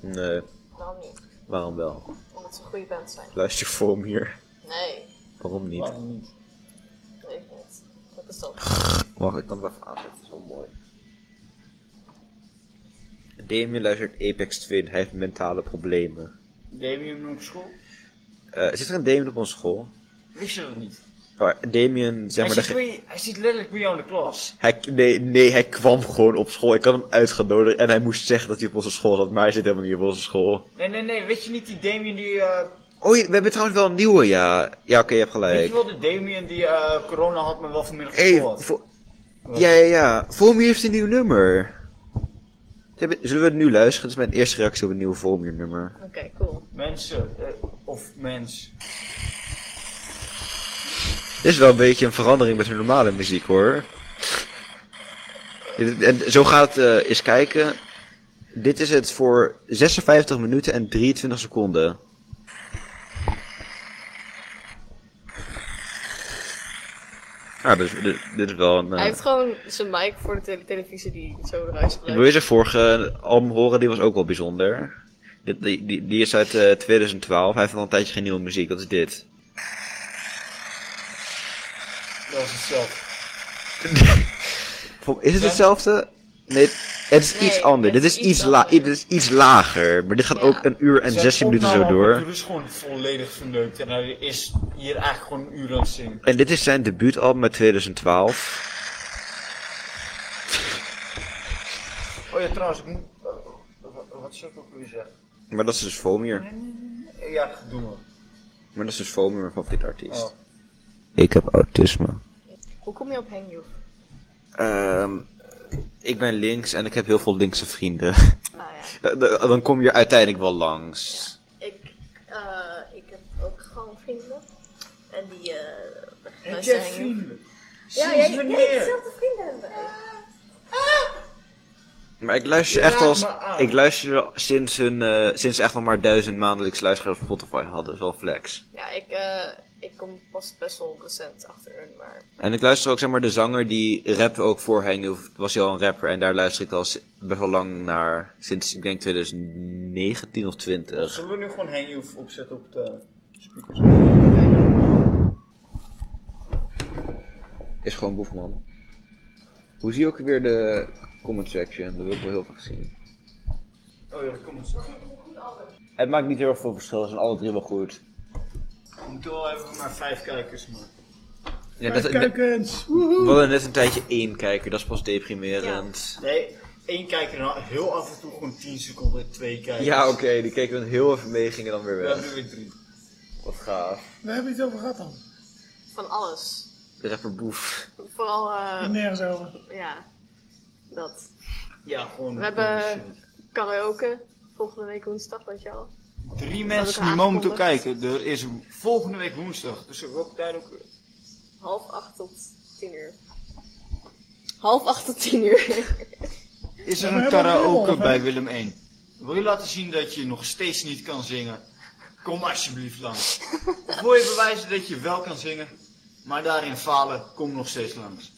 Nee,
Waarom niet?
waarom wel?
Omdat ze een goede band zijn.
Luister voor me hier.
Nee,
Waarom niet?
weet ik niet. Dat is toch.
Wacht, ik kan het wel even aanzetten, dat is wel mooi. Damien luistert Apex Twin, hij heeft mentale problemen.
Deed je hem op school?
Eh, zit er een Damien op onze school?
Wist je dat niet?
Oh, Damien, zeg maar...
hij,
de
zit
ge-
bij- hij zit letterlijk bij jou in de klas.
Hij, nee, nee, hij kwam gewoon op school. Ik had hem uitgenodigd en hij moest zeggen dat hij op onze school zat, maar hij zit helemaal niet op onze school.
Nee, nee, nee. Weet je niet die Damien die... eh,
Oh, je- we hebben trouwens wel een nieuwe, ja. Ja, oké, je hebt
Weet
gelijk.
je wel de Damien die eh, corona had, maar wel vanmiddag
Hé,
school had?
vo- ja, ja, ja. Volmier heeft een nieuw nummer. Ze hebben- Zullen we het nu luisteren? Dat is mijn eerste reactie op een nieuw Volmier nummer.
Oké, cool.
Mensen. eh, of mens.
Dit is wel een beetje een verandering met hun normale muziek, hoor. Dit- En zo gaat het eh, eens kijken. Dit is het voor 56 minuten en 23 seconden. Ja, dit, is- dit, Ah, dus- dit is wel een... eh,
Hij heeft gewoon zijn mic voor de tele- televisie die zo eruit
Wil je
gebruikt.
zijn vorige album horen? Die was ook wel bijzonder. Dit- Die, die, die is uit eh, 2012. Hij heeft al een tijdje geen nieuwe muziek. Dat is dit.
Dat is hetzelfde.
Is het hetzelfde? Nee, het is
Nee,
iets anders.
het
Dit is
is iets
iets, la
anders.
dit is iets lager. Maar dit gaat
Ja.
ook een uur en
Zijn
16 minuten zo
opname
door.
apparatuur is gewoon volledig verneukt. En hij is hier eigenlijk gewoon een uur aan het zingen.
En dit is zijn debuutalbum uit 2012.
Oh ja, trouwens, ik moet... eh, wat- wat zou ik ook weer zeggen?
Maar dat is dus Fomier.
Eh, Ja, doe maar.
Maar dat is dus Fomier, mijn favoriete artiest.
Oh.
Ik heb autisme.
Hoe kom je op Hang You?
Ehm, ik ben links en ik heb heel veel linkse vrienden.
Ah ja.
Eh, eh, Dan kom je uiteindelijk wel langs.
Ik, eh, ik heb ook gewoon vrienden. En die eh
Heb
luisteren
jij
Hang You.
vrienden?
Ja,
Sinds
jij, jij
wanneer?
dezelfde vrienden hebben.
Maar ik luister
Ja,
echt als.
maar aan.
Ik luister sinds hun. eh, sinds echt nog maar duizend maandelijks luisteraars op Spotify hadden. Dat is wel flex.
Ja, ik, eh, ik kom pas best wel recent achter hun, maar
En ik luister ook zeg maar de zanger die rapte ook voor hij nu was hij al een rapper. En daar luister ik al si- best wel lang naar. Sinds ik denk 2019 of 20.
Zullen we nu gewoon Hang You opzetten op de speakers?
Is gewoon boefman. Hoe zie je ook weer de comment section? Dat wil ik wel heel graag zien.
Oh ja, kom eens.
Het maakt niet heel erg veel verschil, ze zijn alle drie wel goed.
We moeten wel even maar vijf kijkers maken.
Ja, dat,
kijkers!
we hadden net een tijdje één kijker, dat is pas deprimerend.
Nee, één kijker en dan heel af en toe gewoon 10 seconden twee kijkers.
Ja, oké, die keken dan heel even mee, gingen dan weer
We
weg.
hebben weer drie.
Wat gaaf.
We hebben het over gehad dan.
van alles.
De rapper Boef.
Vooral, eh,
Nergens over.
ja, dat.
Ja, gewoon.
We hebben karaoke, volgende week woensdag, weet je al.
Drie
Dat
mensen
heb ik
die momenteel
aangekondigd.
kijken. Er is een- volgende week woensdag. Dus welke tijd ook weer?
Half acht tot tien uur. Half acht tot tien uur.
Is er een karaoke bij Willem 1? Wil je laten zien dat je nog steeds niet kan zingen? Kom alsjeblieft langs. Of wil je bewijzen dat je wel kan zingen, maar daarin falen? Kom nog steeds langs.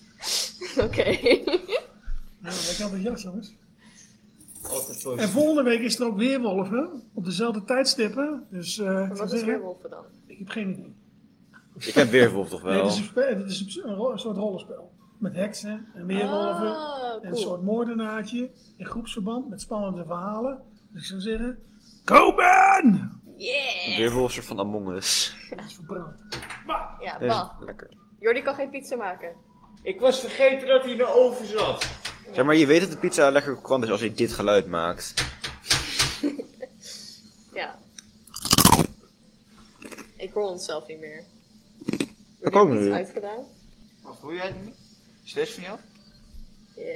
Oké.
Ja, ik had het jas, jongens.
Altijd
En
positief.
volgende week is er ook weerwolven. Op dezelfde tijdstippen. Dus eh, ik zou
Wat is
zeggen,
weerwolven dan?
ik heb geen idee.
Ik ken Weerwolf toch
Nee,
wel?
dit is, een, spe- dit is een, ps- een ro- een soort rollenspel. Met heksen en weerwolven.
Ah,
En een
cool.
soort moordenaartje. In groepsverband met spannende verhalen. Dus ik zou zeggen, Kopen!
Yeah!
Weerwolf soort van Among Us.
Dat is verbrand.
Ja,
Eh,
bah.
lekker.
Jordi kan geen pizza maken.
Ik was vergeten dat hij in de oven zat.
Zeg maar, je weet dat de pizza lekker kwam is als je dit geluid maakt.
Ja. Ik hoor onszelf niet meer.
Dat
Jordi
kan
heeft
nu.
iets uitgedaan?
Wat hoor jij het niet? Is deze van jou?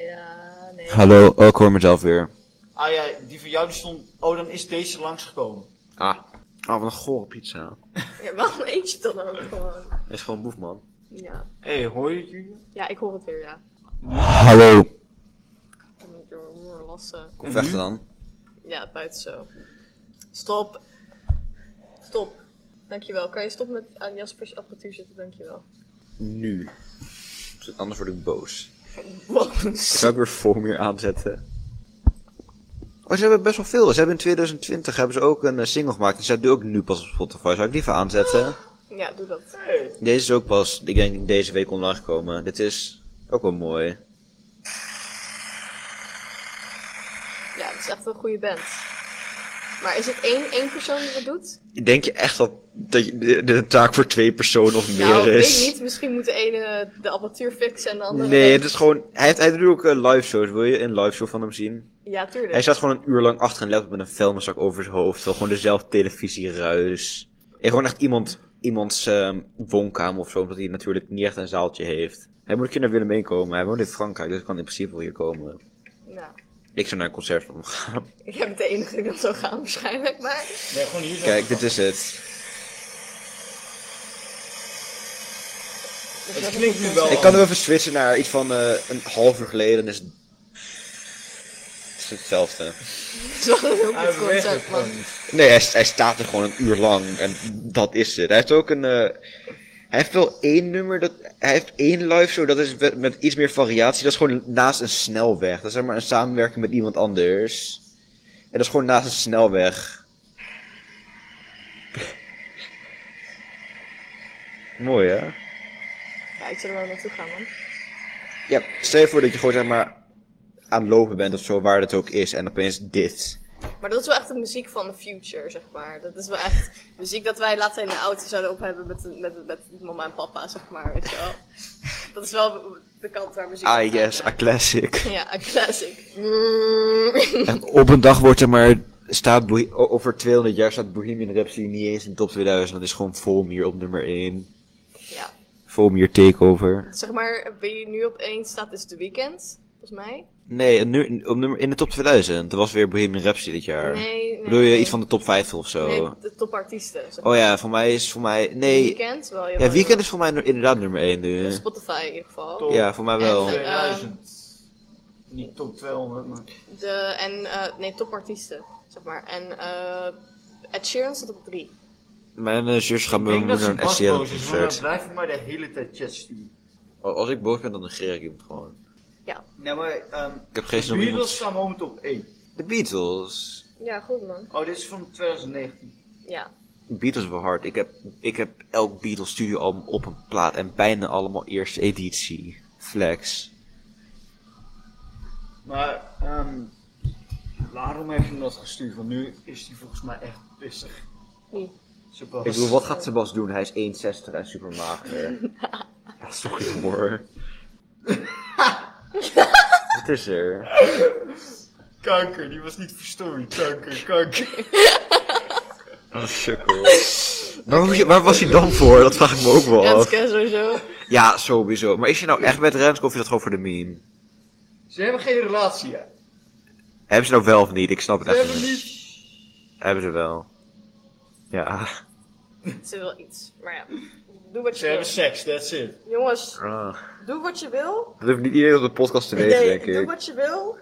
Ja, nee.
Hallo, oh, ik hoor mezelf weer.
Ah ja, die van jou die stond. Oh, dan is deze langsgekomen.
Ah. Ah, wat een gore pizza.
Ja, waarom eet je het dan ook gewoon?
Hij is gewoon boef, man.
Ja.
Hé, hey, hoor je het jullie?
ja, ik hoor het weer, ja.
Hallo.
Ik moet door mijn oor lassen.
Kom vechten dan.
Ja, buiten zo. Stop. Stop. Dankjewel. Kan je stop met aan Jaspers apparatuur zitten? Dankjewel.
Nu. Dus Anders word ik boos. Ik
Wow.
ga ook weer Formier aanzetten. Oh, ze hebben best wel veel. Ze hebben in 2020 hebben ze ook een eh, single gemaakt. Die staat nu ook nu pas op Spotify. Zou ik die even aanzetten?
Ja, doe dat.
Deze is ook pas, ik denk deze week online gekomen. Dit is ook wel mooi.
Ja, het is echt een goede band. Maar is het één, één persoon die dat doet?
Denk je echt dat, dat je- dit dit een taak voor twee personen of meer
nou,
is?
weet ik niet. Misschien moet de ene de apparatuur fixen en de andere...
Nee, het is gewoon. Hij, heeft, hij doet ook eh, live shows. Wil je een live show van hem zien?
Ja, tuurlijk.
Hij staat gewoon een uur lang achter een laptop met een vuilniszak over zijn hoofd. Terwijl gewoon dezelfde televisieruis. En gewoon echt iemand, iemands ehm, woonkamer of zo. Omdat hij natuurlijk niet echt een zaaltje heeft. Hij moet een keer naar Willem heen komen. Hij woont in Frankrijk, dus hij kan in principe wel hier komen.
Nou,
Ik zou naar een concert van hem gaan.
ik heb de enige die dat zou gaan waarschijnlijk, maar...
Nee, gewoon hier zo.
Kijk, dit is het.
Het klinkt nu wel.
Ik kan hem even switchen naar iets van eh, een half uur geleden. Dan is het... het is hetzelfde.
Het is wel een heel
Hij
goed
beweegt het
concept, man.
gewoon niet.
Nee, hij, hij staat er gewoon een uur lang en dat is het. Hij heeft ook een. eh, hij heeft wel één nummer, dat, hij heeft één live show, dat is met, met iets meer variatie. Dat is gewoon naast een snelweg. Dat is zeg maar een samenwerking met iemand anders. En dat is gewoon naast een snelweg. Mooi hè?
Ja, ik zou er wel naartoe gaan, man.
Ja, stel je voor dat je gewoon zeg maar aan het lopen bent of zo, waar het ook is, en opeens dit.
Maar dat is wel echt de muziek van de future, zeg maar. Dat is wel echt muziek dat wij later in de auto zouden op hebben met, met, met mama en papa, zeg maar, weet je wel. Dat is wel de kant waar muziek
Ah
op gaat,
yes,
ja.
a classic.
Ja, een classic. Mm.
En op een dag wordt er maar, staat Bohe- o- over 200 jaar staat Bohemian Rhapsody niet eens in de top 2000. Dat is gewoon Volmier op nummer 1.
Ja,
Volmier Takeover.
zeg maar, wie nu op één staat is The Weeknd, volgens mij.
Nee, nu, op nummer, in de top 2000. Er was weer Bohemian Rhapsody dit jaar.
Nee, nee.
Bedoel je iets van de top 50 of zo?
Nee, de topartiesten. Zeg maar.
Oh ja, voor mij is voor mij... Nee,
Weeknd, wel.
ja, Weekend is voor mij nu- inderdaad nummer 1 nu.
Spotify in ieder geval.
Top.
Ja, voor mij wel.
En, eh,
2000. Niet top 200, maar.
De, en, eh, nee, topartiesten, zeg maar. En eh Ed Sheeran staat op drie.
Mijn uh, zus gaat
Ik
me
denk dat
moeder een
ze pas
SCR
boos is, want dan
concert.
blijf ik maar de hele tijd chat sturen.
Als ik boos ben, dan negeer ik hem gewoon.
Nee, maar ehm
Ik heb geen zin om
de Beatles
iemand...
staan momenteel op 1.
De Beatles.
Ja, goed man.
Oh, dit is van 2019.
Ja.
Beatles wel hard. Ik heb, ik heb elk Beatles studio album op een plaat en bijna allemaal eerste editie. Flex.
Maar ehm waarom heeft hij dat gestuurd? Want nu is hij volgens mij echt pissig.
Wie?
Sebas.
Ik bedoel, wat gaat Sebas doen? Hij is 1,60 en super mager. ja, sorry hoor. wat is er?
Kanker, die was niet verstoord. Kanker, kanker.
Oh, sukkel. Waar, moet je- waar was hij dan voor? Dat vraag ik me ook wel af.
Renske sowieso.
Ja, sowieso. Maar is je nou echt met Renske of is dat gewoon voor de meme?
Ze hebben geen relatie, hè?
Hebben ze nou wel of niet? Ik snap het
Ze
echt
hebben
niet.
niet.
Hebben ze wel. Ja.
Ze wil iets. Maar ja, doe wat
Ze
je
hebben
wil.
seks, that's it.
Jongens,
Ah.
doe wat je wil.
Dat hoeft niet iedereen op de podcast te weten,
Nee,
denk
doe
ik.
wat je wil.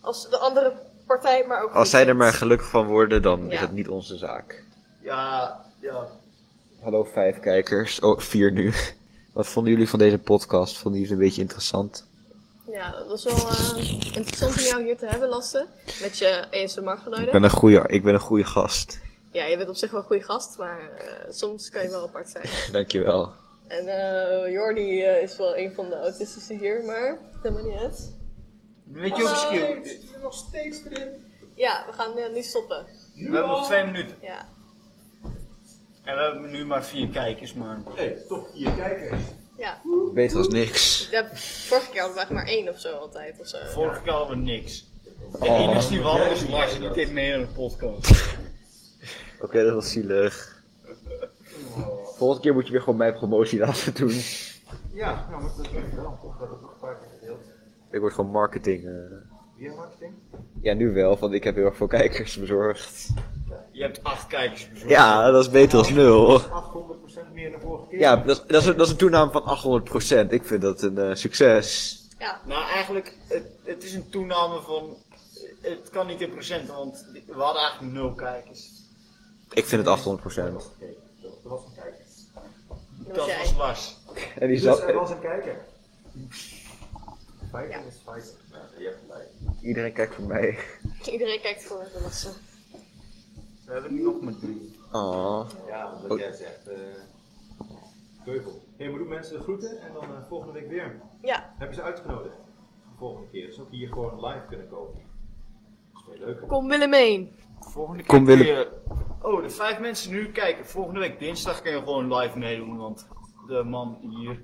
Als de andere partij maar ook
Als
niet
zij er
vindt.
maar gelukkig van worden, dan is
Ja.
het niet onze zaak.
Ja, ja.
Hallo vijf kijkers. Oh, vier nu. Wat vonden jullie van deze podcast? Vonden jullie het een beetje interessant?
Ja, dat was wel eh, interessant om jou hier te hebben, Lasse. Met je ASMR-geluiden.
Ik ben een goede, ik ben een goede gast.
Ja, je bent op zich wel een goede gast, maar eh, soms kan je wel apart zijn.
Dankjewel.
En eh Jordi eh, is wel een van de autistische hier, maar dat maakt niet uit.
Weet je ook skill?
Ja, we gaan eh, nu stoppen.
We hebben nog twee minuten.
Ja.
En we hebben nu maar vier kijkers, maar...
ja.
Beter als niks.
Ja, vorige keer hadden we echt maar één of zo altijd. Of zo.
Vorige keer hadden we niks. De enige die we hadden was Lars, die deed mee aan de podcast.
Oké, dat was zielig. Volgende keer moet je weer gewoon mijn promotie laten doen.
Ja, nou, maar dat is wel. Ik heb het nog een paar keer gedeeld.
Ik word gewoon marketing. eh.
Via marketing?
Ja, nu wel, want ik heb heel erg veel kijkers bezorgd.
Je hebt acht kijkers bezorgd.
Ja, dat is beter als nul.
800% meer dan vorige keer.
Ja, dat, is- dat, is, een- dat is een toename van 800%. Ik vind dat een eh, succes.
Ja.
Nou, eigenlijk, het, het is een toename van... Het kan niet in procenten, want we hadden eigenlijk nul kijkers.
Ik vind het 800%.
Er was een kijker.
Dat
Dat
jij.
was Lars.
En die
Dus
zat,
er was een kijker. Vijf
Ja.
is vijf. Ja, je hebt gelijk.
iedereen kijkt voor mij.
Iedereen kijkt voor de Lasse.
We hebben nu nog maar drie.
Oh.
Ja,
Oh.
wat jij zegt. eh Keuvel. Hey, we doen mensen de groeten en dan eh, volgende week weer.
Ja,
Hebben ze uitgenodigd. De volgende keer. Dus ook hier gewoon live kunnen komen. Dat is veel leuker.
kom Willemijn.
Volgende keer
Kom, Willem.
kun je... Oh, de vijf mensen nu kijken. Volgende week dinsdag kun je gewoon live meedoen, want de man hier...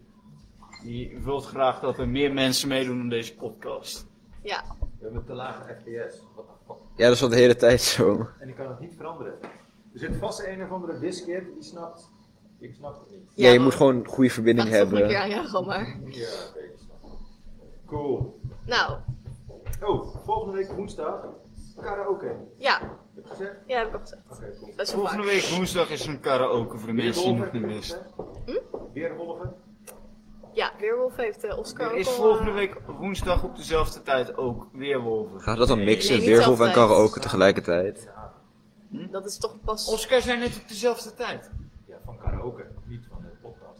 Die wil graag dat er meer mensen meedoen aan deze podcast.
Ja,
We hebben te lage FPS. What the fuck.
Ja, dat is al de hele tijd zo.
En ik kan het niet veranderen. Er zit vast een of andere disc in die snapt. Ik snap het niet.
Ja, je
maar-
moet gewoon een goede verbinding
Laat het volgende keer
hebben.
aan jou gewoon maar.
Ja, oké, ik snap het. Cool.
Nou,
Oh, volgende week woensdag. Karaoke. Heb
ja.
je het gezegd?
Ja, heb ik al gezegd.
Oké, cool.
Best wel
Volgende
vaak.
week woensdag is een karaoke voor de mensen die nog niet wisten.
Weer wolven.
Ja, Weerwolf heeft eh, Oscar
Er
ook
is
al,
volgende
eh,
week woensdag op dezelfde tijd ook Weerwolven.
Gaat dat dan mixen?
niet
Weerwolf en
altijd.
karaoke tegelijkertijd.
Dat is toch pas...
Oscar zijn net op dezelfde tijd.
Ja, van karaoke. Niet van de podcast.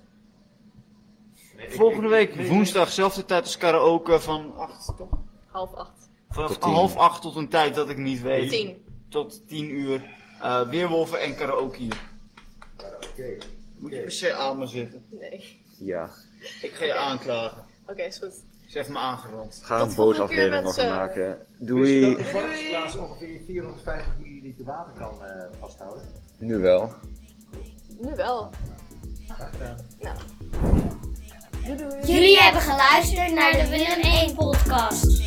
Nee, ik-
Volgende
ik-
week
ik-
woensdag, dezelfde tijd als karaoke van acht, toch?
half acht.
Vanaf
Tot tien.
half acht tot een tijd dat ik niet weet.
Tien.
Tot tien uur. eh, weerwolven en karaoke hier.
Oké.
Moet je per se aan me zitten.
Nee.
Ja.
Ik ga je aanklagen.
Oké, is goed.
Ze heeft me aangerand.
Ga
Tot
een boze
volgende keer, eh,
aflevering over
mensen.
maken.
Wist je
Doei.
dat de varkensplaats ongeveer 450 milliliter water kan eh, vasthouden?
Nu wel.
Nu wel. Nou. Doei doei.
Jullie hebben geluisterd naar de Willem 1 podcast.